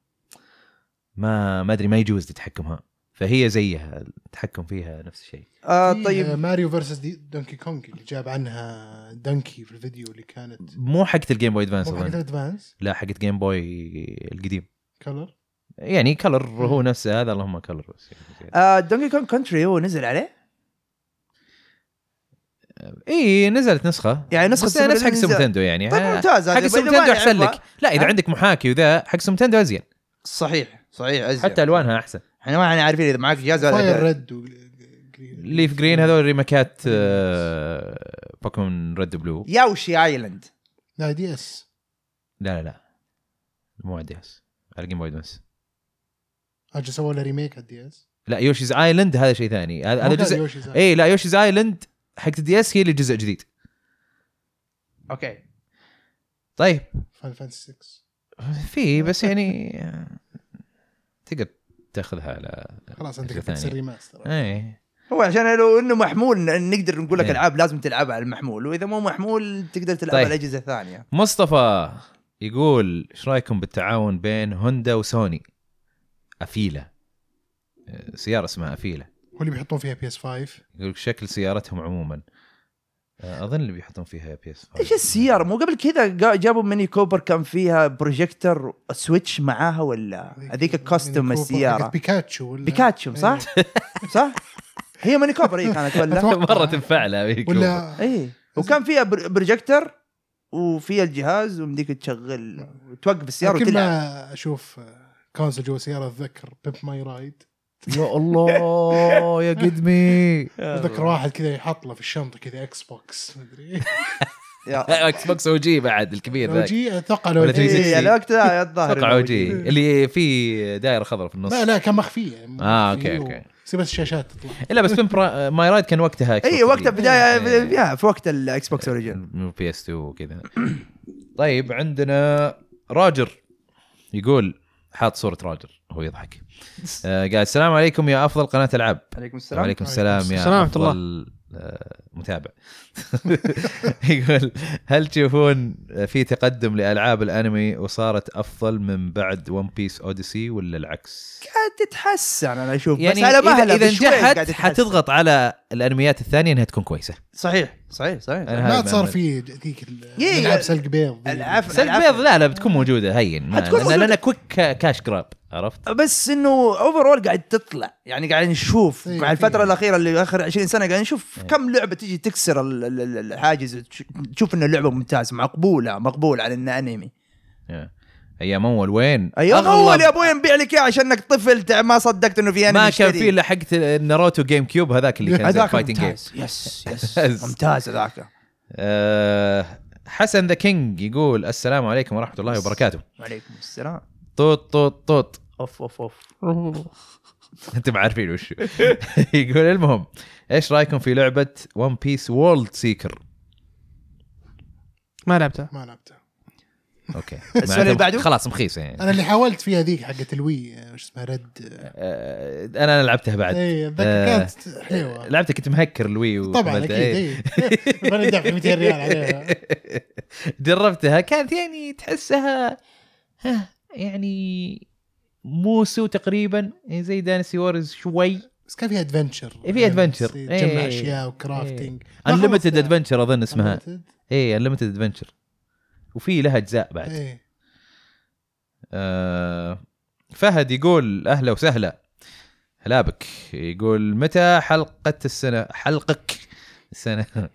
S1: ما ما ادري ما يجوز تتحكمها فهي زيها التحكم فيها نفس الشيء
S2: آه
S4: في، آه،
S2: طيب
S4: ماريو فيرسس دي- دونكي كونج اللي جاب عنها دنكي في الفيديو اللي كانت
S1: مو حقت الجيم بوي ادفانس
S4: مو
S1: أظن.
S4: حقت ادفانس
S1: لا حقت جيم بوي القديم
S4: كلر
S1: يعني كلر هو نفسه هذا اللهم كلر بس يعني
S2: آه دونكي كونغ كونتري هو نزل عليه
S1: اي إيه، نزلت نسخه
S2: يعني نسخة
S1: بس
S2: سوبر
S1: نفس حق
S2: نينجا.
S1: سوبر نتندو يعني
S2: طيب
S1: ها-
S2: ممتاز هذا
S1: حق سوبر
S2: إذا ما
S1: نتندو احسن
S2: نعرفها-
S1: لك لا اذا
S2: ها؟
S1: عندك محاكي وذا حق سوبر نتندو ازين
S2: صحيح صحيح أزيد.
S1: حتى الوانها احسن
S2: احنا ما احنا عارفين اذا معك جهاز ولا
S4: فاير
S2: لا.
S4: ريد وجرين
S1: ليف جرين هذول ريماكات آه، بوكيمون ريد بلو
S2: ياوشي ايلاند
S4: لا دي اس
S1: لا لا لا مو على الدياس على الجيم بوي ادفانس
S4: اجل سووا له ريميك على الدي اس
S1: لا يوشيز ايلاند هذا شيء ثاني هذا هذا جزء إيه.
S4: اي
S1: اي لا يوشيز ايلاند حق الدي اس هي اللي جزء جديد
S2: اوكي
S1: طيب
S4: فاين فانتسي 6
S1: في بس يعني آه، تقدر تاخذها على إيه.
S4: خلاص انت
S1: أجزاء
S4: قلت تصير
S1: ثانية.
S4: ريماستر
S1: اي
S2: هو عشان لو انه محمول ن- نقدر نقول لك
S1: إيه.
S2: العاب لازم تلعبها على المحمول واذا مو محمول تقدر تلعبها
S1: طيب.
S2: على الاجهزه الثانيه
S1: مصطفى يقول ايش رايكم بالتعاون بين هوندا وسوني؟ افيله آه، سياره اسمها افيله
S4: هو اللي بيحطون فيها بي اس 5
S1: يقول لك شكل سيارتهم عموما آه، اظن اللي بيحطون فيها بي اس *laughs*
S2: ايش السياره مو قبل كذا قا- جابوا ميني كوبر كان فيها بروجيكتور سويتش معاها ولا آه، هذيك الكاستم السياره
S4: بيكاتشو ولا
S2: بيكاتشو *laughs* صح؟ صح؟ هي ميني كوبر هي كانت ولا؟
S4: أتوقع.
S1: مره تنفع لها هذيك.
S4: ولا
S2: اي وكان فيها بر- بروجيكتور وفيها الجهاز ومديك تشغل وتوقف السياره
S4: كل
S2: وتلعب
S4: ما اشوف كونسل جوا سياره اتذكر بيب ماي رايد
S1: يا الله يا *laughs* قدمي
S4: اتذكر واحد كذا يحط له في الشنطه كذا اكس بوكس مدري
S1: *laughs*
S2: يا-
S1: اكس بوكس او جي بعد الكبير
S4: لو
S1: ذاك
S4: جي اتوقع لو
S1: ولا 360.
S4: جي
S2: *laughs* إيه، الوقت لا الظاهر
S1: اتوقع او جي اللي فيه دائره خضراء في النص
S4: لا لا كان مخفيه يعني
S1: آه، أوكي،
S4: مخفية
S1: أوكي.
S4: بس بس الشاشات تطلع
S1: لا بس بيمب را- ماي رايد كان وقتها Xbox
S2: اي إيه، وقتها
S1: جديد.
S2: بدايه
S1: إيه.
S2: فيها في وقت الاكس بوكس اوريجن
S1: من بي اس 2 وكذا طيب عندنا راجر يقول حاط صوره راجر هو يضحك
S2: *laughs*
S1: آه قال السلام عليكم يا افضل قناه العاب
S2: عليكم السلام
S1: وعليكم السلام يا
S3: السلام ورحمة الله.
S1: افضل آه، متابع *laughs* يقول هل تشوفون في تقدم لالعاب الانمي وصارت افضل من بعد ون بيس اوديسي ولا العكس؟
S2: قاعد تتحسن انا اشوف
S1: يعني
S2: بس على
S1: اذا
S2: مهلا
S1: إذا
S2: بشوي قاعد
S1: نجحت
S2: تتحسن.
S1: حتضغط على الانميات الثانيه انها تكون كويسه
S2: صحيح صحيح صحيح
S1: أنا هاي
S4: ما صار
S1: المعلومة.
S4: في ذيك ال-
S2: إيه.
S4: نلعب سلق بيض
S2: العفو
S1: سلك
S2: العفو.
S1: بيض لا لا بتكون موجوده هين ما
S2: حتكون
S1: لأن-
S2: موجودة.
S1: لأنها كويك كا- كاش جراب عرفت؟
S2: بس انه اوفرول قاعد تطلع يعني قاعد نشوف
S4: إيه،
S2: مع الفتره
S4: إيه.
S2: الاخيره اللي اخر 20 سنه قاعد نشوف
S1: إيه.
S2: كم لعبه تيجي تكسر ال- ال- ال- الحاجز تش- تشوف ان اللعبه ممتازه مقبوله مقبول على انها انمي
S1: يا. ايام اول وين؟
S2: ايوه
S1: أغلب
S2: اول يا ابوي نبيع لك اياه عشان انك طفل تع- ما صدقت انه في انمي
S1: ما كان
S2: اشتري.
S1: فيه الا حق ناروتو جيم كيوب هذاك اللي كان زي
S2: يعني هذاك
S1: فايتنج جيم
S2: ممتاز يس
S1: *laughs*
S2: يس ممتاز هذاك
S1: آه، حسن ذا كينج يقول السلام عليكم ورحمه الله وبركاته
S2: وعليكم السلام
S1: طوط طوط طوط *laughs*
S2: اوف اوف اوف
S1: انتم عارفين وش *laughs* يقول المهم ايش رايكم في لعبه ون بيس وورلد سيكر؟
S3: ما لعبتها
S4: ما لعبته
S1: اوكي
S2: *laughs* السؤال اللي
S1: معناته
S2: بعده؟
S1: خلاص مخيسه يعني
S4: انا اللي حاولت فيها ذيك حقت الوي آه، وش اسمها رد
S1: آه، انا لعبتها بعد
S4: اي اتذكر
S1: آه.
S4: كانت
S2: أيوة.
S4: حلوه
S1: لعبتها كنت مهكر الوي
S4: طبعا
S1: ومدى-
S4: اكيد
S1: إيه.
S4: اي فانا دافع 200 ريال عليها
S1: *laughs* جربتها كانت يعني تحسها ها يعني موسو تقريبا يعني زي دانسي وورز شوي
S4: بس كان فيها ادفنشر
S1: في adventure.
S4: تجمع
S1: إيه.
S4: اشياء وكرافتنج
S1: انليمتد
S4: يعني.
S1: ادفنشر اظن اسمها اي انليمتد ادفنشر وفي لها اجزاء بعد
S4: إيه.
S1: آه فهد يقول اهلا وسهلا هلابك يقول متى حلقة السنة حلقك السنة *laughs*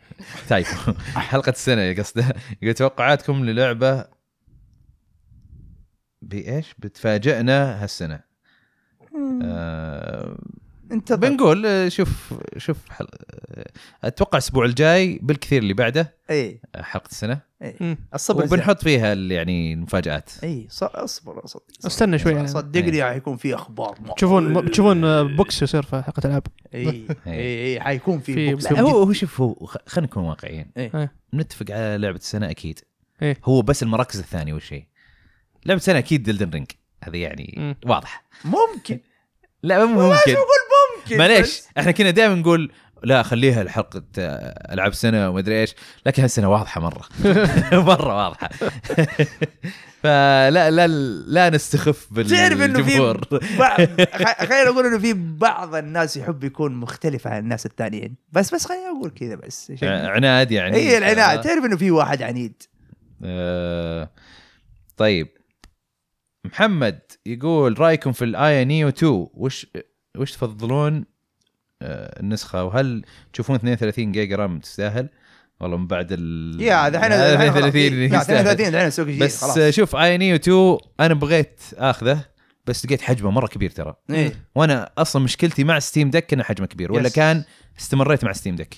S1: تايفو حلقة السنة قصده يقول توقعاتكم للعبة بإيش بتفاجئنا هالسنة آه
S2: انت
S1: بنقول آه، شوف شوف حل... آه، اتوقع الاسبوع الجاي بالكثير اللي بعده
S2: اي
S1: آه، حلقه السنه
S2: إيه، الصبر زين.
S1: وبنحط فيها ال- يعني المفاجات
S2: اي ص- اصبر اصبر
S3: استنى شوي يعني.
S2: صدقني حيكون في اخبار مرة.
S3: تشوفون تشوفون آه، بوكس يصير في حلقه العاب
S2: اي اي اي حيكون
S3: في
S2: في بوكس.
S3: بوكس.
S1: لا، هو هو شوف هو خ- خلينا نكون واقعيين
S2: إيه.
S3: إيه.
S1: نتفق على لعبه السنه اكيد
S3: إيه.
S1: هو بس المراكز الثانيه والشيء لعبه السنه اكيد دلدن رينج هذه يعني
S3: مم.
S1: واضحه
S2: ممكن
S1: لا مو ممكن
S2: ممكن
S1: معليش
S2: بس.
S1: احنا كنا دائما نقول لا خليها الحلقة آه، العاب سنه وما ادري ايش لكن هالسنه واضحه
S3: *laughs*
S1: مره مره واضحه *laughs* فلا لا لا نستخف
S2: تعرف انه في
S1: بالجمهور
S2: بعض خ- خلينا نقول انه في بعض الناس يحب يكون مختلف عن الناس الثانيين بس بس خلينا نقول كذا بس
S1: آه، عناد يعني
S2: اي إيه، العناد
S1: آه،
S2: تعرف انه في واحد عنيد
S1: آه، طيب محمد يقول رايكم في الاي نيو 2 وش وش تفضلون آه، النسخه وهل تشوفون 32 جيجا رام تستاهل؟ والله من بعد ال
S2: يا دحين
S1: *laughs* هذا
S2: دحين خلاص.
S1: 32
S2: لا،
S1: يستاهل.
S2: 32 دحين السوق جديد
S1: بس
S2: خلاص
S1: خلاص. شوف اي نيو 2 انا بغيت اخذه بس لقيت حجمه مره كبير ترى
S2: إيه.
S1: وانا اصلا مشكلتي مع ستيم دك انه حجمه كبير ولا
S2: Yes.
S1: كان استمريت مع ستيم دك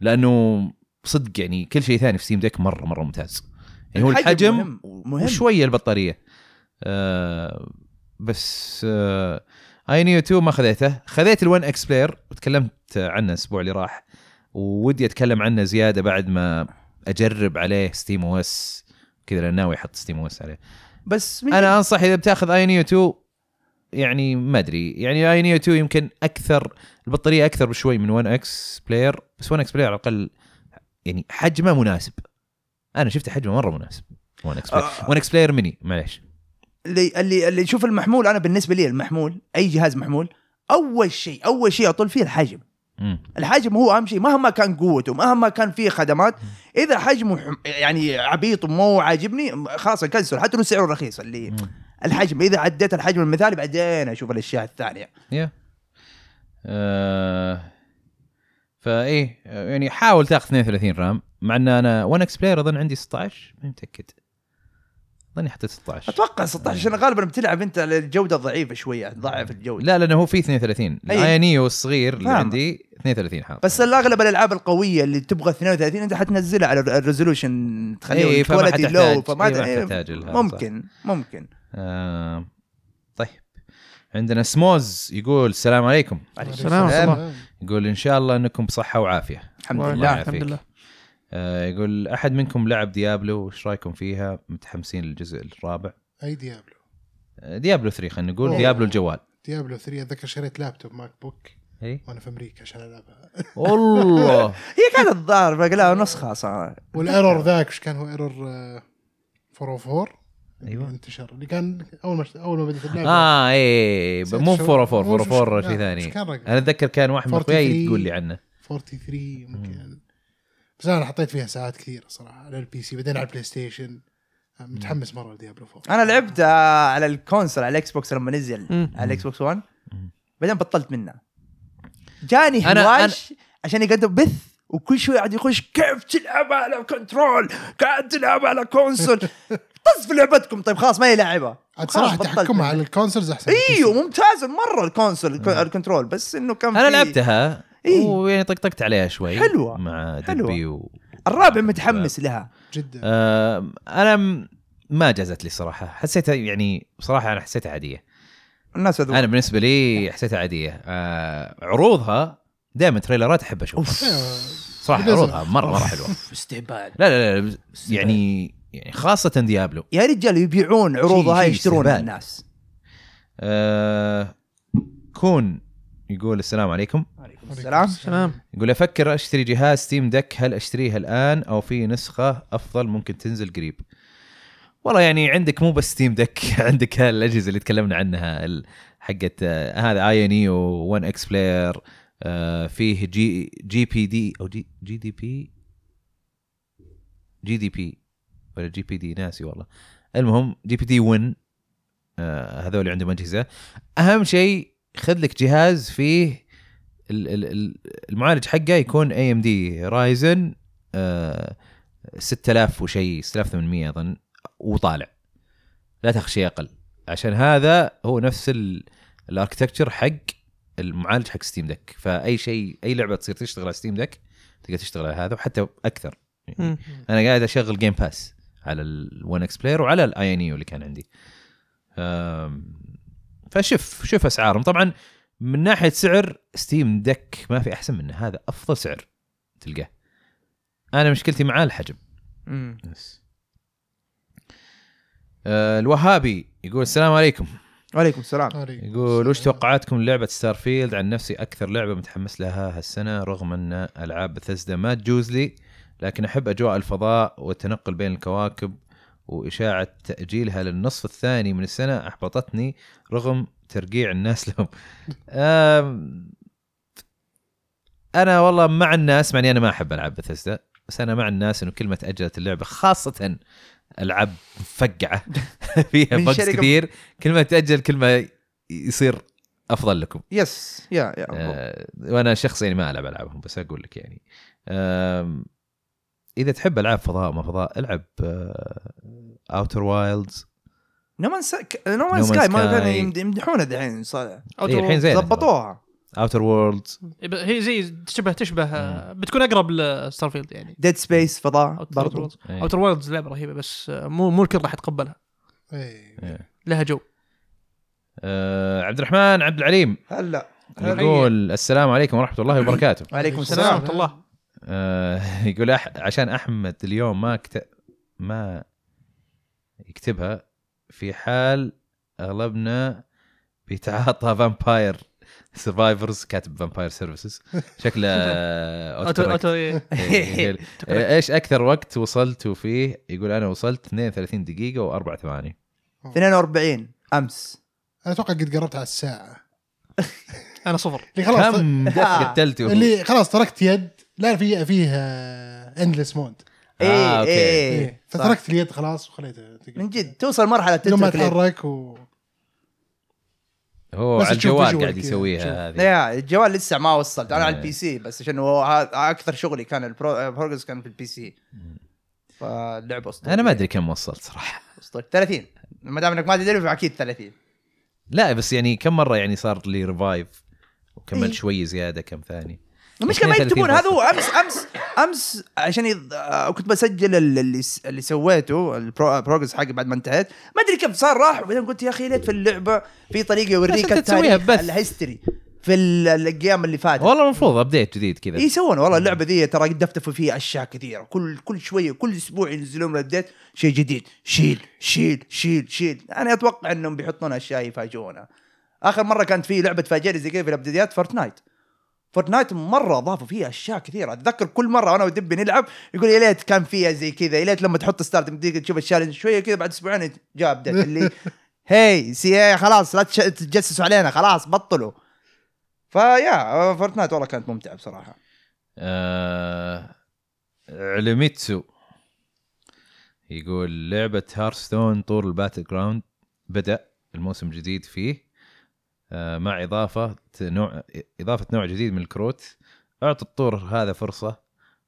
S1: لانه صدق يعني كل شيء ثاني في ستيم دك مره مره ممتاز يعني هو الحجم
S2: مهم. مهم
S1: وشويه البطاريه آه بس آه اي نيو 2 ما خذيته خذيت ال1 اكس بلاير وتكلمت عنه الاسبوع اللي راح وودي اتكلم عنه زياده بعد ما اجرب عليه ستيم او اس كذا لان ناوي احط ستيم او اس عليه
S2: بس من
S1: انا انصح اذا بتاخذ اي نيو 2 يعني ما ادري يعني اي نيو 2 يمكن اكثر البطاريه اكثر بشوي من 1 اكس بلاير بس 1 اكس بلاير على الاقل يعني حجمه مناسب انا شفت حجمه مره مناسب 1 اكس بلاير
S2: آه.
S1: 1 اكس بلاير ميني معليش
S2: اللي اللي اللي يشوف المحمول انا بالنسبه لي المحمول اي جهاز محمول اول شيء اول شيء اطل فيه الحجم
S1: مم.
S2: الحجم هو اهم شيء مهما كان قوته مهما كان فيه خدمات اذا حجمه حم- يعني عبيط ومو عاجبني خلاص اكنسل حتى لو سعره رخيص اللي
S1: مم.
S2: الحجم اذا عديت الحجم المثالي بعدين اشوف الاشياء الثانيه
S1: يا آه فايه يعني حاول تاخذ 32 رام مع ان انا 1 اكس بلاير اظن عندي 16 ماني متاكد اظني حطيت 16
S2: اتوقع 16 عشان غالبا بتلعب انت على الجوده ضعيفه شويه تضعف الجوده
S1: لا لانه هو فيه 32
S2: أي.
S1: الاي نيو الصغير اللي
S2: فاهم.
S1: عندي 32 حاط
S2: بس الاغلب الالعاب القويه اللي تبغى 32 انت حتنزلها على الريزولوشن تخليه
S1: إيه، فما
S2: quality
S1: حتحتاج-
S2: low، فما
S1: إيه، ما
S2: إيه،
S1: حتحتاج لهذا، صح.
S2: ممكن ممكن
S1: آه طيب عندنا سموز يقول السلام عليكم
S3: السلام ورحمة الله.
S1: يقول ان شاء الله انكم بصحه وعافيه
S2: الحمد
S3: والله
S2: لله
S1: يعافيك.
S3: الحمد لله
S1: آه يقول احد منكم لعب ديابلو وش رايكم فيها متحمسين للجزء الرابع
S4: اي ديابلو
S1: آه ديابلو 3 خلينا نقول
S4: أوه.
S1: ديابلو الجوال
S4: ديابلو 3 اتذكر شريت لابتوب ماك بوك
S1: اي
S4: وانا في امريكا عشان العبها *laughs*
S1: والله
S2: هي كانت الظاهر باقي لها نسخه صار
S4: والايرور ذاك ايش كان هو آه، ايرور 404
S1: أيوة.
S4: انتشر اللي كان اول ما اول ما بدات اللعبه
S1: اه اي
S4: ست
S1: مو
S4: شهور.
S1: 4 4
S4: مو
S1: 4 4
S4: شو-
S1: شيء
S4: لا،
S1: ثاني
S4: إيش كان رقم؟
S1: انا اتذكر كان واحد من اخوياي
S4: 43.
S1: تقول لي عنه
S4: 43 ممكن بس انا حطيت فيها ساعات كثيره صراحه على البي سي بعدين على البلاي ستيشن متحمس مره لديابلو 4
S2: انا لعبت آه، على الكونسل على الاكس بوكس لما نزل
S3: مم.
S2: على الاكس بوكس 1
S1: مم.
S2: بعدين بطلت منه جاني
S1: أنا-
S2: هواش عشان يقدم بث وكل شوي قاعد يخش كيف تلعب على كنترول قاعد تلعب على كونسول
S1: *laughs*
S2: طز في لعبتكم طيب خلاص ما يلعبها
S4: عاد صراحه تحكمها
S1: يعني.
S4: على الكونسولز احسن
S1: أيوه.
S2: ايوه ممتاز مره الكونسول الك- الكنترول بس انه كان
S1: انا
S2: في-
S1: لعبتها
S2: إيه.
S1: ويعني طقطقت عليها شوي
S2: حلوة.
S1: مع
S2: حلوة.
S1: دبي و...
S2: الرابع متحمس لها
S4: جدا
S1: آه انا م- ما جازت لي صراحه حسيتها يعني بصراحه انا حسيتها عاديه
S2: الناس هذول
S1: انا بالنسبه لي حسيتها عاديه آه عروضها دائما تريلرات احب اشوفها صراحه
S4: بالنسبة-
S1: عروضها مره مره حلوه
S2: استهبال
S1: لا لا لا يعني يعني خاصه ديابلو
S2: يا رجال يبيعون
S1: شي-
S2: عروضها
S1: شي
S2: هاي يشترونها
S1: استهبال.
S2: الناس
S1: آه كون يقول السلام عليكم
S2: السلام
S3: سلام
S1: يقول افكر اشتري جهاز ستيم دك هل اشتريها الان او في نسخه افضل ممكن تنزل قريب والله يعني عندك مو بس ستيم دك *laughs* عندك هالاجهزه اللي تكلمنا عنها ال- حقت آه، هذا اي ان اي و1 اكس بلاير آه، فيه جي جي بي دي او جي جي دي بي جي دي بي ولا جي بي دي ناسي والله المهم جي بي دي 1 آه، هذول عندهم اجهزه اهم شيء خذ لك جهاز فيه ال- ال- ال- المعالج حقه يكون اي ام دي رايزن 6000 آه، وشيء 6800 اظن وطالع لا تاخذ شيء اقل عشان هذا هو نفس الاركتكتشر حق المعالج حق ستيم دك فاي شيء اي لعبه تصير تشتغل على ستيم دك تقدر تشتغل على هذا وحتى يعني اكثر
S3: مم.
S1: انا قاعد اشغل جيم باس على ال1 اكس بلاير وعلى الاي ان يو E اللي كان عندي أم، فشوف شوف اسعارهم طبعا من ناحيه سعر ستيم دك ما في احسن منه هذا افضل سعر تلقاه انا مشكلتي معاه الحجم
S3: مم.
S1: بس. أه، الوهابي يقول السلام عليكم
S2: وعليكم السلام
S4: طريق.
S1: يقول وش توقعاتكم لعبة ستار فيلد عن نفسي أكثر لعبة متحمس لها هالسنة رغم أن ألعاب بثزدا ما تجوز لي لكن أحب أجواء الفضاء والتنقل بين الكواكب وإشاعة تأجيلها للنصف الثاني من السنة أحبطتني رغم ترقيع الناس *laughs* لهم آم، أنا والله مع الناس معني أنا ما أحب ألعاب بثزدا بس أنا مع الناس أنه كل ما تأجلت اللعبة خاصة ألعاب مفقعة *laughs* فيها
S2: من
S1: بقص
S2: شركة-
S1: كثير كل ما تأجل كل ما يصير افضل لكم
S2: يس يا يا مبروك.
S1: آه وانا شخصيا ما العب العابهم بس اقول لك يعني آم، اذا تحب العاب فضاء ما فضاء آه، العب اوتر وايلدز
S2: نومان سك... نومان
S1: No Man's
S2: سكاي ما
S1: Sky. إيه،
S2: كانوا يمد- يمدحونه دحين صار-
S1: الحين زين
S2: ضبطوها
S1: اوتر وورلدز
S3: هي زي تشبه تشبه آه، بتكون اقرب لستار فيلد يعني
S2: ديد سبيس فضاء برضو
S3: اوتر
S1: إيه.
S3: وورلدز لعبه رهيبه بس آه، مو مو الكل راح يتقبلها
S4: إيه.
S3: لها جو
S1: آه، عبد الرحمن عبد العليم
S2: هلا
S1: يقول السلام عليكم ورحمه الله وبركاته *laughs*
S2: وعليكم
S4: السلام.
S2: السلام
S3: ورحمه الله
S1: آه، يقول أح عشان احمد اليوم ما كت... ما يكتبها في حال اغلبنا بيتعاطى فامباير سرفايفرز كاتب فامباير سيرفيسز
S4: *laughs*
S1: شكله
S3: اوتو
S1: أوتو
S3: اوتو إيه. *laughs*
S1: يقول، آه، ايش اكثر وقت وصلتوا فيه؟ يقول انا وصلت 32 دقيقة و4 ثواني
S2: 42 امس
S4: انا اتوقع قد قربت على الساعه
S3: انا صفر
S4: اللي خلاص
S1: كم دفع قتلته؟
S4: *laughs* اللي خلاص تركت يد لا في فيها اندلس مود
S1: آه،
S2: ايه
S1: أوكي.
S2: ايه صح.
S4: إيه، فتركت اليد خلاص وخليتها تقعد.
S2: من جد توصل مرحله
S4: بدون ما
S2: تترك اليد.
S4: اتحرك و
S1: هو
S4: بس
S1: على
S4: تشوف
S1: الجوال
S4: visual
S1: قاعد
S4: كذا.
S1: يسويها هذه
S2: يا الجوال لسه ما وصلت انا على
S1: إيه.
S2: البي سي بس عشان هو هذا اكثر شغلي كان البرو- البروجرس كان في البي سي فاللعبه اسطوريه
S1: انا ما ادري كم وصلت صراحة
S2: اسطوريه 30 ما دام انك ما تدري فاكيد 30
S1: لا بس يعني كم مرة يعني صار لي ريفايف وكملت
S2: إيه.
S1: شوي زيادة كم ثاني يعني
S2: المشكله ما
S1: 32
S2: يكتبون هذا
S1: بس.
S2: هو امس امس امس عشان يض... آه، كنت بسجل ال- اللي س- اللي سويته البرو- البروجرس حقي بعد ما انتهيت ما ادري كيف صار راح وبعدين قلت يا اخي ليت في اللعبه في طريقه
S1: بس
S2: يوريك
S1: أنت تسويها
S2: التاريخ
S1: ببث.
S2: الهيستوري في ال- الايام اللي فاتت
S1: والله المفروض ابديت جديد كذا
S2: اي يسوون إيه، والله اللعبه ذي ترى دفتفوا فيها اشياء كثيره كل كل شويه كل اسبوع ينزلون لنا ابديت شيء جديد شيل شيل شيل شيل انا اتوقع انهم بيحطون اشياء يفاجئونا اخر مره كانت في لعبه فاجئني زي كذا في الابديتات فورتنايت فورتنايت مره اضافوا فيها اشياء كثيره اتذكر كل مره وانا ودبي نلعب يقول يا ليت كان فيها زي كذا يا ليت لما تحط ستارت يمديك تشوف الشالنج شويه كذا بعد اسبوعين جاء ابديت اللي هي سي اي خلاص لا تش- تتجسسوا علينا خلاص بطلوا فيا فورتنايت والله كانت ممتعه بصراحه
S1: آه... علميتسو يقول لعبة هارستون طور الباتل جراوند بدأ الموسم الجديد فيه آه مع إضافة نوع إضافة نوع جديد من الكروت أعطوا الطور هذا فرصة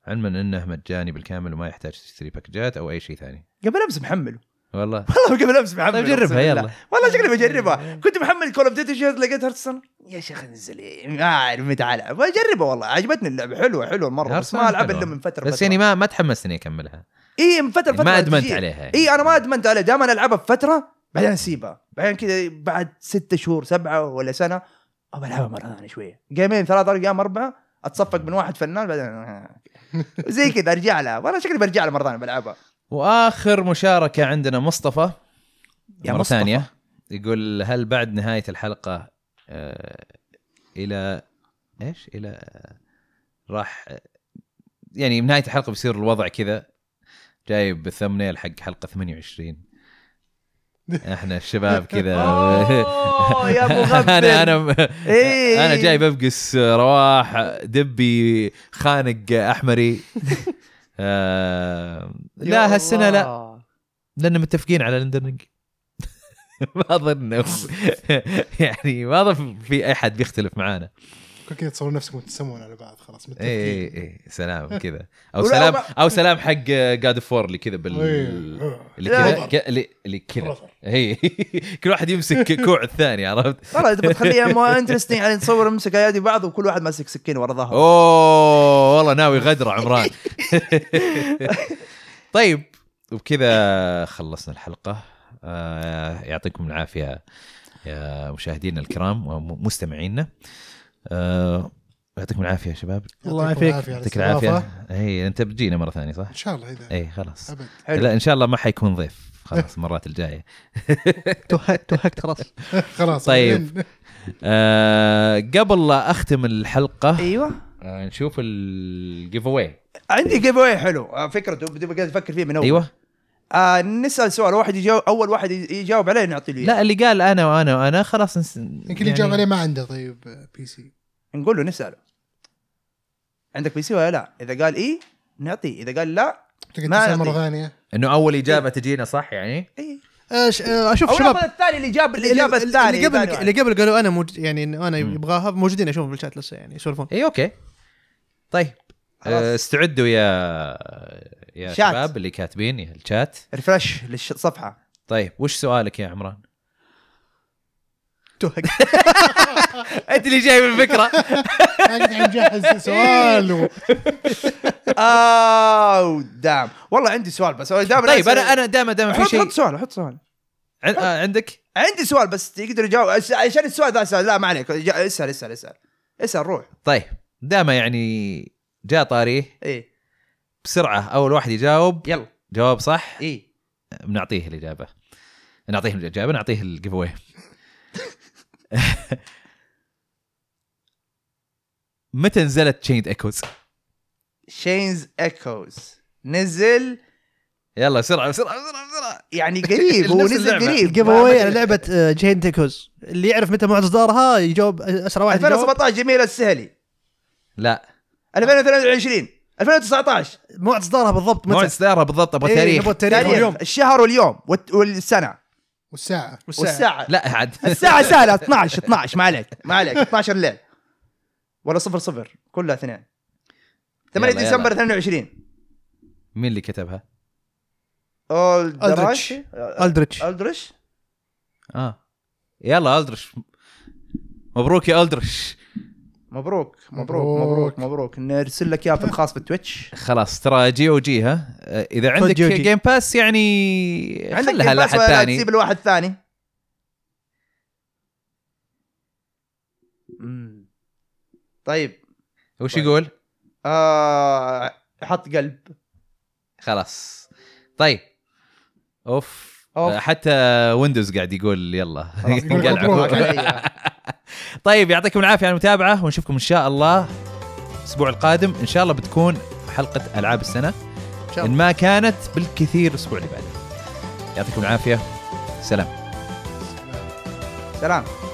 S1: علما أنه مجاني بالكامل وما يحتاج تشتري باكجات أو أي شيء ثاني
S2: قبل امس محمله
S1: والله
S2: *laughs* والله قبل امس محمله
S1: طيب جربها
S2: أقسم بالله.
S1: يلا
S2: والله شكلي بجربها كنت محمل كول اوف ديوتي شيرد لقيت هارتسون يا شيخ انزل إيه، ما اعرف متى العب بجربها والله عجبتني اللعبه حلوه حلوه مره بس
S1: هارستون
S2: ما العب
S1: حلوة.
S2: الا من فتره
S1: بس
S2: فترة.
S1: يعني ما ما تحمست اني اكملها
S2: اي من فتره
S1: يعني
S2: فتره
S1: ما ادمنت
S2: تجي.
S1: عليها يعني.
S2: اي انا ما ادمنت عليها دائما العبها بفتره بعدين اسيبها بعدين كذا بعد ستة شهور سبعه ولا سنه ابى العبها مره ثانيه شويه جيمين ثلاث ارقام اربعه اتصفق من واحد فنان بعدين *laughs* آه. زي كذا ارجع لها والله شكلي برجع لها مره ثانيه بلعبها
S1: واخر مشاركه عندنا مصطفى
S2: يا
S1: مره
S2: مصطفى.
S1: ثانيه يقول هل بعد نهايه الحلقه آه الى ايش الى آه، راح آه، يعني بنهايه الحلقه بيصير الوضع كذا جايب الثمنيل حق حلقه
S2: *laughs*
S1: 28 احنا الشباب كذا
S2: أوه، آه،
S3: *laughs*
S2: يا
S1: *laughs*
S2: مغبن.
S1: انا انا
S2: إيه.
S1: انا جاي بفقس آه، رواح دبي خانق آه،
S2: *laughs*
S1: احمري آه لا هالسنه لا لان متفقين على الاندرنج *laughs* ما اظن *laughs* يعني ما اظن في احد بيختلف معانا
S4: كل كذا تصور نفسكم تسمون على بعض خلاص من
S1: اي
S2: إيه،
S4: التفكير.
S1: اي اي إيه،
S2: *laughs*
S1: سلام كذا او
S2: ولا-
S1: سلام
S2: وما-
S1: او سلام حق آه، جاد فور اللي كذا بال
S4: إيه.
S1: اللي
S2: لا.
S1: كذا ك- اللي- اللي كذا
S4: رفع.
S1: اي *laughs* كل واحد يمسك كوع الثاني عرفت؟
S2: ترى تبغى
S3: *laughs*
S2: تخليها مو انترستنج يعني نصور نمسك ايادي بعض وكل واحد ماسك سكين ورا ظهره
S1: اوه والله ناوي غدره
S3: *laughs*
S1: عمران طيب وبكذا خلصنا الحلقه آه، يعطيكم العافيه يا مشاهدينا الكرام ومستمعينا آه، يعطيكم العافيه يا شباب
S3: الله
S4: يعطيكم
S3: يعافيك.
S4: العافية على
S1: يعطيك
S4: الاستضافة.
S1: العافيه اي انت بتجينا مره ثانيه صح؟
S4: ان شاء الله
S2: إيه.
S4: اذا
S1: اي خلاص
S4: ابد
S2: حلو.
S1: لا ان شاء الله ما حيكون ضيف خلاص المرات الجايه
S3: توهقت خلاص
S4: *laughs* خلاص
S1: طيب. آه، قبل لا اختم
S4: إيه.
S1: الحلقه
S2: ايوه
S1: آه، نشوف الجيف اواي
S2: عندي جيف اواي حلو آه، فكرة بدي افكر فيه من اول
S3: أيوه.
S1: ايوه
S2: آه نسال سؤال واحد يجاوب اول واحد يج- يجاوب عليه نعطي له
S1: لا
S2: لا
S1: اللي قال انا وانا وانا خلاص نس... يعني
S4: يمكن
S2: يعني
S4: اللي جاب عليه ما عنده طيب بي سي
S2: نقول له نساله عندك بي سي ولا لا؟ اذا قال اي نعطيه اذا قال لا
S4: تقعد
S2: ما
S4: تسال
S2: أعطي.
S4: مره ثانيه
S1: انه اول اجابه تجينا صح يعني
S2: اي
S3: أش- آه، اشوف
S2: او
S3: شباب
S2: ناخذ الثاني اللي جاب
S3: اللي-
S2: الاجابه الثانيه
S3: اللي قبل
S2: ثاني
S3: اللي
S2: واحد.
S3: قبل قالوا انا موجود يعني إنه انا
S1: مم. إيه.
S3: يبغاها موجودين اشوفهم بالشات لسه يعني يسولفون
S1: اي اوكي طيب
S2: خلاص.
S1: آه، استعدوا يا يا
S2: شات.
S1: شباب اللي كاتبين يا الشات
S2: ريفرش للصفحه
S1: طيب وش سؤالك يا
S2: *laughs*
S1: عمران؟
S3: توهقت
S1: انت اللي جايب الفكره
S4: أنا
S2: *laughs*
S4: قاعد مجهز سؤال و...
S2: او دام والله عندي سؤال بس هو
S1: *laughs*
S2: دام
S1: طيب انا انا دائما دائما في
S2: حط
S1: شيء
S2: حط سؤال حط سؤال
S1: عن- آه، عندك
S2: عندي سؤال بس تقدر تجاوب عش- عشان السؤال ذا سؤال لا ما عليك جا- اسال اسال اسال اسال روح
S1: طيب دائما يعني جاء طاريه
S2: ايه
S1: بسرعه اول واحد يجاوب
S2: يلا
S1: جواب صح
S2: ايه
S1: بنعطيه الاجابه نعطيه الاجابه نعطيه الجيف اواي *laughs* متى نزلت تشيند ايكوز؟
S2: شينز ايكوز نزل
S1: يلا بسرعه بسرعه بسرعه بسرعه *laughs*
S2: يعني قريب هو
S1: نفس
S2: نزل
S1: اللعبة.
S2: قريب
S3: الجيف اواي على لعبه آه، جين تيكوز اللي يعرف متى موعد اصدارها يجاوب اسرع واحد يجاوب
S2: 2017 جميل السهلي
S1: لا
S2: 2023 2019
S3: موعد اصدارها بالضبط
S1: موعد
S3: متى
S1: اصدارها بالضبط ابغى
S3: إيه،
S1: تاريخ
S3: نبغى التاريخ واليوم
S2: تاريخ الشهر واليوم والت- والسنه
S4: والساعه
S2: والساعه
S1: لا
S2: *laughs*
S1: عاد
S2: الساعه سهله 12 12 ما عليك ما عليك 12 الليل ولا 0 0 كلها اثنين 8
S1: يلا، يلا.
S2: ديسمبر 22
S1: مين اللي كتبها؟
S2: ألدرش
S3: الدريتش
S2: ألدرش
S1: اه يلا الدرش مبروك يا الدرش
S2: مبروك مبروك مبروك
S4: مبروك.
S2: مبروك نرسل لك اياه في الخاص بالتويتش
S1: خلاص ترى جي او جي ها آه، اذا عندك
S3: جي أو جي.
S1: جيم باس يعني
S2: عندك
S1: خلها
S2: Game Pass
S1: لحد
S2: ولا لا
S1: ثاني
S2: تسيب لواحد ثاني مم. طيب
S1: وش يقول؟
S2: آه حط قلب
S1: خلاص طيب اوف
S2: أوف.
S1: آه، حتى ويندوز قاعد يقول يلا
S2: خلاص،
S1: *laughs*
S4: يقول لك
S1: انقلعوا.
S2: *laughs*
S4: مبروك.
S2: إيه.
S1: طيب يعطيكم العافيه على المتابعه ونشوفكم ان شاء الله الاسبوع القادم ان شاء الله بتكون حلقه العاب السنه
S3: شاء
S1: ان
S3: الله.
S1: ما كانت بالكثير الاسبوع اللي بعده يعطيكم العافيه سلام
S2: سلام